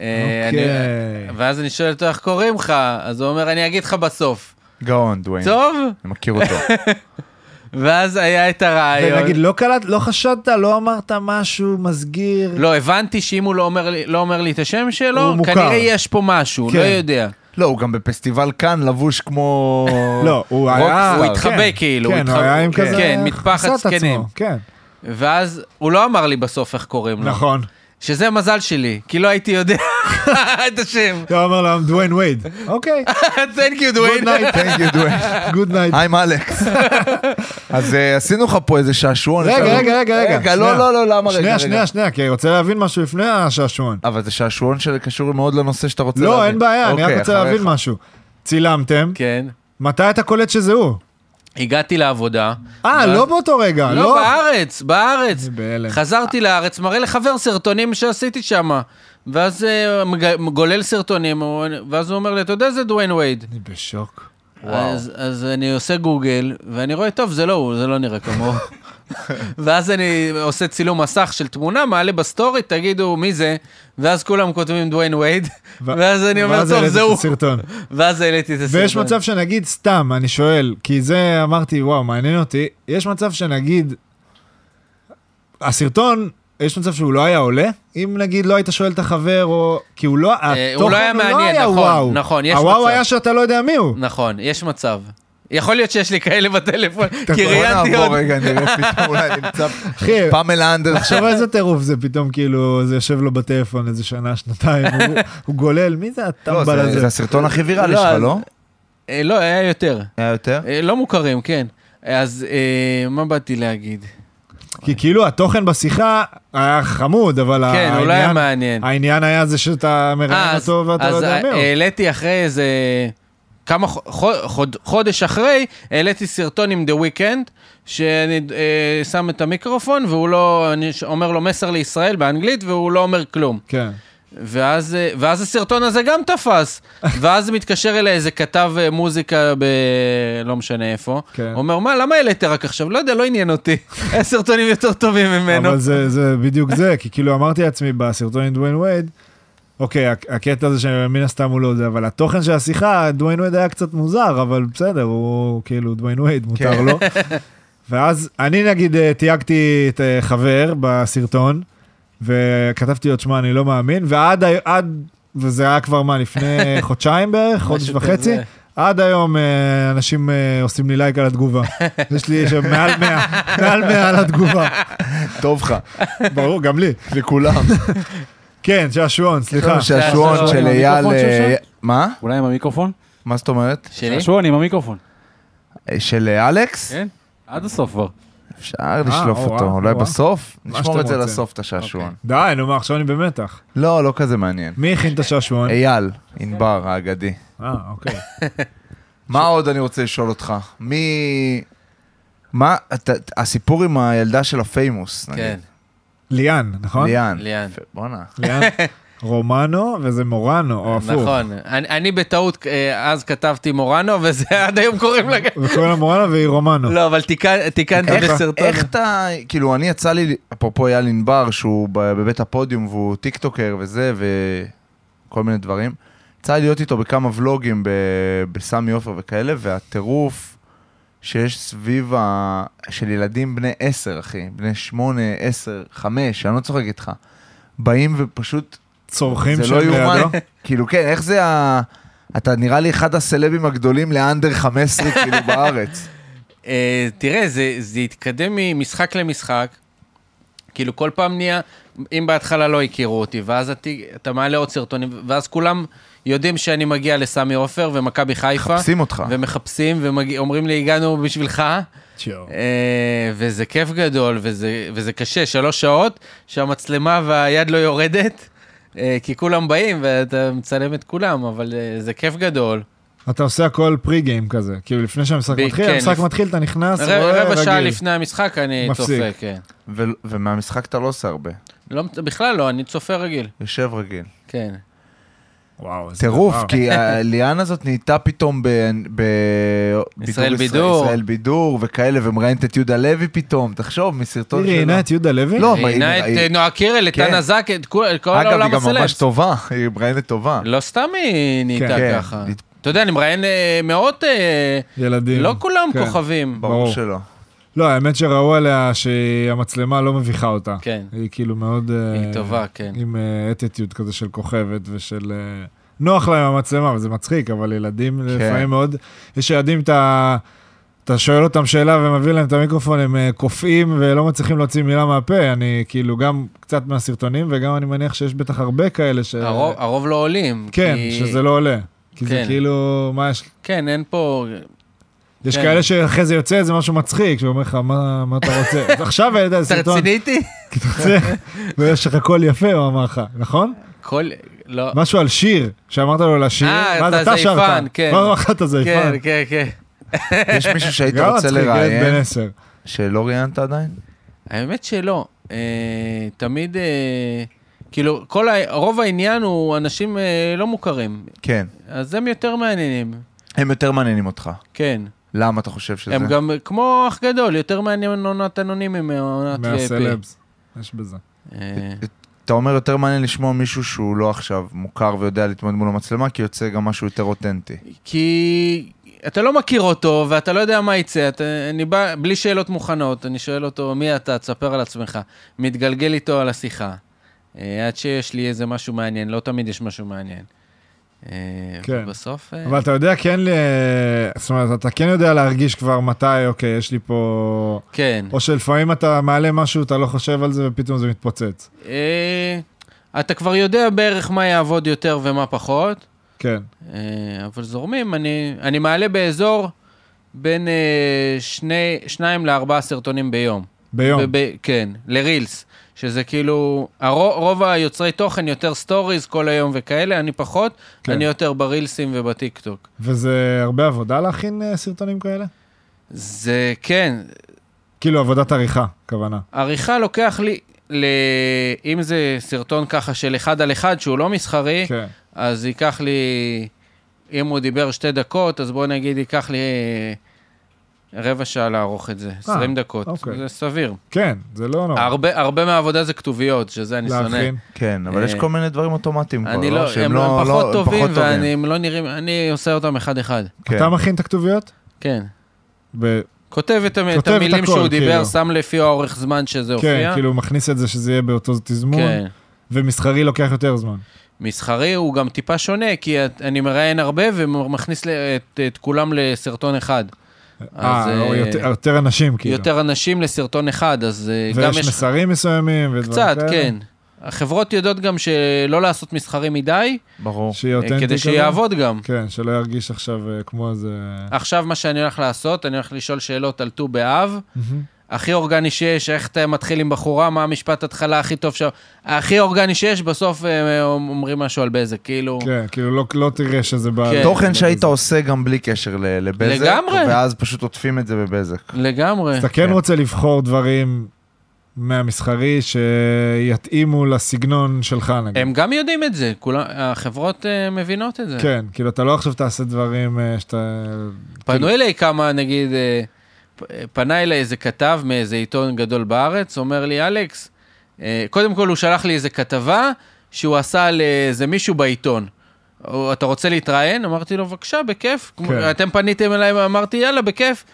Speaker 2: אה, אני-
Speaker 3: אוקיי.
Speaker 2: ואז אני שואל אותו איך קוראים לך, אז הוא אומר, אני אגיד לך בסוף.
Speaker 1: גאון, דוויין.
Speaker 2: טוב?
Speaker 1: אני מכיר
Speaker 3: *laughs*
Speaker 1: אותו.
Speaker 2: ואז היה את הרעיון.
Speaker 3: ונגיד, לא קלט, לא חשדת, לא אמרת משהו מסגיר.
Speaker 2: לא, הבנתי שאם הוא לא אומר לי, לא אומר לי את השם שלו,
Speaker 3: הוא מוכר.
Speaker 2: כנראה יש פה משהו,
Speaker 3: כן.
Speaker 2: לא יודע.
Speaker 1: לא, הוא גם בפסטיבל כאן לבוש כמו...
Speaker 3: *laughs* לא, הוא
Speaker 1: רוקסטאר.
Speaker 3: היה...
Speaker 2: הוא
Speaker 1: כן.
Speaker 2: התחבא כאילו,
Speaker 3: כן, הוא
Speaker 2: התחבא-
Speaker 3: היה עם כזה...
Speaker 2: כן, מטפחת
Speaker 3: חסר את עצמו,
Speaker 2: זקנים.
Speaker 3: כן,
Speaker 2: ואז הוא לא אמר לי בסוף איך קוראים לו.
Speaker 3: נכון.
Speaker 2: שזה מזל שלי, כי לא הייתי יודע *laughs* את
Speaker 3: *laughs*
Speaker 2: השם.
Speaker 3: אתה אומר להם דוויין וייד.
Speaker 2: *laughs*
Speaker 3: אוקיי,
Speaker 2: Thank you,
Speaker 3: גוד
Speaker 2: דוויין.
Speaker 3: נייט,
Speaker 1: Thank you, דוויין.
Speaker 3: גוד
Speaker 1: *laughs*
Speaker 3: נייט.
Speaker 1: היי,
Speaker 3: *laughs*
Speaker 1: אלכס. אז אה, עשינו לך פה איזה שעשועון.
Speaker 3: רגע,
Speaker 1: אפשר-
Speaker 3: רגע, רגע, רגע.
Speaker 1: רגע,
Speaker 3: שנייה.
Speaker 1: לא, לא, לא, למה רגע, רגע.
Speaker 3: שנייה, שנייה, שנייה, כי אני רוצה להבין משהו לפני השעשועון.
Speaker 1: אבל זה שעשועון שקשור מאוד לנושא שאתה רוצה להבין.
Speaker 3: לא, אין בעיה, אני רק
Speaker 1: אוקיי,
Speaker 3: רוצה
Speaker 1: אחריך.
Speaker 3: להבין משהו. צילמתם,
Speaker 2: כן.
Speaker 3: מתי אתה קולט שזה הוא?
Speaker 2: הגעתי לעבודה.
Speaker 3: אה,
Speaker 2: ואז-
Speaker 3: לא באותו רגע,
Speaker 2: לא,
Speaker 3: לא?
Speaker 2: בארץ, בארץ.
Speaker 3: אני בהלם.
Speaker 2: חזרתי לארץ, מראה לחבר סרטונים שעשיתי שם. ואז אה, מג- גולל סרטונים, הוא- ואז הוא אומר לי, אתה יודע זה דוויין וייד.
Speaker 3: אני בשוק.
Speaker 2: אז, אז אני עושה גוגל, ואני רואה, טוב, זה לא הוא, זה לא נראה כמוהו. *laughs* ואז אני עושה צילום מסך של תמונה, מעלה בסטורי, תגידו, מי זה? ואז כולם כותבים דוויין וייד,
Speaker 3: ו-
Speaker 2: ואז אני אומר,
Speaker 3: ואז
Speaker 2: טוב,
Speaker 3: העליתי
Speaker 2: זה
Speaker 3: את
Speaker 2: הוא.
Speaker 3: הסרטון.
Speaker 2: ואז העליתי את הסרטון.
Speaker 3: ויש מצב שנגיד, סתם, אני שואל, כי זה אמרתי, וואו, מעניין אותי, יש מצב שנגיד, הסרטון, יש מצב שהוא לא היה עולה, אם נגיד לא היית שואל את החבר, או... כי הוא לא,
Speaker 2: אה,
Speaker 3: התוכן
Speaker 2: הוא לא היה מעניין, נכון,
Speaker 3: וואו.
Speaker 2: נכון, יש
Speaker 3: הוואו
Speaker 2: מצב.
Speaker 3: היה שאתה לא יודע מי הוא.
Speaker 2: נכון, יש מצב. יכול להיות שיש לי כאלה בטלפון, כי
Speaker 1: בוא
Speaker 2: ראיינתי עוד.
Speaker 1: נעבור רגע, נראה פתאום אולי נמצא
Speaker 3: אחי,
Speaker 1: פמלה אנדרס.
Speaker 3: עכשיו איזה טירוף זה פתאום, כאילו, זה יושב לו בטלפון איזה שנה, שנתיים, הוא- הוא גולל, מי זה
Speaker 1: לא,
Speaker 3: הטמבל
Speaker 1: זה-
Speaker 3: הזה?
Speaker 1: זה הסרטון הכי ויראלי
Speaker 2: לא,
Speaker 1: שלך,
Speaker 2: אז-
Speaker 1: לא?
Speaker 2: אה, לא, היה יותר.
Speaker 1: היה יותר?
Speaker 2: אה, לא מוכרים, כן. אז אה, מה באתי להגיד?
Speaker 3: כי כאילו התוכן בשיחה היה חמוד, אבל
Speaker 2: כן, הוא לא היה
Speaker 3: אה, העניין-
Speaker 2: מעניין. אה,
Speaker 3: העניין היה זה שאתה מראיין אותו ואתה לא
Speaker 2: אז אה,
Speaker 3: יודע מי הוא.
Speaker 2: העליתי אחרי איזה... כמה ח- ח- חוד- חודש אחרי, העליתי סרטון עם The Weeknd, שאני אה, שם את המיקרופון, והוא לא, אני ש- אומר לו מסר לישראל באנגלית, והוא לא אומר כלום.
Speaker 3: כן.
Speaker 2: ואז, אה, ואז הסרטון הזה גם
Speaker 3: *laughs*
Speaker 2: תפס. ואז מתקשר אליי איזה כתב אה, מוזיקה ב... לא משנה איפה.
Speaker 3: כן.
Speaker 2: אומר, מה, למה העלית רק עכשיו? לא יודע, לא עניין
Speaker 3: *laughs*
Speaker 2: אותי. *laughs* היה סרטונים יותר טובים ממנו.
Speaker 3: אבל זה, זה בדיוק זה, כי כאילו אמרתי לעצמי בסרטון עם דוויין וייד, אוקיי, הק- הקטע הזה שמן הסתם הוא לא זה, אבל התוכן של השיחה, דוויין וייד היה קצת מוזר, אבל בסדר, הוא כאילו דוויין וייד,
Speaker 2: כן.
Speaker 3: מותר לו. ואז אני נגיד אה, תייגתי את אה, חבר בסרטון, וכתבתי לו, שמע, אני לא מאמין, ועד, הי- עד, וזה היה כבר
Speaker 2: *laughs*
Speaker 3: מה, לפני חודשיים בערך, חודש
Speaker 2: משהו
Speaker 3: וחצי,
Speaker 2: כזה.
Speaker 3: עד היום אה, אנשים אה, עושים לי לייק על התגובה. יש לי שם מעל
Speaker 2: *laughs*
Speaker 3: 100, מעל 100 על התגובה.
Speaker 1: טוב לך,
Speaker 3: ברור, גם לי.
Speaker 1: *laughs* לכולם.
Speaker 3: כן, שעשועון, סליחה.
Speaker 1: שעשועון
Speaker 5: שעשועון
Speaker 1: של
Speaker 5: עם
Speaker 1: אייל...
Speaker 5: המיקרופון
Speaker 1: אה,
Speaker 5: שלך?
Speaker 1: מה?
Speaker 5: אולי עם המיקרופון?
Speaker 1: מה זאת אומרת?
Speaker 2: שלי?
Speaker 5: שעשועון עם המיקרופון.
Speaker 1: אה, של אה, אלכס?
Speaker 5: כן? עד הסוף כבר.
Speaker 1: אפשר לשלוף
Speaker 3: אה, או,
Speaker 1: אותו,
Speaker 3: וואו,
Speaker 1: אולי
Speaker 3: וואו.
Speaker 1: בסוף?
Speaker 3: מה
Speaker 1: נשמור
Speaker 3: שאתם
Speaker 1: את זה
Speaker 3: רוצים. אוקיי.
Speaker 1: לסוף, את השעשועון.
Speaker 3: די, נו מה, עכשיו אני במתח.
Speaker 1: לא, לא כזה מעניין.
Speaker 3: מי הכין את השעשועון?
Speaker 1: אייל, ענבר האגדי.
Speaker 3: אה, אוקיי.
Speaker 1: מה עוד אני רוצה לשאול אותך? מי... מה, אתה- הסיפור עם הילדה של הפיימוס, נגיד.
Speaker 2: כן,
Speaker 3: ליאן, נכון?
Speaker 1: ליאן.
Speaker 2: ליאן.
Speaker 1: בואנה.
Speaker 3: ליאן. רומנו וזה מורנו, או הפוך.
Speaker 2: נכון. אני, אני בטעות אה, אז כתבתי מורנו, וזה עד היום
Speaker 3: *laughs*
Speaker 2: קוראים לה...
Speaker 3: וקוראים לה מורנו והיא רומנו.
Speaker 2: לא, אבל תיקן- תיקנת
Speaker 1: איך-
Speaker 2: בסרטון.
Speaker 1: איך אתה, כאילו, אני יצא לי, אפרופו אייל ענבר, שהוא ב- בבית הפודיום והוא טיקטוקר וזה, וכל מיני דברים, יצא לי להיות איתו בכמה ולוגים ב- בסמי עופר וכאלה, והטירוף שיש סביב ה... של ילדים בני עשר, אחי, בני שמונה, עשר, חמש, אני לא צוחק איתך, באים ופשוט
Speaker 3: צורכים
Speaker 1: זה
Speaker 3: שם
Speaker 1: לא יאומן.
Speaker 3: לידו.
Speaker 1: *laughs* כאילו, כן, איך זה ה... אתה נראה לי אחד הסלבים הגדולים לאנדר 15, כאילו, בארץ.
Speaker 2: אה, תראה, זה, זה התקדם ממשחק למשחק. כאילו כל פעם נהיה, אם בהתחלה לא הכירו אותי, ואז אתה, אתה מעלה עוד סרטונים, ואז כולם יודעים שאני מגיע לסמי עופר ומכבי חיפה.
Speaker 1: מחפשים אותך.
Speaker 2: ומחפשים ואומרים לי, הגענו בשבילך, אה, וזה כיף גדול, וזה, וזה קשה, שלוש שעות שהמצלמה והיד לא יורדת, אה, כי כולם באים ואתה מצלם את כולם, אבל אה, זה כיף גדול.
Speaker 3: אתה עושה הכל פרי גיים כזה, כאילו לפני שהמשחק
Speaker 2: ב-
Speaker 3: מתחיל,
Speaker 2: כן,
Speaker 3: המשחק
Speaker 2: לפ-
Speaker 3: מתחיל, אתה נכנס,
Speaker 2: רבע
Speaker 3: רואה,
Speaker 2: רבע שעה
Speaker 3: רגיל.
Speaker 2: לפני המשחק אני
Speaker 3: מפסיק.
Speaker 2: צופה, כן.
Speaker 1: ו- ומהמשחק אתה לא עושה הרבה.
Speaker 2: לא, בכלל לא, אני צופה רגיל,
Speaker 1: יושב רגיל.
Speaker 2: כן.
Speaker 3: וואו, איזה
Speaker 1: טירוף,
Speaker 3: דבר.
Speaker 1: כי הליאנה הזאת נהייתה פתאום ב... ב...
Speaker 2: ישראל בידור.
Speaker 1: ישראל בידור וכאלה, ומראיינת את יהודה לוי פתאום, תחשוב, מסרטון
Speaker 3: היא ראיינה את יהודה לוי?
Speaker 1: לא, מה,
Speaker 2: ראיינה
Speaker 1: היא-
Speaker 2: את אה, נועה קירל, את
Speaker 1: כן.
Speaker 2: דנה זק, את כל את כל
Speaker 1: אגב, היא
Speaker 2: העולם
Speaker 1: גם ממש
Speaker 2: הסלבס.
Speaker 1: טובה, *laughs* היא מראיינת טובה.
Speaker 2: לא סתם היא
Speaker 1: כן.
Speaker 2: נהייתה ככה.
Speaker 1: נת-
Speaker 2: אתה יודע, אני מראיין אה, מאות, אה,
Speaker 3: ילדים.
Speaker 2: לא כולם
Speaker 3: כן.
Speaker 2: כוכבים.
Speaker 1: ברור
Speaker 3: ברור.
Speaker 1: שלא.
Speaker 3: לא, האמת שראו עליה שהמצלמה לא מביכה אותה.
Speaker 2: כן.
Speaker 3: היא כאילו מאוד...
Speaker 2: היא טובה, כן.
Speaker 3: עם אטיטיוד כזה של כוכבת ושל... אה, נוח להם המצלמה, וזה מצחיק, אבל
Speaker 2: כן.
Speaker 3: ילדים לפעמים מאוד... יש ילדים, אתה אתה שואל אותם שאלה ומביא להם את המיקרופון, הם אה, קופאים ולא מצליחים להוציא מילה מהפה. אני כאילו גם קצת מהסרטונים, וגם אני מניח שיש בטח הרבה כאלה ש...
Speaker 2: הרוב- הרוב לא עולים.
Speaker 3: כן,
Speaker 2: כי-
Speaker 3: שזה לא עולה. כי זה
Speaker 2: כן.
Speaker 3: כאילו, מה יש...
Speaker 2: כן, אין פה...
Speaker 3: יש
Speaker 2: כן.
Speaker 3: כאלה שאחרי זה יוצא איזה משהו מצחיק, שאומר לך, מה מה אתה רוצה?
Speaker 2: *laughs*
Speaker 3: אז עכשיו העלית איזה
Speaker 2: אתה
Speaker 3: סרטון. *laughs*
Speaker 2: רציני איתי?
Speaker 3: כי אתה רוצה, ויש לך קול יפה, הוא אמר לך, נכון?
Speaker 2: כל... לא.
Speaker 3: משהו על שיר, שאמרת לו לשיר,
Speaker 2: אה,
Speaker 3: ואז
Speaker 2: אתה זייפן, כן.
Speaker 3: לא, לא, אתה זייפן.
Speaker 2: כן, כן, כן.
Speaker 1: יש מישהו
Speaker 3: *laughs*
Speaker 1: שהיית
Speaker 3: גם
Speaker 1: רוצה
Speaker 3: מצחיק, ילד בן
Speaker 1: לראיין,
Speaker 3: עשר.
Speaker 2: אה,
Speaker 1: שלא ראיינת עדיין?
Speaker 2: האמת שלא. אה, תמיד... אה, כאילו, כל ה... רוב העניין הוא אנשים אה, לא מוכרים.
Speaker 1: כן.
Speaker 2: אז הם יותר מעניינים,
Speaker 1: הם יותר מעניינים אותך.
Speaker 2: כן.
Speaker 1: למה אתה חושב שזה?
Speaker 2: הם גם, כמו אח גדול, יותר מעניין עונת אנונימי מעונת VIP.
Speaker 3: מהסלבס,
Speaker 2: אוקיי.
Speaker 3: יש בזה.
Speaker 2: אה,
Speaker 1: אתה אומר יותר מעניין לשמוע מישהו שהוא לא עכשיו מוכר ויודע להתמודד מול המצלמה, כי יוצא גם משהו יותר אותנטי.
Speaker 2: כי אתה לא מכיר אותו, ואתה לא יודע מה יצא. אתה, אני בא בלי שאלות מוכנות, אני שואל אותו, מי אתה? תספר על עצמך. מתגלגל איתו על השיחה. אה, עד שיש לי איזה משהו מעניין, לא תמיד יש משהו מעניין. אה,
Speaker 3: כן.
Speaker 2: ובסוף... אה,
Speaker 3: אבל אתה יודע כן, ל- זאת אומרת, אתה כן יודע להרגיש כבר מתי, אוקיי, יש לי פה...
Speaker 2: כן.
Speaker 3: או שלפעמים אתה מעלה משהו, אתה לא חושב על זה, ופתאום זה מתפוצץ.
Speaker 2: אה, אתה כבר יודע בערך מה יעבוד יותר ומה פחות.
Speaker 3: כן.
Speaker 2: אה, אבל זורמים, אני, אני מעלה באזור בין אה, שני, שניים לארבעה סרטונים ביום.
Speaker 3: ביום.
Speaker 2: וב- כן, לרילס, שזה כאילו, הרוב, רוב היוצרי תוכן יותר סטוריז כל היום וכאלה, אני פחות,
Speaker 3: כן.
Speaker 2: כן. אני יותר ברילסים ובטיקטוק.
Speaker 3: וזה הרבה עבודה להכין אה, סרטונים כאלה?
Speaker 2: זה כן,
Speaker 3: כאילו עבודת עריכה, כוונה.
Speaker 2: עריכה לוקח לי, ל... אם זה סרטון ככה של אחד על אחד שהוא לא מסחרי,
Speaker 3: כן.
Speaker 2: אז ייקח לי, אם הוא דיבר שתי דקות, אז בוא נגיד ייקח לי אה, רבע שעה לערוך את זה, 20 דקות.
Speaker 3: אוקיי.
Speaker 2: זה סביר.
Speaker 3: כן, זה לא נורא.
Speaker 2: הרבה, הרבה מהעבודה זה כתוביות, שזה אני שונא.
Speaker 3: להכין.
Speaker 1: כן, אבל
Speaker 2: אה,
Speaker 1: יש כל מיני דברים אוטומטיים כבר,
Speaker 2: אני לא,
Speaker 1: שהם
Speaker 2: הם, הם פחות
Speaker 1: לא-
Speaker 2: טובים, ואני הם לא נראים, אני עושה אותם אחד-אחד.
Speaker 1: כן.
Speaker 3: אתה מכין את הכתוביות?
Speaker 2: כן.
Speaker 3: ב-
Speaker 2: כותב את, המ...
Speaker 3: כותב
Speaker 2: את
Speaker 3: את
Speaker 2: המילים
Speaker 3: הכל,
Speaker 2: שהוא דיבר,
Speaker 3: כאילו.
Speaker 2: שם לפי האורך זמן שזה
Speaker 3: כן,
Speaker 2: הופיע.
Speaker 3: כאילו מכניס את זה שזה יהיה באותו תזמון,
Speaker 2: כן.
Speaker 3: ומסחרי לוקח יותר זמן.
Speaker 2: מסחרי הוא גם טיפה שונה, כי את- אני מראיין הרבה ומכניס ל- את, את כולם לסרטון אחד. אז,
Speaker 3: אה, או
Speaker 2: אה,
Speaker 3: יותר- יותר אנשים, כאילו.
Speaker 2: יותר אנשים לסרטון אחד, אז אה, גם
Speaker 3: ויש
Speaker 2: יש...
Speaker 3: מסרים מסוימים ודברים
Speaker 2: קצת,
Speaker 3: כאלה.
Speaker 2: כן. החברות יודעות גם שלא לעשות מסחרי מדי,
Speaker 1: ברור.
Speaker 3: שיהיה
Speaker 2: אה,
Speaker 3: אותנטי
Speaker 2: כדי
Speaker 3: כזה.
Speaker 2: שיעבוד גם.
Speaker 3: כן, שלא ירגיש עכשיו אה, כמו איזה...
Speaker 2: עכשיו מה שאני הולך לעשות, אני הולך לשאול שאלות על ט"ו באב,
Speaker 3: מהמם.
Speaker 2: הכי אורגני שיש, איך אתה מתחיל עם בחורה, מה המשפט התחלה הכי טוב שם, הכי אורגני שיש, בסוף אה, אומרים משהו על בזק, כאילו...
Speaker 3: כן, כאילו לא- לא תראה שזה בא...
Speaker 2: כן.
Speaker 1: תוכן שהיית עושה גם בלי קשר ל- לבזק,
Speaker 2: לגמרי.
Speaker 1: ואז פשוט עוטפים את זה בבזק.
Speaker 2: לגמרי.
Speaker 3: אתה כן
Speaker 1: כן.
Speaker 3: רוצה לבחור דברים מהמסחרי שיתאימו לסגנון שלך נגיד.
Speaker 2: הם גם יודעים את זה, כולם, החברות אה, מבינות את זה.
Speaker 3: כן, כאילו אתה לא עכשיו תעשה דברים אה, שאתה...
Speaker 2: פנו אליי כמה, נגיד, אה, פ- אה, פנה אליי איזה כתב מאיזה עיתון גדול בארץ, אומר לי, אלכס, אה, קודם כל הוא שלח לי איזה כתבה שהוא עשה על אה, איזה מישהו בעיתון. "או, אתה רוצה להתראיין? אמרתי לו, בבקשה, בכיף. כמו-
Speaker 3: כן.
Speaker 2: אתם פניתם אליי, אמרתי, יאללה, בכיף.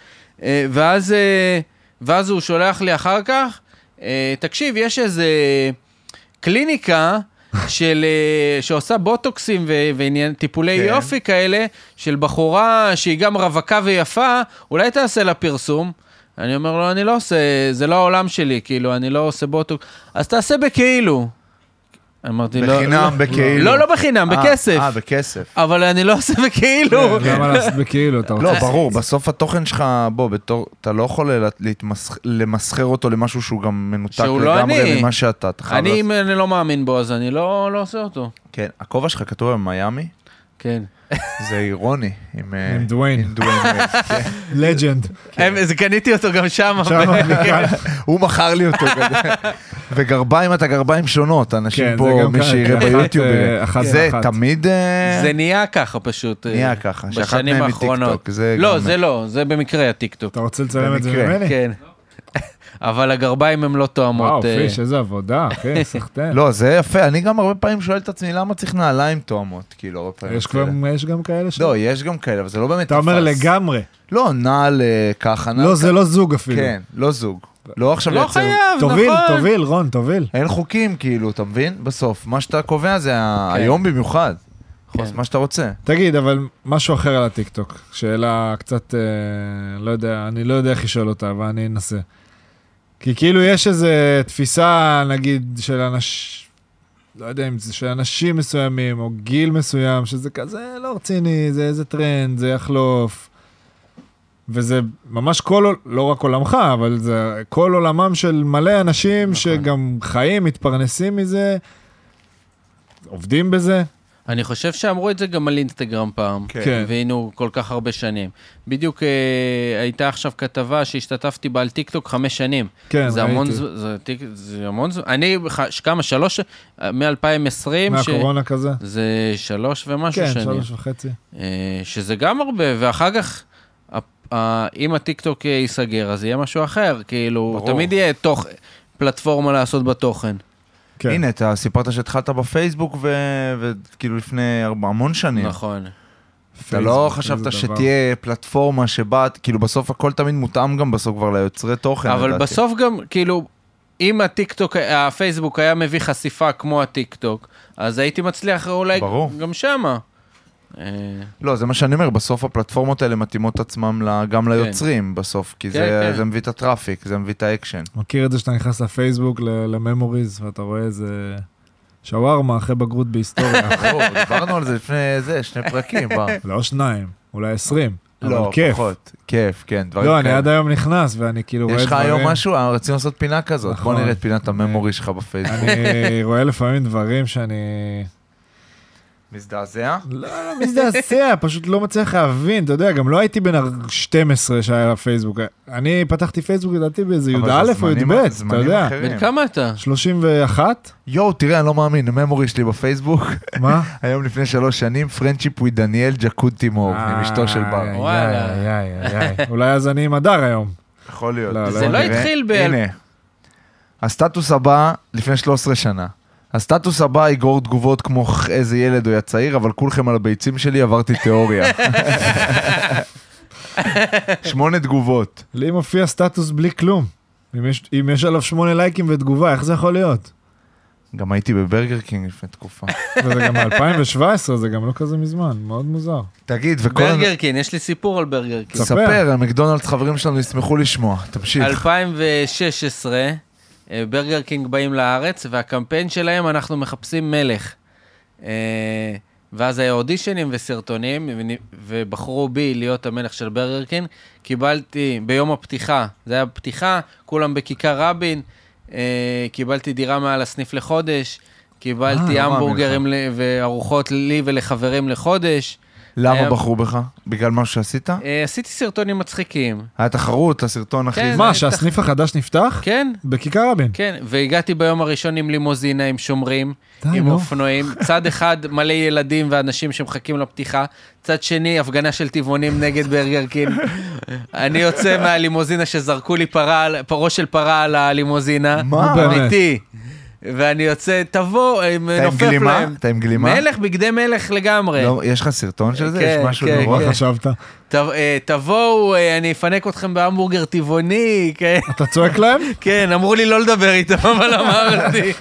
Speaker 2: אה, ואז, אה, ואז הוא שולח לי אחר כך, אה, תקשיב, יש איזה קליניקה של, אה, שעושה בוטוקסים ו- ועניין טיפולי
Speaker 1: כן.
Speaker 2: יופי כאלה, של בחורה שהיא גם רווקה ויפה, אולי תעשה לה פרסום. אני אומר לו, אני לא עושה, זה לא העולם שלי, כאילו, אני לא עושה בוטוקס. אז תעשה בכאילו. אמרתי, לא,
Speaker 1: בחינם,
Speaker 2: לא,
Speaker 1: בכאילו.
Speaker 2: לא, לא בחינם,
Speaker 1: אה,
Speaker 2: בכסף.
Speaker 1: אה, כן, בכסף.
Speaker 2: אבל אני לא עושה בכאילו.
Speaker 3: למה לעשות בכאילו, אתה רוצה...
Speaker 1: לא, ברור, בסוף התוכן שלך, בוא, בתור, אתה לא יכול לה- להתמסח- למסחר אותו למשהו שהוא גם מנותק
Speaker 2: שהוא לא
Speaker 1: לגמרי
Speaker 2: אני.
Speaker 1: ממה שאתה. אתה חייב
Speaker 2: אני,
Speaker 1: לעשות-
Speaker 2: אם אני לא מאמין בו, אז אני לא, לא עושה אותו.
Speaker 1: כן, הכובע שלך כתוב היום מיאמי,
Speaker 2: כן.
Speaker 1: זה אירוני. עם אה,
Speaker 3: עם דוויין,
Speaker 1: עם דוויין *laughs* וייד. כן.
Speaker 3: לג'נד.
Speaker 2: הם- אז קניתי אותו גם שם.
Speaker 3: שם,
Speaker 2: *laughs*
Speaker 1: הוא מכר לי אותו.
Speaker 3: *laughs*
Speaker 1: כזה. וגרביים, אתה גרביים שונות,
Speaker 3: כן,
Speaker 1: אנשים
Speaker 3: זה
Speaker 1: פה,
Speaker 3: גם
Speaker 1: מי
Speaker 3: ככה,
Speaker 1: שיראה
Speaker 3: אחת,
Speaker 1: ביוטיוב,
Speaker 3: אה,
Speaker 1: יראה.
Speaker 3: אחת
Speaker 1: זה
Speaker 3: ואחת.
Speaker 1: תמיד אה,
Speaker 2: זה נהיה ככה פשוט. אה,
Speaker 1: נהיה ככה, שאחת
Speaker 2: בשנים
Speaker 1: מהן היא
Speaker 2: האחרונות.
Speaker 1: טיקטוק, זה
Speaker 2: לא,
Speaker 1: גם-
Speaker 2: זה לא, זה במקרה הטיקטוק.
Speaker 3: אתה רוצה לצלם את זה
Speaker 1: במקרה.
Speaker 3: ממני?
Speaker 2: כן. אבל הגרביים הן לא תואמות.
Speaker 3: וואו,
Speaker 2: אה,
Speaker 3: פיש, איזה עבודה,
Speaker 1: *laughs*
Speaker 3: אחי, סחטיין.
Speaker 1: לא, זה יפה, אני גם הרבה פעמים שואל את עצמי, למה צריך נעליים תואמות? כאילו, הרבה פעמים.
Speaker 3: יש
Speaker 1: כאלה.
Speaker 3: גם- יש גם כאלה ש...
Speaker 1: לא, יש גם כאלה, אבל זה לא באמת...
Speaker 3: אתה אומר
Speaker 1: תפס.
Speaker 3: לגמרי.
Speaker 1: לא, נעל אה, ככה, נעל
Speaker 3: לא, זה לא זוג אפילו.
Speaker 1: כן, לא זוג. לא עכשיו
Speaker 2: לא
Speaker 1: לייצר...
Speaker 2: חייב,
Speaker 3: תוביל,
Speaker 2: נכון.
Speaker 3: תוביל, רון, תוביל.
Speaker 1: אין חוקים, כאילו, אתה מבין? בסוף, מה שאתה קובע זה ה- היום במיוחד.
Speaker 2: כן.
Speaker 1: אז מה שאתה רוצה.
Speaker 3: תגיד, אבל משהו אחר על הטיקטוק. שאלה קצת, אה, לא יודע, אני לא יודע איך לשאול אותה, אבל אני אנסה. כי כאילו יש איזו תפיסה, נגיד, של אנשים, לא יודע אם זה של אנשים מסוימים, או גיל מסוים, שזה כזה לא רציני, זה איזה טרנד, זה יחלוף. וזה ממש כל, עול- לא רק עולמך, אבל זה כל עולמם של מלא
Speaker 2: נכון.
Speaker 3: אנשים שגם חיים, מתפרנסים מזה, עובדים בזה.
Speaker 2: אני חושב שאמרו את זה גם על אינסטגרם פעם.
Speaker 3: כן.
Speaker 2: והיינו כל כך הרבה שנים. בדיוק אה, הייתה עכשיו כתבה שהשתתפתי בה על טיקטוק חמש שנים.
Speaker 3: כן,
Speaker 2: זה המון
Speaker 3: ראיתי.
Speaker 2: זמן, זה טיק- זה המון זמן. אני, ח- כמה, שלוש, מ-2020,
Speaker 3: מהקורונה כזה?
Speaker 2: זה שלוש ומשהו
Speaker 3: כן,
Speaker 2: שנים.
Speaker 3: שלוש וחצי.
Speaker 2: אה, שזה גם הרבה, ואחר כך, ה- ה- אם הטיקטוק אה, ייסגר, אז יהיה משהו אחר. כאילו,
Speaker 1: ברור.
Speaker 2: תמיד יהיה תוך פלטפורמה לעשות בתוכן.
Speaker 3: כן.
Speaker 1: הנה, אתה סיפרת שהתחלת בפייסבוק, ו- וכאילו לפני הרבה- המון שנים.
Speaker 2: נכון.
Speaker 1: אתה לא חשבת שתהיה פלטפורמה שבה, כאילו, בסוף הכל תמיד מותאם גם בסוף כבר ליוצרי תוכן.
Speaker 2: אבל
Speaker 1: לדעתי.
Speaker 2: בסוף גם, כאילו, אם הטיקטוק, הפייסבוק היה מביא חשיפה כמו הטיקטוק, אז הייתי מצליח אולי
Speaker 1: ברור.
Speaker 2: גם שמה. אה,
Speaker 1: לא, זה מה שאני אומר, בסוף הפלטפורמות האלה מתאימות את עצמם ל- גם ליוצרים בסוף, כי זה-
Speaker 2: כן.
Speaker 1: זה מביא את הטראפיק, זה מביא את האקשן.
Speaker 3: מכיר את זה שאתה נכנס לפייסבוק, ל- לממוריז, ואתה רואה איזה שווארמה אחרי בגרות
Speaker 1: *laughs*
Speaker 3: בהיסטוריה.
Speaker 1: *laughs* ברור, דיברנו על זה לפני זה, שני פרקים, בר.
Speaker 3: לא שניים, אולי עשרים.
Speaker 1: לא,
Speaker 3: אבל כיף.
Speaker 1: פחות. כיף, כן, דברים
Speaker 3: לא, אני
Speaker 1: כאלה.
Speaker 3: עד היום נכנס, ואני כאילו רואה
Speaker 1: יש
Speaker 3: דברים...
Speaker 1: לך היום משהו? אה, רצינו לעשות פינה כזאת. בוא
Speaker 3: נכון.
Speaker 1: נראה את פינת הממורי שלך בפייסבוק. *laughs*
Speaker 3: אני רואה לפעמים דברים שאני...
Speaker 1: מזדעזע?
Speaker 3: לא, לא
Speaker 1: *laughs*
Speaker 3: מזדעזע, פשוט לא מצליח להבין, אתה יודע, גם לא הייתי בן ה-12 שהיה לפייסבוק. אני פתחתי פייסבוק לדעתי באיזה
Speaker 1: אבל
Speaker 3: י"א
Speaker 1: זה
Speaker 3: או
Speaker 1: זמנים-
Speaker 3: י"ב, אתה
Speaker 1: זמנים
Speaker 3: יודע.
Speaker 1: אחרים.
Speaker 2: בן כמה אתה?
Speaker 3: 31?
Speaker 1: יואו, תראה, אני לא מאמין, הממורי שלי בפייסבוק,
Speaker 3: מה?
Speaker 1: *laughs* היום לפני שלוש שנים, פרנצ'יפ ווי דניאל ג'קוד טימור,
Speaker 3: אה,
Speaker 1: עם אשתו של בר.
Speaker 3: איי,
Speaker 2: וואלה.
Speaker 3: איי, איי, איי, איי. *laughs* אולי אז אני עם הדר היום.
Speaker 1: יכול
Speaker 3: לא,
Speaker 1: להיות.
Speaker 3: לא
Speaker 2: לא
Speaker 3: זה
Speaker 1: נראה.
Speaker 2: התחיל ב-
Speaker 1: הנה, הסטטוס הבא לפני 13 שנה. הסטטוס הבא יגרור תגובות כמו "ח- איזה ילד הוא היה צעיר, אבל כולכם על הביצים שלי עברתי
Speaker 2: *laughs*
Speaker 1: תיאוריה. שמונה תגובות.
Speaker 3: לי מופיע סטטוס בלי כלום. אם יש, אם יש עליו שמונה לייקים ותגובה, איך זה יכול להיות?
Speaker 1: גם הייתי בברגר קינג לפני תקופה.
Speaker 3: וזה גם מ-2017, זה גם לא כזה מזמן, מאוד מוזר.
Speaker 1: תגיד, וכל...
Speaker 2: ברגרקין, יש לי סיפור על ברגרקין.
Speaker 1: ספר, המקדונלדס חברים שלנו ישמחו לשמוע, תמשיך.
Speaker 2: 2016, אה, ברגר קינג באים לארץ, והקמפיין שלהם, אנחנו מחפשים מלך. אה, ואז היה אודישנים וסרטונים, ונ- ובחרו בי להיות המלך של ברגר קינג. קיבלתי ביום הפתיחה, זה היה פתיחה, כולם בכיכר רבין, אה, קיבלתי דירה מעל הסניף לחודש,
Speaker 1: אה, לא
Speaker 2: קיבלתי
Speaker 1: מאמין
Speaker 2: המבורגרים ל- וארוחות לי ולחברים לחודש.
Speaker 1: למה
Speaker 2: היה-
Speaker 1: בחרו בך? בגלל משהו שעשית?
Speaker 2: אה, עשיתי סרטונים מצחיקים.
Speaker 1: היה תחרות, הסרטון הכי...
Speaker 2: כן.
Speaker 1: זה.
Speaker 3: מה, שהסניף החדש נפתח?
Speaker 2: כן,
Speaker 3: בכיכר רבין.
Speaker 2: כן, והגעתי ביום הראשון עם לימוזינה, עם שומרים,
Speaker 3: די,
Speaker 2: עם
Speaker 3: נו.
Speaker 2: אופנועים.
Speaker 1: *laughs*
Speaker 2: צד אחד מלא ילדים ואנשים שמחכים לפתיחה, צד שני הפגנה של טבעונים נגד ברגר
Speaker 1: *laughs*
Speaker 2: קין. אני יוצא מהלימוזינה שזרקו לי פרה, על- פרו של פרה על הלימוזינה.
Speaker 1: מה?
Speaker 3: נו, באמת.
Speaker 2: אמיתי. ואני יוצא, תבוא, אה,
Speaker 1: אתה עם
Speaker 2: נופף
Speaker 1: גלימה?
Speaker 2: להם.
Speaker 1: אתה עם גלימה?
Speaker 2: מלך בגדי מלך לגמרי.
Speaker 1: לא, יש לך סרטון של זה?
Speaker 2: כן,
Speaker 1: יש משהו
Speaker 2: כן,
Speaker 1: נורא
Speaker 2: כן.
Speaker 3: מה חשבת?
Speaker 2: ת- אה, תבואו, אה, אני אפנק אתכם בהמבורגר טבעוני, כן. *laughs*
Speaker 3: אתה צועק להם?
Speaker 2: כן, אמרו לי לא לדבר איתם, אבל אמרתי.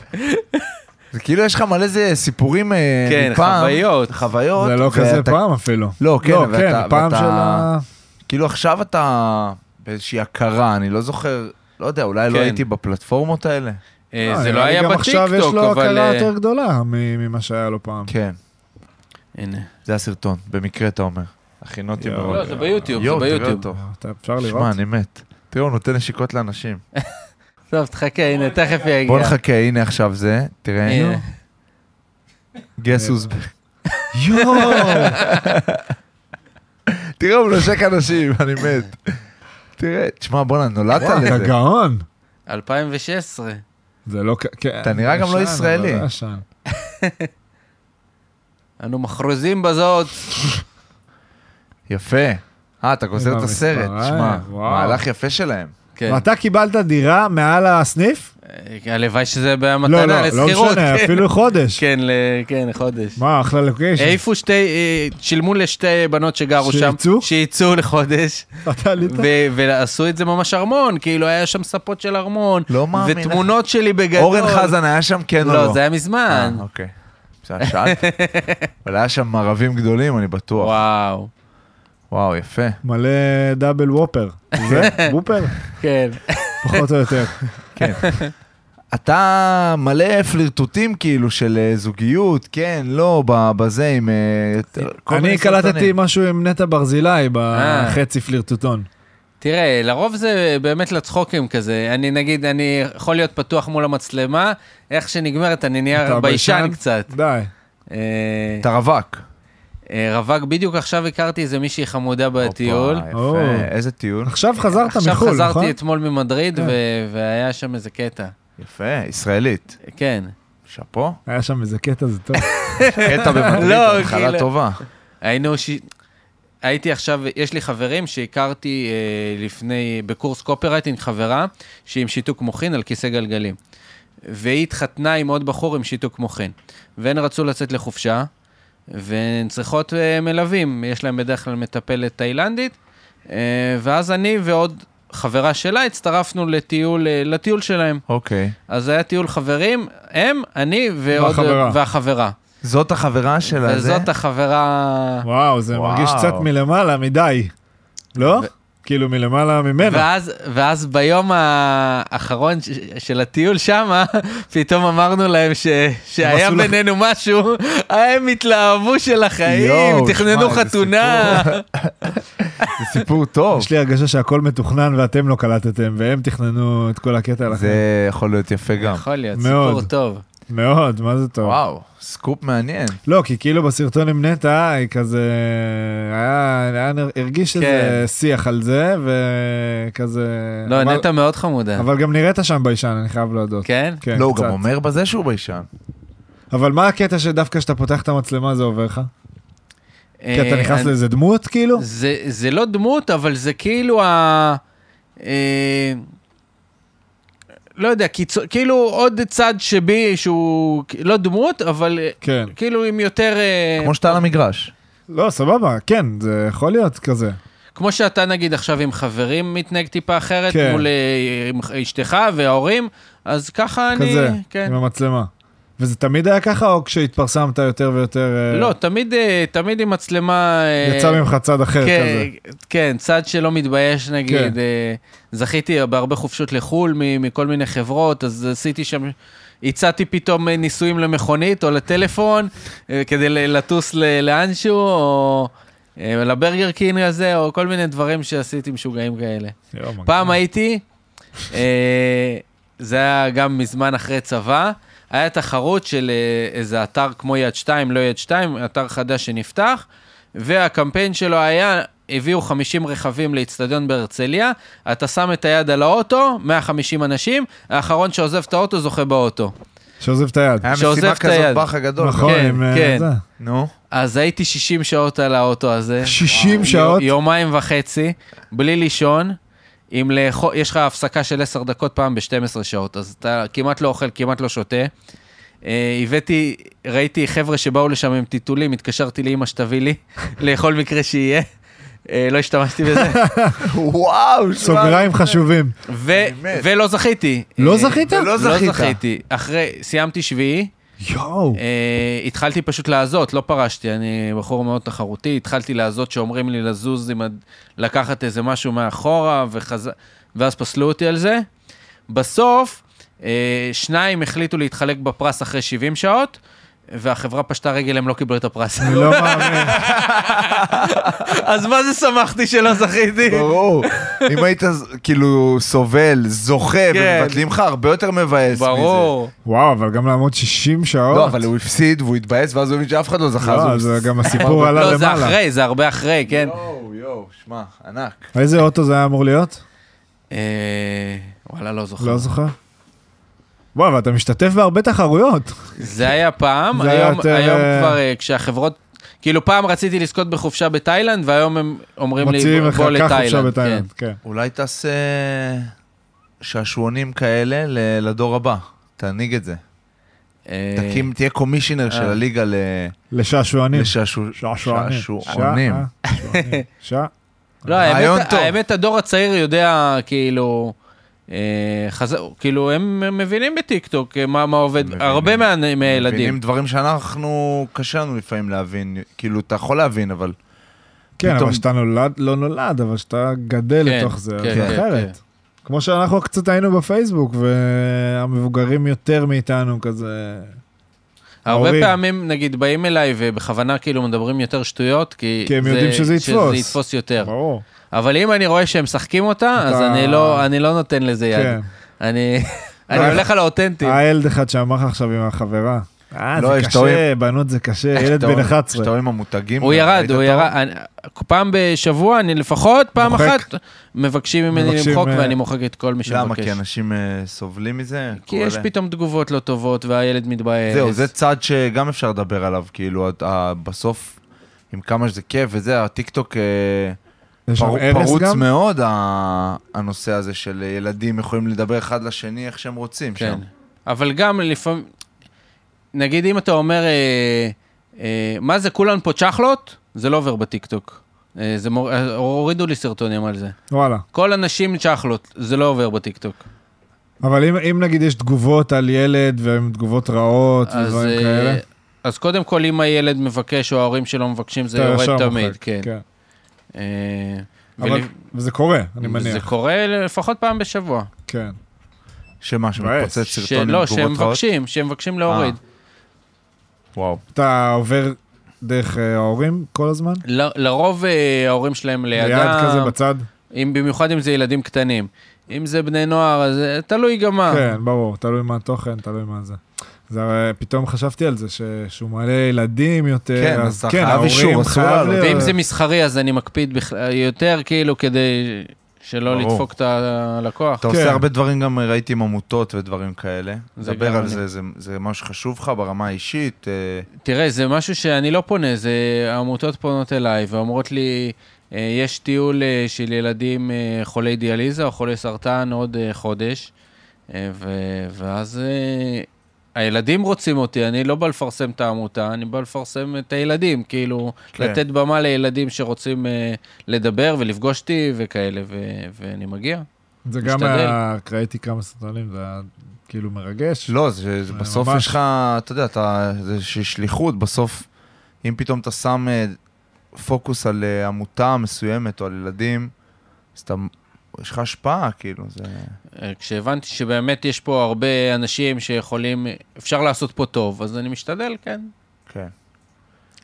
Speaker 1: זה כאילו יש לך מלא איזה סיפורים אה,
Speaker 2: כן,
Speaker 1: מפעם.
Speaker 2: חוויות.
Speaker 1: חוויות.
Speaker 3: זה לא
Speaker 1: ואתה-
Speaker 3: כזה פעם אפילו.
Speaker 1: לא, כן,
Speaker 3: לא,
Speaker 1: אבל
Speaker 3: כן,
Speaker 1: אתה-
Speaker 3: פעם
Speaker 1: ואתה-
Speaker 3: של ה...
Speaker 1: כאילו עכשיו אתה באיזושהי הכרה, אני לא זוכר, לא יודע, אולי לא
Speaker 2: כן.
Speaker 1: הייתי בפלטפורמות האלה.
Speaker 2: אה, זה
Speaker 3: נראה
Speaker 2: לא
Speaker 3: לי
Speaker 2: היה
Speaker 3: גם עכשיו יש
Speaker 2: בטיקטוק,
Speaker 3: לו
Speaker 2: אבל...
Speaker 3: הכרה
Speaker 2: אה,
Speaker 3: יותר גדולה מ- ממה שהיה לו פעם.
Speaker 1: כן,
Speaker 2: הנה.
Speaker 1: זה הסרטון, במקרה אתה אומר. הכינותי
Speaker 3: יואו.
Speaker 1: מאוד.
Speaker 2: לא, זה ביוטיוב,
Speaker 1: יואו,
Speaker 2: זה
Speaker 1: תראה
Speaker 2: ביוטיוב.
Speaker 1: אותו.
Speaker 3: אתה- אפשר לראות?
Speaker 1: שמע, אני מת. תראו, הוא נותן נשיקות לאנשים.
Speaker 2: טוב, תחכה, הנה, תכף יגיע.
Speaker 1: בוא נחכה, הנה עכשיו זה, תראה.
Speaker 2: הנה.
Speaker 1: גס ווז...
Speaker 3: אה. יואו!
Speaker 1: תראה, הוא נושק אנשים, אני מת. תראה, תשמע, בואנה, נולדת
Speaker 3: אתה
Speaker 1: לזה.
Speaker 3: גאון.
Speaker 2: 2016.
Speaker 3: זה לא... כ- כן,
Speaker 1: אתה נראה גם לא
Speaker 3: ישן,
Speaker 1: ישראלי.
Speaker 3: אבל ישן.
Speaker 2: אנו מכרוזים בזאת.
Speaker 1: יפה. אה, אתה גוזר
Speaker 3: עם
Speaker 1: את הסרט,
Speaker 3: המספריים,
Speaker 1: שמע,
Speaker 3: אה, וואו.
Speaker 1: מהלך יפה שלהם.
Speaker 2: כן.
Speaker 3: ואתה קיבלת דירה מעל הסניף?
Speaker 2: אה, הלוואי שזה
Speaker 3: לא,
Speaker 2: במתנה
Speaker 3: לא, לא
Speaker 2: לשכירות.
Speaker 3: משנה,
Speaker 2: כן.
Speaker 3: אפילו חודש.
Speaker 2: כן, ל- כן, חודש.
Speaker 3: מה, אחלה לוקיישן.
Speaker 2: העיפו שתי, אה, שילמו לשתי בנות שגרו שם.
Speaker 3: שיצאו?
Speaker 2: שיצאו לחודש.
Speaker 3: *laughs* אתה עלית?
Speaker 2: ו- ועשו את זה ממש ארמון, כאילו היה שם ספות של ארמון.
Speaker 1: לא מאמין לך.
Speaker 2: ותמונות שלי בגדול.
Speaker 1: אורן חזן היה שם, כן או לא?
Speaker 2: לא, זה היה מזמן.
Speaker 1: אה, אוקיי. בסדר, *laughs* שאלת. אבל היה שם ערבים גדולים, אני בטוח.
Speaker 2: וואו.
Speaker 1: וואו, יפה.
Speaker 3: מלא דאבל וופר. זה?
Speaker 2: *laughs*
Speaker 3: וופר?
Speaker 2: כן.
Speaker 3: פחות או
Speaker 2: *laughs*
Speaker 3: יותר.
Speaker 1: אתה מלא פלירטוטים כאילו של אה, זוגיות, כן, לא, ב- בזה עם... אה, כל
Speaker 3: אני
Speaker 1: מיני
Speaker 3: קלטתי
Speaker 1: סרטונים.
Speaker 3: משהו עם נטע ברזילי
Speaker 2: אה.
Speaker 3: בחצי פלירטוטון.
Speaker 2: תראה, לרוב זה באמת לצחוקים כזה. אני נגיד, אני יכול להיות פתוח מול המצלמה, איך שנגמרת אני נהיה
Speaker 3: אתה
Speaker 2: ביישן
Speaker 3: ביישן?
Speaker 2: קצת.
Speaker 3: די.
Speaker 2: אה,
Speaker 1: אתה רווק.
Speaker 2: אה, רווק, בדיוק עכשיו הכרתי איזה מישהי חמודה בטיול.
Speaker 1: הופה,
Speaker 3: או.
Speaker 1: יפה, איזה טיול.
Speaker 3: עכשיו חזרת
Speaker 2: עכשיו
Speaker 3: מחו"ל, נכון?
Speaker 2: חזרתי אתמול ממדריד,
Speaker 3: כן.
Speaker 2: ו- והיה שם איזה קטע.
Speaker 1: יפה, ישראלית.
Speaker 2: כן.
Speaker 1: שאפו.
Speaker 3: היה שם איזה קטע, זה טוב.
Speaker 1: *laughs*
Speaker 3: *laughs*
Speaker 1: קטע במדריד,
Speaker 2: לא,
Speaker 1: התחלה
Speaker 2: כאילו-
Speaker 1: טובה.
Speaker 2: היינו ש... הייתי עכשיו, יש לי חברים שהכרתי אה, לפני, בקורס קופרייטינג, חברה שהיא עם שיתוק מוחין על כיסא גלגלים. והיא התחתנה עם עוד בחור עם שיתוק מוחין. והן רצו לצאת לחופשה, והן צריכות אה, מלווים, יש להם בדרך כלל מטפלת תאילנדית. אה, ואז אני ועוד חברה שלה הצטרפנו לטיול, אה, לטיול שלהם.
Speaker 1: אוקיי.
Speaker 2: אז זה היה טיול חברים, הם, אני ועוד...
Speaker 3: והחברה.
Speaker 2: והחברה.
Speaker 1: זאת החברה של הזה?
Speaker 2: וזאת החברה...
Speaker 3: וואו, זה
Speaker 1: וואו.
Speaker 3: מרגיש קצת מלמעלה מדי. לא? כאילו מלמעלה ממנו.
Speaker 2: ואז, ואז ביום האחרון ש- של הטיול שמה, *laughs* פתאום אמרנו להם ש, שהיה
Speaker 3: עשו לך-
Speaker 2: בינינו משהו, הם התלהבו של החיים,
Speaker 1: יואו,
Speaker 2: תכננו
Speaker 1: שמע, איזה
Speaker 3: *laughs*
Speaker 2: חתונה.
Speaker 1: זה סיפור טוב.
Speaker 3: יש לי הרגשה שהכל מתוכנן ואתם לא קלטתם, והם תכננו את כל הקטע לכם.
Speaker 1: זה יכול להיות יפה גם.
Speaker 2: יכול להיות,
Speaker 3: מאוד.
Speaker 2: סיפור טוב.
Speaker 3: מאוד, מה זה טוב.
Speaker 1: וואו, סקופ מעניין.
Speaker 3: לא, כי כאילו בסרטון עם נטע, היא כזה... היה... היה נר- הרגיש איזה
Speaker 2: כן.
Speaker 3: שיח על זה, וכזה...
Speaker 2: לא,
Speaker 3: אבל-
Speaker 2: נטע מאוד חמודה.
Speaker 3: אבל גם נראית שם ביישן, אני חייב להודות.
Speaker 2: כן?
Speaker 3: כן,
Speaker 1: לא, הוא
Speaker 3: קצת.
Speaker 1: גם אומר בזה שהוא ביישן.
Speaker 3: אבל מה הקטע שדווקא כשאתה פותח את המצלמה זה עובר לך? כי אתה
Speaker 2: אה,
Speaker 3: נכנס
Speaker 2: אני-
Speaker 3: לאיזה דמות, כאילו?
Speaker 2: זה, זה לא דמות, אבל זה כאילו ה... אה, לא יודע, קיצו, כאילו עוד צד שבי שהוא לא דמות, אבל אה,
Speaker 3: כן.
Speaker 2: כאילו עם יותר... אה,
Speaker 1: כמו שאתה על המגרש.
Speaker 3: לא, סבבה, כן, זה יכול להיות כזה.
Speaker 2: כמו שאתה נגיד עכשיו עם חברים מתנהג טיפה אחרת,
Speaker 3: כן.
Speaker 2: כן. מול אה, עם אשתך וההורים, אז ככה אני...
Speaker 3: כזה,
Speaker 2: כן.
Speaker 3: עם המצלמה. וזה תמיד היה ככה, או כשהתפרסמת יותר ויותר... אה,
Speaker 2: לא, תמיד, אה, תמיד עם מצלמה... אה,
Speaker 3: יצא ממך צד אחר כזה.
Speaker 2: כן, כן, צד שלא מתבייש נגיד.
Speaker 3: כן.
Speaker 2: אה, זכיתי בהרבה חופשות לחו"ל מ- מכל מיני חברות, אז עשיתי שם... הצעתי פתאום אה, ניסויים למכונית או לטלפון אה, כדי ל- לטוס ל- לאנשהו, או אה, לברגר קין הזה, או כל מיני דברים שעשיתי משוגעים כאלה.
Speaker 3: יואו, מגניב.
Speaker 2: פעם הייתי, אה, זה היה גם מזמן אחרי צבא, היה תחרות של אה, איזה אתר כמו יד 2, לא יד 2, אתר חדש שנפתח, והקמפיין שלו היה, הביאו 50 רכבים לאצטדיון בהרצליה, אתה שם את היד על האוטו, 150 אנשים, האחרון שעוזב את האוטו זוכה באוטו.
Speaker 3: שעוזב את היד.
Speaker 1: היה
Speaker 2: שעוזב
Speaker 1: מסיבה
Speaker 2: את היד.
Speaker 1: כזאת באח הגדול.
Speaker 3: נכון,
Speaker 2: אה, כן,
Speaker 3: עם, אה,
Speaker 2: כן.
Speaker 3: זה.
Speaker 1: נו.
Speaker 2: אז הייתי 60 שעות על האוטו הזה.
Speaker 3: 60
Speaker 2: אה,
Speaker 3: שעות?
Speaker 2: י- יומיים וחצי, בלי לישון. אם לאכול, יש לך הפסקה של 10 דקות פעם ב-12 שעות, אז אתה כמעט לא אוכל, כמעט לא שותה. אה, הבאתי, ראיתי חבר'ה שבאו לשם עם טיטולים, התקשרתי לאמא שתביא לי, *laughs* לכל מקרה שיהיה. אה, לא השתמשתי
Speaker 3: *laughs*
Speaker 2: בזה.
Speaker 1: וואו,
Speaker 3: סוגריים חשובים.
Speaker 2: ו- ולא זכיתי.
Speaker 3: לא
Speaker 2: אה,
Speaker 3: זכית?
Speaker 1: ולא
Speaker 2: לא
Speaker 1: זכית.
Speaker 2: זכיתי. אחרי, סיימתי שביעי,
Speaker 3: יואו.
Speaker 2: אה, התחלתי פשוט לעזות, לא פרשתי, אני בחור מאוד תחרותי, התחלתי לעזות שאומרים לי לזוז, עם, הד- לקחת איזה משהו מאחורה, וחז... ואז פסלו אותי על זה. בסוף, אה, שניים החליטו להתחלק בפרס אחרי 70 שעות, והחברה פשטה רגל, הם לא קיבלו את הפרס.
Speaker 3: אני לא מאמין.
Speaker 2: *laughs* אז מה זה שמחתי שלא זכיתי?
Speaker 1: ברור. אם היית כאילו סובל, זוכה,
Speaker 2: כן.
Speaker 1: ומבטלים לך, הרבה יותר מבאס מזה.
Speaker 2: ברור.
Speaker 3: וואו, אבל גם לעמוד 60 שעות.
Speaker 1: לא, אבל הוא הפסיד והוא התבאס, ואז הוא הבין שאף אחד לא זכה. אז
Speaker 3: לא,
Speaker 1: הוא-
Speaker 3: זה גם הסיפור עלה
Speaker 2: לא, זה
Speaker 3: למעלה. לא.
Speaker 2: אחרי, זה הרבה אחרי, כן.
Speaker 1: יואו, יואו, שמע, ענק.
Speaker 3: איזה אוטו זה היה אמור להיות?
Speaker 2: אה, וואלה, לא זוכר.
Speaker 3: לא זוכר. וואו, אבל אתה משתתף בהרבה תחרויות.
Speaker 2: זה היה פעם,
Speaker 3: זה היה
Speaker 2: היום,
Speaker 3: יותר,
Speaker 2: היום
Speaker 3: אה,
Speaker 2: כבר אה, כשהחברות, כאילו פעם רציתי לזכות בחופשה בתאילנד, והיום הם אומרים לי,
Speaker 3: מוציאים
Speaker 2: "בוא-
Speaker 3: לך
Speaker 2: בוא
Speaker 3: כך חופשה
Speaker 2: לתאילנד. כן.
Speaker 3: בתאילנד. כן.
Speaker 1: אולי תעשה שעשועונים כאלה ל- לדור הבא. תנהיג את זה.
Speaker 2: אה,
Speaker 1: תקים, תהיה קומישיונר של
Speaker 2: אה.
Speaker 1: הליגה ל-
Speaker 3: לשעשוענים.
Speaker 1: לשעשוע-
Speaker 3: שעשוענים.
Speaker 1: שעשועונים.
Speaker 2: *laughs*
Speaker 3: שעשוענים. שע-
Speaker 2: לא,
Speaker 1: רעיון
Speaker 2: האמת,
Speaker 1: טוב.
Speaker 2: האמת, הדור הצעיר יודע, כאילו... אה, חז... כאילו הם מבינים בטיקטוק אה, מה, מה עובד,
Speaker 1: מבינים.
Speaker 2: הרבה מה... מהילדים.
Speaker 1: מבינים דברים שאנחנו, קשה לנו לפעמים להבין. כאילו, אתה יכול להבין, אבל...
Speaker 3: כן,
Speaker 1: פתאום-
Speaker 3: אבל שאתה נולד, לא נולד, אבל שאתה גדל
Speaker 2: כן,
Speaker 3: לתוך זה,
Speaker 2: כן,
Speaker 3: זה
Speaker 2: כן,
Speaker 3: אחרת. כמו שאנחנו קצת היינו בפייסבוק, והמבוגרים יותר מאיתנו כזה...
Speaker 2: הרבה
Speaker 3: ההורים.
Speaker 2: פעמים, נגיד, באים אליי ובכוונה כאילו מדברים יותר שטויות, כי,
Speaker 3: כי הם יודעים שזה
Speaker 2: שזה
Speaker 3: יתפוס.
Speaker 2: יתפוס יותר.
Speaker 3: ברור.
Speaker 2: אבל אם אני רואה שהם משחקים אותה, אז
Speaker 3: אתה-
Speaker 2: אני לא, אני לא נותן לזה יד.
Speaker 3: כן. *laughs*
Speaker 2: אני אני
Speaker 3: אה,
Speaker 2: הולך על האותנטי.
Speaker 3: היה ילד אחד שאמר לך עכשיו עם החברה. אה,
Speaker 1: לא,
Speaker 3: זה
Speaker 1: יש טועים.
Speaker 3: קשה, בנות זה קשה, אה, ילד בן
Speaker 1: שאתה
Speaker 3: 11.
Speaker 1: רואה עם המותגים.
Speaker 2: הוא
Speaker 1: גם,
Speaker 2: ירד,
Speaker 1: ראית
Speaker 2: הוא
Speaker 1: אותו?
Speaker 2: ירד. אני- פעם בשבוע, אני לפחות פעם
Speaker 3: מוחק.
Speaker 2: אחת, מבקשים ממני
Speaker 3: מבקשים,
Speaker 2: למחוק,
Speaker 3: אה, כן?
Speaker 2: ואני מוחק את כל מי
Speaker 1: למה?
Speaker 2: שמבקש.
Speaker 1: כי אנשים אה, סובלים מזה?
Speaker 2: כי
Speaker 1: קורה
Speaker 2: יש
Speaker 1: להם.
Speaker 2: פתאום אה, תגובות לא טובות, והילד מתבאס.
Speaker 1: זהו, זה צד שגם אפשר לדבר עליו, כאילו, את- ה- בסוף, עם כמה שזה כיף וזה, הטיקטוק אה,
Speaker 3: יש שם
Speaker 1: פר-
Speaker 3: ארס
Speaker 1: פרוץ
Speaker 3: גם?
Speaker 1: מאוד, ה- הנושא הזה של ילדים יכולים לדבר אחד לשני איך שהם רוצים
Speaker 2: כן.
Speaker 1: שם.
Speaker 2: אבל גם לפעמים... נגיד, אם אתה אומר, אה, אה, מה זה, כולן פה צ'חלות? זה לא עובר בטיקטוק. אה, זה מור- אה, הורידו לי סרטונים על זה.
Speaker 3: וואלה.
Speaker 2: כל הנשים צ'חלות, זה לא עובר בטיקטוק.
Speaker 3: אבל אם, אם נגיד יש תגובות על ילד, והן תגובות רעות
Speaker 2: אז,
Speaker 3: ודברים
Speaker 2: אה,
Speaker 3: כאלה,
Speaker 2: אז קודם כל, אם הילד מבקש או ההורים שלו מבקשים, זה
Speaker 3: אתה
Speaker 2: יורד
Speaker 3: ישר
Speaker 2: תמיד,
Speaker 3: מוחק,
Speaker 2: כן. אה,
Speaker 3: אבל
Speaker 2: ולפ-
Speaker 3: וזה קורה, אני
Speaker 2: זה
Speaker 3: מניח.
Speaker 2: קורה לפחות פעם בשבוע.
Speaker 3: כן.
Speaker 1: שמה, שמתפוצץ סרטון עם
Speaker 2: שלא, שהם
Speaker 1: תגובות רעות?
Speaker 2: מבקשים, שהם מבקשים להוריד.
Speaker 1: וואו.
Speaker 3: אתה עובר דרך אה, ההורים כל הזמן?
Speaker 2: ל- לרוב אה, ההורים שלהם
Speaker 3: ליד כזה
Speaker 2: לידם,
Speaker 3: בצד?
Speaker 2: אם- במיוחד אם זה ילדים קטנים. אם זה בני נוער, אז אה, תלוי גם מה.
Speaker 3: כן, ברור, תלוי מה התוכן, תלוי מה זה. זה הרי, פתאום חשבתי על זה, ש... שהוא מעלה ילדים יותר,
Speaker 1: כן, אז אתה חייב אישור, אסור לעלות.
Speaker 2: ואם זה מסחרי, אז אני מקפיד בכלל- יותר, כאילו, כדי שלא
Speaker 1: ברור.
Speaker 2: לדפוק את הלקוח.
Speaker 1: אתה עושה
Speaker 3: כן.
Speaker 1: הרבה דברים גם, אה, ראיתי עם עמותות ודברים כאלה.
Speaker 2: זה
Speaker 1: דבר
Speaker 2: גם
Speaker 1: על
Speaker 2: אני.
Speaker 1: זה, זה- זה משהו שחשוב לך ברמה האישית. אה,
Speaker 2: תראה, זה משהו שאני לא פונה, זה העמותות פונות אליי ואומרות לי, אה, יש טיול אה, של ילדים אה, חולי דיאליזה או חולי סרטן עוד אה, חודש, אה, ו- ואז אה, הילדים רוצים אותי, אני לא בא לפרסם את העמותה, אני בא לפרסם את הילדים, כאילו,
Speaker 1: כן.
Speaker 2: כן. לתת במה לילדים שרוצים אה, לדבר ולפגוש אותי וכאלה, ו- ואני מגיע.
Speaker 3: זה גם
Speaker 2: משתדל.
Speaker 3: היה, ראיתי כמה סרטונים, זה היה כאילו מרגש.
Speaker 1: לא, זה, זה
Speaker 3: זה
Speaker 1: בסוף
Speaker 3: ממש.
Speaker 1: יש לך, אתה יודע, אתה, זה איזושהי שליחות, בסוף, אם פתאום אתה שם אה, פוקוס על אה, עמותה מסוימת או על ילדים, אז אתה, יש לך השפעה, כאילו, זה...
Speaker 2: אה, כשהבנתי שבאמת יש פה הרבה אנשים שיכולים, אפשר לעשות פה טוב, אז אני משתדל, כן.
Speaker 1: כן,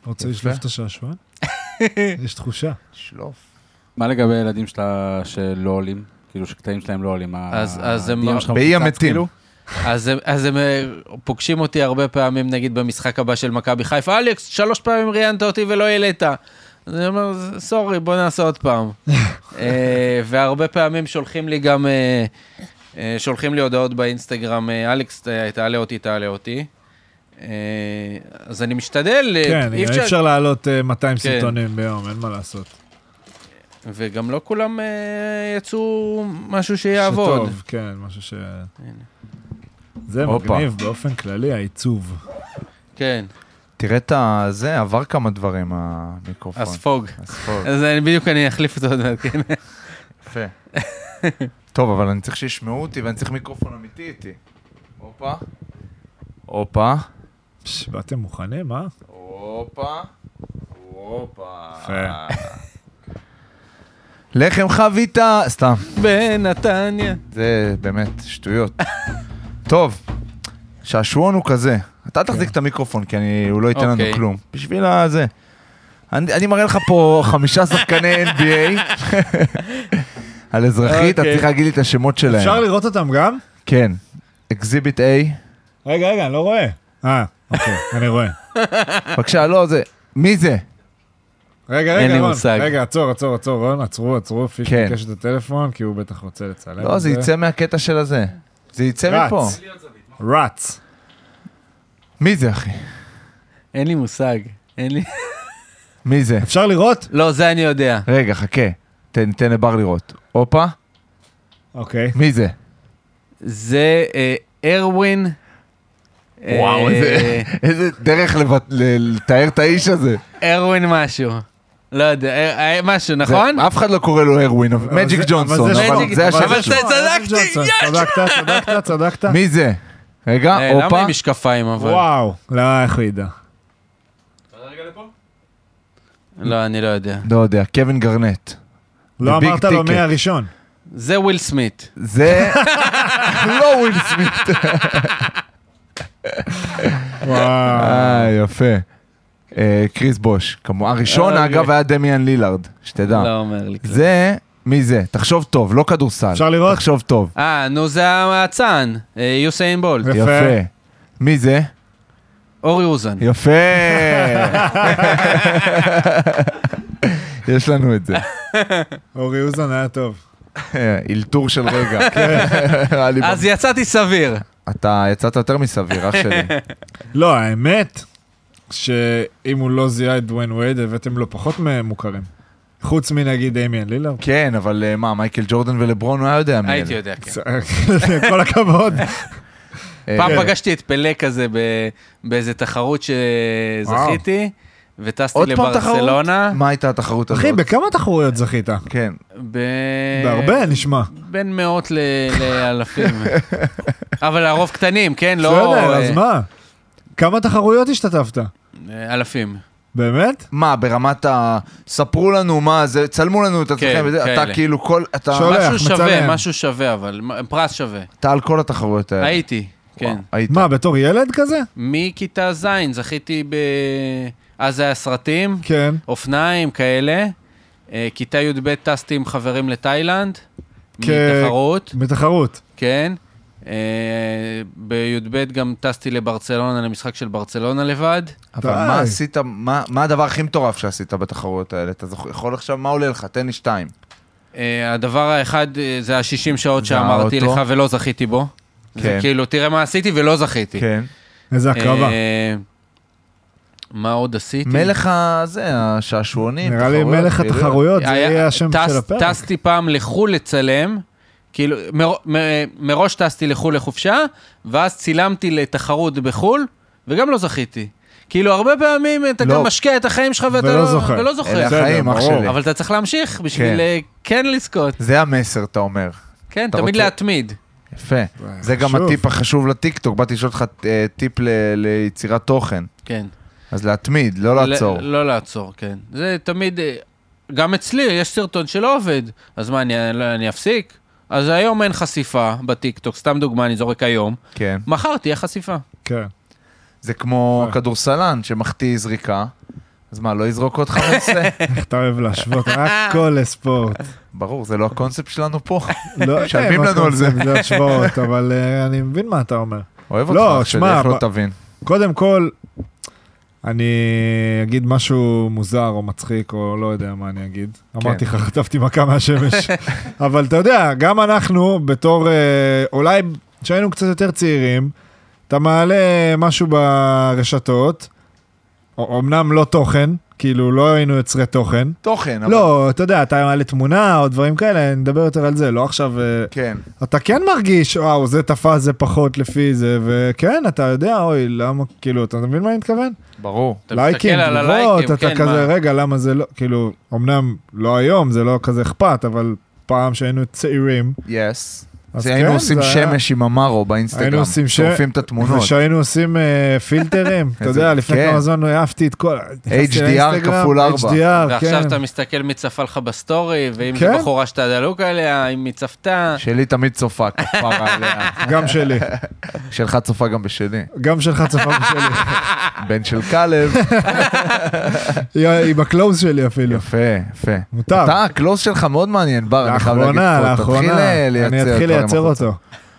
Speaker 3: רוצה
Speaker 1: יפה.
Speaker 3: לשלוף
Speaker 1: *laughs*
Speaker 3: את השעשועון? יש תחושה.
Speaker 2: אה,
Speaker 1: שלוף.
Speaker 5: מה לגבי הילדים שלה שלא עולים? כאילו שקטעים שלהם לא עולים. ה-
Speaker 2: אז- אז הם- לא-
Speaker 5: ה-DM שלך
Speaker 1: באי
Speaker 5: מפוצץ,
Speaker 1: המתים.
Speaker 5: כאילו?
Speaker 2: אז הם, אז הם אה, פוגשים אותי הרבה פעמים, נגיד במשחק הבא של מכבי חיפה, אלכס, שלוש פעמים ראיינת אותי ולא העלית. אז אני אומר, "ז- סורי, בוא נעשה עוד
Speaker 3: *laughs*
Speaker 2: פעם. אה, והרבה פעמים שולחים לי גם, אה, אה, שולחים לי הודעות באינסטגרם, אה, אלכס, אה, תעלה אותי, תעלה אותי. אה, אז אני משתדל, אה,
Speaker 3: כן,
Speaker 2: אי
Speaker 3: אי אפשר להעלות אה, 200
Speaker 2: כן.
Speaker 3: סרטונים ביום, אין מה לעשות.
Speaker 2: וגם לא כולם אה, יצאו משהו שיעבוד.
Speaker 3: שטוב, כן, משהו ש... זה
Speaker 1: הופה.
Speaker 3: מגניב באופן כללי, העיצוב.
Speaker 2: כן,
Speaker 1: תראה את ה- זה, עבר כמה דברים המיקרופון.
Speaker 2: הספוג.
Speaker 1: הספוג.
Speaker 2: אז אני בדיוק אני אחליף אותו עוד מעט,
Speaker 3: *laughs*
Speaker 2: כן.
Speaker 1: יפה. טוב, אבל אני צריך שישמעו אותי ואני צריך מיקרופון אמיתי איתי. הופה. הופה.
Speaker 3: פש, באתם מוכנים, אה?
Speaker 1: הופה. הופה.
Speaker 2: אה.
Speaker 3: יפה.
Speaker 1: לחם חביתה, סתם,
Speaker 2: בנתניה.
Speaker 1: זה באמת שטויות. טוב, שעשועון הוא כזה, אתה תחזיק את המיקרופון כי אני, הוא לא ייתן לנו
Speaker 2: כן. אוקיי.
Speaker 1: כלום, בשביל הזה. אני, אני מראה לך פה חמישה שחקני NBA *laughs* על אזרחית, אתה
Speaker 2: אוקיי.
Speaker 1: צריך להגיד לי את השמות שלהם.
Speaker 3: אפשר לראות אותם גם?
Speaker 1: כן, אקזיביט A,
Speaker 3: רגע, רגע, אני לא רואה. אה, אוקיי, *laughs* אני רואה.
Speaker 1: בבקשה, לא, זה, מי זה?
Speaker 3: רגע,
Speaker 2: אין
Speaker 3: רגע,
Speaker 2: לי
Speaker 3: רון.
Speaker 2: מושג.
Speaker 3: רגע, עצור, עצור, עצור, רון, עצרו, עצרו, פיש
Speaker 1: כן.
Speaker 3: ביקש את הטלפון, כי הוא בטח רוצה לצלם.
Speaker 1: לא,
Speaker 3: את
Speaker 1: זה יצא מהקטע של הזה. זה יצא
Speaker 3: רץ.
Speaker 1: מפה.
Speaker 3: רץ.
Speaker 1: מי זה, אחי?
Speaker 2: אין לי מושג, אין לי...
Speaker 1: מי זה?
Speaker 3: אפשר לראות?
Speaker 2: *laughs* לא, זה אני יודע.
Speaker 1: רגע, חכה, תן, תן לבר לראות. הופה,
Speaker 3: אוקיי.
Speaker 1: מי זה?
Speaker 2: זה אה, ארווין. אה,
Speaker 1: וואו, איזה- איזה דרך לבט- ל- לתאר את האיש הזה.
Speaker 2: ארווין משהו. לא יודע, אה, אה, משהו, נכון?
Speaker 1: זה- אף אחד לא קורא לו הרווין, אבל-
Speaker 3: אבל
Speaker 1: מג'יק
Speaker 3: זה-
Speaker 1: ג'ונסון,
Speaker 3: אבל זה
Speaker 1: אבל
Speaker 2: שמו.
Speaker 1: זה
Speaker 2: אבל
Speaker 1: השם
Speaker 2: זה-
Speaker 1: שלו.
Speaker 2: צדקתי,
Speaker 3: ג'ונסון, צדקת, צדקת, צדקת.
Speaker 1: מי זה? רגע,
Speaker 2: אה, למה
Speaker 1: הופה.
Speaker 2: עם משקפיים אבל?
Speaker 3: וואו, לא, איך הוא ידע?
Speaker 2: לא, אני לא יודע.
Speaker 1: לא יודע, קווין גרנט.
Speaker 3: לא
Speaker 1: The big
Speaker 3: אמרת לו
Speaker 1: ticket.
Speaker 3: מי הראשון.
Speaker 2: זה וויל סמית.
Speaker 1: זה *laughs* לא וויל סמית.
Speaker 3: וואו.
Speaker 1: אה, יפה. אה, קריס בוש, כמובן. הראשון,
Speaker 2: אוקיי.
Speaker 1: אגב, היה דמיאן לילארד, שתדע.
Speaker 2: לא אומר לי כלום.
Speaker 1: זה, מי זה? תחשוב טוב, לא כדורסל.
Speaker 3: אפשר לראות?
Speaker 1: תחשוב טוב.
Speaker 2: אה, נו, זה המאצן. אה, יוסיין בולט.
Speaker 3: יפה.
Speaker 1: יפה. מי זה?
Speaker 2: אורי אוזן.
Speaker 1: יפה. יש לנו את זה.
Speaker 3: אורי אוזן היה טוב.
Speaker 1: אלתור של רגע.
Speaker 3: *laughs* כן.
Speaker 1: היה לי
Speaker 2: אז יצאתי סביר.
Speaker 1: אתה יצאת יותר מסביר, אח שלי.
Speaker 2: *laughs*
Speaker 3: לא, האמת, שאם הוא לא זיהה את דוויין וייד, הבאתם לו פחות מוכרים. חוץ מנגיד דמיאן לילר.
Speaker 1: כן, אבל אה, מה, מייקל ג'ורדן ולברון הוא היה יודע מי
Speaker 2: הייתי
Speaker 1: אלה.
Speaker 2: יודע, כן.
Speaker 3: *laughs* כל הכבוד.
Speaker 1: אה,
Speaker 2: פעם
Speaker 1: כן.
Speaker 2: פגשתי את פלא כזה ב- באיזה תחרות שזכיתי, וטסתי
Speaker 1: עוד פעם תחרות?
Speaker 2: לברסלונה.
Speaker 1: מה הייתה התחרות הזאת?
Speaker 3: אחי, בכמה תחרויות זכית?
Speaker 2: אה,
Speaker 1: כן.
Speaker 2: ב-
Speaker 3: בהרבה, נשמע.
Speaker 2: בין מאות ל-
Speaker 3: *laughs*
Speaker 2: לאלפים. אבל הרוב קטנים, כן? לא...
Speaker 3: בסדר,
Speaker 2: אה,
Speaker 3: אז מה? כמה תחרויות השתתפת?
Speaker 2: אה, אלפים.
Speaker 3: באמת?
Speaker 1: מה, ברמת ה... ספרו לנו מה זה, צלמו לנו את עצמכם,
Speaker 2: כן,
Speaker 1: וזה, אתה
Speaker 2: כאלה.
Speaker 1: כאילו כל... אתה
Speaker 3: שואל- הולך,
Speaker 2: משהו שווה,
Speaker 3: מצלם. כן.
Speaker 2: משהו שווה, אבל מ- פרס שווה.
Speaker 1: אתה על כל התחרויות האלה.
Speaker 2: הייתי, כן.
Speaker 1: וואו, היית.
Speaker 3: מה, בתור ילד כזה?
Speaker 2: מכיתה ז' זכיתי ב... אז היה סרטים,
Speaker 3: כן.
Speaker 2: אופניים כאלה. אה, כיתה י"ב טסתי עם חברים
Speaker 3: כן.
Speaker 2: לתאילנד.
Speaker 3: כ-
Speaker 2: מתחרות,
Speaker 3: בתחרות.
Speaker 2: כן. אה, בי"ב גם טסתי לברצלונה, למשחק של ברצלונה לבד.
Speaker 1: אבל
Speaker 3: די.
Speaker 1: מה עשית, מה מה הדבר הכי מטורף שעשית בתחרויות האלה? אתה זוכר, יכול עכשיו, מה עולה לך? תן לי שתיים.
Speaker 2: אה, הדבר האחד אה, זה ה-60 שעות
Speaker 1: זה
Speaker 2: שאמרתי
Speaker 1: האוטו.
Speaker 2: לך ולא זכיתי בו.
Speaker 1: כן.
Speaker 2: זה כאילו, תראה מה עשיתי ולא זכיתי.
Speaker 1: כן.
Speaker 3: איזה הקרבה.
Speaker 2: אה, מה עוד עשיתי?
Speaker 1: מלך הזה, השעשועונים,
Speaker 3: נראה לי
Speaker 1: תחרויות, כאילו.
Speaker 3: מלך
Speaker 1: פעילויות.
Speaker 3: התחרויות, זה
Speaker 2: כאילו. היה-
Speaker 3: יהיה השם
Speaker 2: טס-
Speaker 3: של הפרק.
Speaker 2: טסתי פעם לחו"ל לצלם, כאילו, מר- מ- מראש טסתי לחו"ל לחופשה, ואז צילמתי לתחרות בחו"ל, וגם לא זכיתי. כאילו, הרבה פעמים אתה
Speaker 1: לא.
Speaker 2: גם משקיע את החיים שלך ואתה
Speaker 3: ולא
Speaker 2: לא
Speaker 3: זוכה.
Speaker 2: ולא
Speaker 1: אלה
Speaker 2: זוכר.
Speaker 3: בסדר,
Speaker 1: החיים, אח
Speaker 3: ברור.
Speaker 1: שלי.
Speaker 2: אבל אתה צריך להמשיך בשביל
Speaker 1: כן.
Speaker 2: אה, כן לזכות.
Speaker 1: זה המסר, אתה אומר.
Speaker 2: כן,
Speaker 1: אתה
Speaker 2: תמיד
Speaker 1: רוצה-
Speaker 2: להתמיד.
Speaker 1: יפה. זה גם
Speaker 3: אה, חשוב.
Speaker 1: הטיפ החשוב לטיקטוק. באתי לשאול אותך אה, טיפ ל- ליצירת תוכן.
Speaker 2: כן.
Speaker 1: אז להתמיד, לא לעצור.
Speaker 2: ל- לא לעצור, כן. זה תמיד... אה, גם אצלי יש סרטון שלא עובד, אז מה, אני, לא- אני אפסיק? אז היום אין חשיפה בטיקטוק, סתם דוגמה, אני זורק היום.
Speaker 1: כן.
Speaker 2: מחר תהיה חשיפה.
Speaker 1: אה,
Speaker 3: כן.
Speaker 1: זה כמו
Speaker 3: אה.
Speaker 1: כדורסלן שמחטיא זריקה. אז מה, לא יזרוק
Speaker 3: *laughs*
Speaker 1: אותך בנושא?
Speaker 3: איך אתה
Speaker 2: *laughs*
Speaker 3: אוהב להשוות הכל לספורט.
Speaker 1: ברור, זה לא הקונספט שלנו פה.
Speaker 3: לא,
Speaker 1: משלמים
Speaker 3: אה,
Speaker 1: לנו
Speaker 3: מה
Speaker 1: על זה.
Speaker 3: קונספט, זה השוואות, אבל אה, אני מבין מה אתה אומר.
Speaker 1: אוהב
Speaker 3: לא,
Speaker 1: אותך, אח שלי,
Speaker 3: שמע,
Speaker 1: איך לא
Speaker 3: ב-
Speaker 1: תבין.
Speaker 3: קודם כל, אני אגיד משהו מוזר או מצחיק, או לא יודע מה אני אגיד. אמרתי לך, חטפתי מכה מהשמש. *laughs* אבל אתה יודע, גם אנחנו, בתור, אה, אולי כשהיינו קצת יותר צעירים, אתה מעלה משהו ברשתות, א- אמנם לא תוכן, כאילו לא היינו יוצרי תוכן.
Speaker 1: תוכן, אבל...
Speaker 3: לא, אתה יודע, אתה מעלה תמונה או דברים כאלה, נדבר יותר על זה, לא עכשיו... אה,
Speaker 1: כן.
Speaker 3: אתה כן מרגיש, וואו, זה תפס, זה פחות לפי זה, וכן, אתה יודע, אוי, למה, כאילו, אתה מבין מה אני מתכוון?
Speaker 1: ברור.
Speaker 2: אתה מסתכל על הלייקים,
Speaker 3: אתה
Speaker 2: כן,
Speaker 3: כזה,
Speaker 2: מה?
Speaker 3: רגע, למה זה לא, כאילו, אמנם לא היום, זה לא כזה אכפת, אבל פעם שהיינו צעירים,
Speaker 1: יס.
Speaker 3: אז
Speaker 1: זה
Speaker 3: כן,
Speaker 1: היינו עושים
Speaker 3: זה היה-
Speaker 1: שמש עם המארו באינסטגרם.
Speaker 3: היינו עושים ש-
Speaker 1: שורפים את התמונות.
Speaker 3: ושהיינו עושים אה,
Speaker 1: *laughs*
Speaker 3: פילטרים, אתה
Speaker 1: איזה-
Speaker 3: יודע, לפני
Speaker 1: כן.
Speaker 3: כמה זמן העפתי את כל... נכנסתי
Speaker 1: HDR
Speaker 3: לאינסטגרם,
Speaker 1: כפול ארבע.
Speaker 3: HDR, כן.
Speaker 2: ועכשיו אתה מסתכל מי צפה לך בסטורי, ואם
Speaker 3: כן.
Speaker 2: זו בחורה שאתה דלוק עליה, אם היא צפתה.
Speaker 1: שלי תמיד צופה כפרה עליה.
Speaker 3: גם שלי,
Speaker 1: שלך צופה גם בשלי.
Speaker 3: גם שלך צפה
Speaker 2: *laughs*
Speaker 3: בשלי,
Speaker 1: בן של כלב.
Speaker 3: היא- היא בקלוז שלי אפילו,
Speaker 1: יפה, יפה.
Speaker 3: מותר.
Speaker 1: אתה, הקלוז שלך מאוד מעניין, בר, אני חייב להגיד.
Speaker 3: לאחרונה,
Speaker 1: פה, תתחיל אה,
Speaker 3: לאחרונה,
Speaker 1: לייצר
Speaker 3: אני אתחיל
Speaker 1: דברים
Speaker 3: לייצר
Speaker 1: החוצה.
Speaker 3: אותו.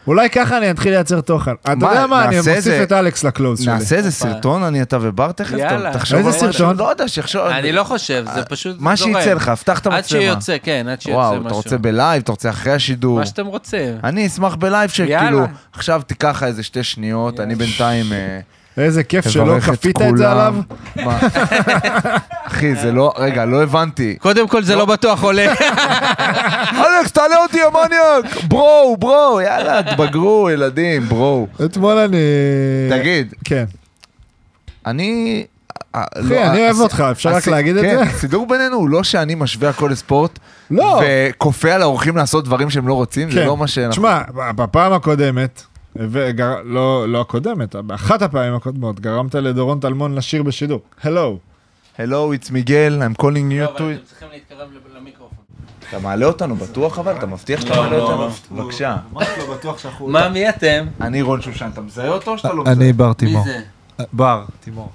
Speaker 3: אולי ככה אני אתחיל לייצר תוכן. אתה יודע מה, אני
Speaker 1: נעשה
Speaker 3: מוסיף
Speaker 1: איזה-
Speaker 3: את אלכס לקלוז שלי.
Speaker 1: נעשה איזה
Speaker 2: הופה.
Speaker 1: סרטון, אני, אתה ובר תכף?
Speaker 2: יאללה.
Speaker 1: אתה- תחשוב על
Speaker 3: איזה
Speaker 1: משהו,
Speaker 3: סרטון?
Speaker 1: לא יודע, שיחשוב.
Speaker 2: אני לא חושב, זה פשוט
Speaker 1: אה, מה שיצא לך, פתח את המצלמה.
Speaker 2: עד שיוצא, כן, עד שיוצא משהו.
Speaker 1: וואו, אתה רוצה בלייב, אתה רוצה אחרי השידור.
Speaker 2: מה שאתם רוצים.
Speaker 1: אני אשמח בלייב שכאילו,
Speaker 2: יאללה.
Speaker 1: עכשיו תיקח לך איזה שתי שניות, אני בינתיים אה,
Speaker 3: איזה כיף שלא
Speaker 1: אברך את
Speaker 3: כפית את זה עליו.
Speaker 1: כולם. מה? *laughs* אחי, זה לא, רגע, לא
Speaker 3: *laughs*
Speaker 1: הבנתי.
Speaker 2: קודם כל זה לא
Speaker 1: *laughs*
Speaker 2: בטוח עולה.
Speaker 1: אלכס, תעלה אותי, המניאק! ברו, ברו, יאללה, תבגרו, ילדים, ברו.
Speaker 3: אתמול אני...
Speaker 1: תגיד,
Speaker 3: כן.
Speaker 1: אני... אה, לא,
Speaker 3: אחי, אני אוהב אותך, אפשר רק להגיד את זה?
Speaker 1: כן, הסידור בינינו הוא לא שאני משווה הכל לספורט,
Speaker 3: לא.
Speaker 1: וכופה על האורחים לעשות דברים שהם לא רוצים, זה
Speaker 3: כן.
Speaker 1: לא מה שאנחנו...
Speaker 3: תשמע, בפעם הקודמת, ו- גר- לא לא הקודמת, באחת הפעמים הקודמות, גרמת לדורון טלמון לשיר בשידור. הלו.
Speaker 1: Hello, it's מיגל, I'm calling
Speaker 2: לא,
Speaker 1: you to...
Speaker 2: צריכים להתקרב למיקרופון.
Speaker 1: אתה מעלה אותנו בטוח אבל? אתה מבטיח שאתה מעלה אותנו? בבקשה.
Speaker 8: לא
Speaker 2: מה, מי אתם?
Speaker 1: אני רון שושן, אתה מזהה אותו או שאתה לא מזהה?
Speaker 8: אני בר
Speaker 2: מי
Speaker 8: תימור.
Speaker 2: זה?
Speaker 8: בר תימור.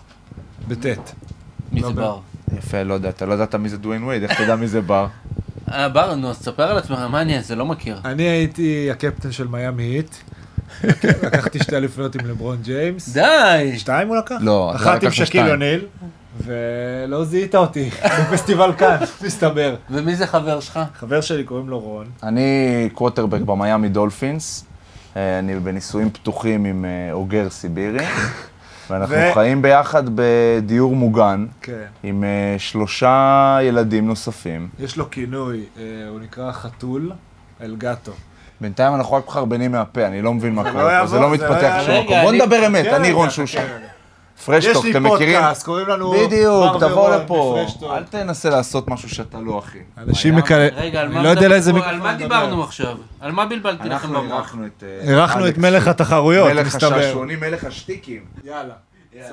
Speaker 8: בטית.
Speaker 2: מי זה בר?
Speaker 1: יפה, לא יודע, אתה לא ידעת מי זה דוויין וייד, איך אתה יודע מי זה בר?
Speaker 2: אה, בר, נו, אז תספר על עצמך, מה אני, זה לא מכיר.
Speaker 8: אני הייתי הקפטן של מיאמי *laughs* היט. לקחתי שתי אליפויות עם לברון ג'יימס.
Speaker 2: די!
Speaker 8: שתיים הוא לקח?
Speaker 1: לא, אתה
Speaker 8: אחת
Speaker 1: לקחת
Speaker 8: עם שקיל
Speaker 1: שתיים.
Speaker 8: אוניל, ולא זיהית אותי, *laughs* בפסטיבל כאן, *laughs* מסתבר.
Speaker 2: ומי זה חבר שלך?
Speaker 8: חבר שלי קוראים לו רון.
Speaker 1: אני קווטרבק במיאמי דולפינס, אה, אני בנישואים פתוחים עם אה,
Speaker 8: *laughs*
Speaker 1: אוגר סיבירי, ואנחנו
Speaker 8: ו-
Speaker 1: חיים ביחד בדיור מוגן,
Speaker 8: כן.
Speaker 1: עם אה, שלושה ילדים נוספים.
Speaker 8: יש לו כינוי, אה, הוא נקרא חתול אלגטו.
Speaker 1: בינתיים אנחנו רק מחרבנים מהפה, אני לא מבין מה
Speaker 8: *laughs* לא
Speaker 1: קורה פה, זה לא
Speaker 8: יעבור, זה לא
Speaker 1: מתפתח
Speaker 8: יעבור.
Speaker 1: לשום
Speaker 2: רגע,
Speaker 1: מקום. בוא
Speaker 2: אני-
Speaker 1: נדבר אמת,
Speaker 8: כן,
Speaker 1: אני רון
Speaker 8: רגע,
Speaker 1: שושן.
Speaker 8: כן, רגע.
Speaker 1: פרשטוק,
Speaker 8: יש
Speaker 1: אתם
Speaker 8: לי
Speaker 1: מכירים?
Speaker 8: פודקאסט, קוראים לנו...
Speaker 1: בדיוק,
Speaker 8: בר
Speaker 1: תבוא
Speaker 8: ורון
Speaker 1: לפה.
Speaker 8: מפרשטוק.
Speaker 1: אל תנסה לעשות משהו שאתה לא, אחי.
Speaker 8: אנשים
Speaker 1: היה-
Speaker 8: מקל...
Speaker 2: רגע, על מה
Speaker 8: אני לא יודע
Speaker 2: מדבר-
Speaker 8: לאיזה
Speaker 2: על
Speaker 8: מיקרופון
Speaker 2: מה
Speaker 8: לדבר.
Speaker 2: דיברנו עכשיו? על מה בלבלתי לכם
Speaker 8: לא-
Speaker 1: אנחנו
Speaker 2: במוח?
Speaker 1: אירחנו את... אה,
Speaker 3: אירחנו את
Speaker 1: אלכס,
Speaker 3: מלך התחרויות,
Speaker 1: מלך
Speaker 3: מסתבר.
Speaker 1: השעשועונים, מלך השטיקים.
Speaker 8: יאללה.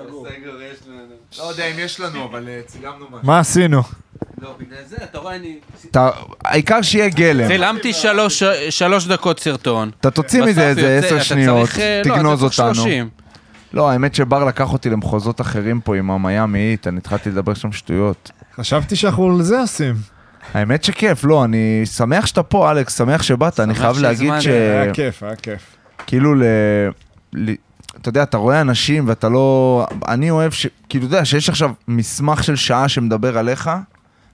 Speaker 8: סגור.
Speaker 1: לא יודע אם יש לנו, אבל אה, צילמנו משהו.
Speaker 3: מה עשינו?
Speaker 2: לא, בגלל זה, אתה רואה, אני... כן.
Speaker 1: אתה- העיקר שיהיה גלם.
Speaker 2: צילמתי שלוש- שלוש דקות סרטון.
Speaker 1: אתה תוציא
Speaker 2: בסוף
Speaker 1: מזה איזה
Speaker 2: יוצא,
Speaker 1: עשר
Speaker 2: אתה
Speaker 1: שניות,
Speaker 2: צריך, אה, לא, אתה
Speaker 1: תגנוז
Speaker 2: צריך
Speaker 1: אותנו.
Speaker 2: 30.
Speaker 1: לא, האמת שבר לקח אותי למחוזות אחרים פה עם המיאמי היט, אני התחלתי לדבר שם שטויות.
Speaker 3: חשבתי שאנחנו על זה עושים.
Speaker 1: האמת שכיף, לא, אני שמח שאתה פה, אלכס, שמח שבאת, אני
Speaker 2: שמח
Speaker 1: חייב להגיד
Speaker 2: שהזמנת.
Speaker 1: ש...
Speaker 3: היה כיף, היה כיף.
Speaker 1: כאילו ל... ל... אתה יודע, אתה רואה אנשים ואתה לא... אני אוהב ש... כאילו, אתה יודע, שיש עכשיו מסמך של שעה שמדבר עליך,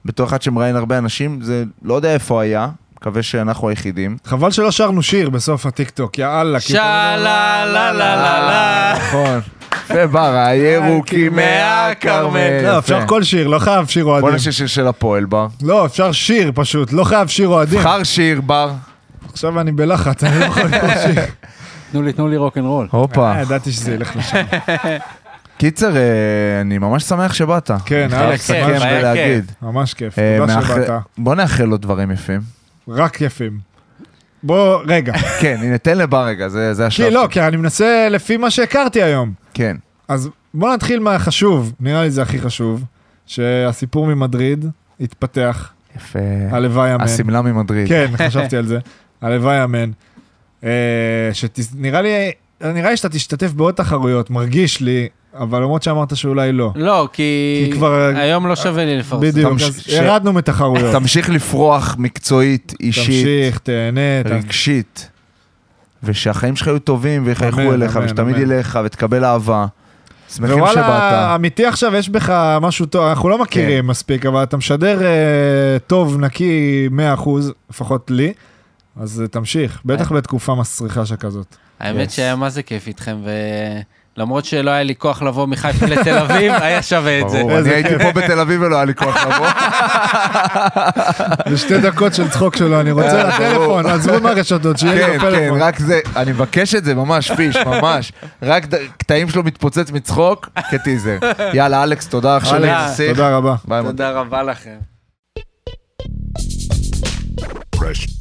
Speaker 1: בתור אחד שמראיין הרבה אנשים, זה לא יודע איפה היה, מקווה שאנחנו היחידים.
Speaker 3: חבל שלא שרנו שיר בסוף הטיקטוק, יא אללה. כי-
Speaker 2: שלה לה לה לה לה.
Speaker 1: נכון. ובר,
Speaker 3: *laughs*
Speaker 1: הירוקים מהכרמל.
Speaker 3: לא, אפשר
Speaker 1: יפה.
Speaker 3: כל שיר, לא חייב שיר
Speaker 1: בוא
Speaker 3: אוהדים.
Speaker 1: נשאיר שיר של הפועל, בר.
Speaker 3: לא, אפשר שיר פשוט, לא חייב שיר אוהדים.
Speaker 1: בחר שיר, בר.
Speaker 3: עכשיו אני בלחץ, אני לא יכול לקרוא שיר.
Speaker 5: תנו לי, תנו לי רוק אנד רול.
Speaker 1: הופה.
Speaker 3: אה, ידעתי שזה ילך לשם.
Speaker 1: קיצר, אה, אני ממש שמח שבאת.
Speaker 3: כן,
Speaker 1: אני חייב
Speaker 3: אלכס,
Speaker 1: לסכם
Speaker 2: ממש היה
Speaker 1: ולהגיד.
Speaker 3: ממש כיף,
Speaker 1: אה,
Speaker 3: תודה
Speaker 1: מאח-
Speaker 3: שבאת.
Speaker 1: בוא נאחל לו דברים יפים.
Speaker 3: רק יפים. בוא, רגע.
Speaker 1: כן, הנה, תן לבר רגע, זה זה השלב.
Speaker 3: כי לא,
Speaker 1: שלו.
Speaker 3: כי אני מנסה לפי מה שהכרתי היום.
Speaker 1: כן.
Speaker 3: אז בוא נתחיל מהחשוב, נראה לי זה הכי חשוב, שהסיפור ממדריד התפתח,
Speaker 1: יפה.
Speaker 3: הלוואי אמן.
Speaker 1: השמלה ממדריד.
Speaker 3: כן, חשבתי על זה. הלוואי אמן. אה, שת- נראה לי, נראה לי שאתה תשתתף בעוד תחרויות, מרגיש לי, אבל למרות שאמרת שאולי לא.
Speaker 2: לא, כי
Speaker 3: כי כבר-
Speaker 2: היום לא שווה לי לפרסם.
Speaker 3: בדיוק,
Speaker 1: תמש-
Speaker 3: אז
Speaker 1: ש-
Speaker 3: ירדנו מתחרויות.
Speaker 1: תמשיך לפרוח מקצועית, אישית,
Speaker 3: תמשיך, תהנה, ת-
Speaker 1: רגשית, ושהחיים שלך יהיו טובים ויחייכו
Speaker 3: אמן,
Speaker 1: אליך,
Speaker 3: אמן,
Speaker 1: ושתמיד
Speaker 3: אמן.
Speaker 1: יהיה לך ותקבל אהבה. שמחים שבאת. כן.
Speaker 3: אמיתי עכשיו, יש בך משהו טוב, אנחנו לא מכירים מספיק, אבל אתה משדר אה, טוב, נקי, 100%, לפחות לי, אז אה, תמשיך, בטח בתקופה מסריחה שכזאת.
Speaker 2: האמת
Speaker 3: Yes.
Speaker 2: שהיה מה זה כיף איתכם, ולמרות שלא היה לי כוח לבוא מחיפה לתל אביב, היה שווה את זה.
Speaker 1: ברור, אני הייתי פה בתל אביב ולא היה לי
Speaker 3: *laughs*
Speaker 1: כוח לבוא.
Speaker 3: זה שתי דקות של צחוק שלו, אני רוצה לטלפון, עזבו מהרשתות, שיהיה לי
Speaker 1: אה, כן, כן,
Speaker 3: בפלאפון.
Speaker 1: רק זה, אני מבקש את זה ממש, פיש, ממש. רק ד- קטעים שלו מתפוצץ מצחוק, כטיזר. יאללה, אלכס, תודה אח שלי.
Speaker 2: אלכס,
Speaker 1: נסיך.
Speaker 3: תודה רבה.
Speaker 1: ביי, מוטי.
Speaker 2: תודה רבה לכם.
Speaker 9: Fresh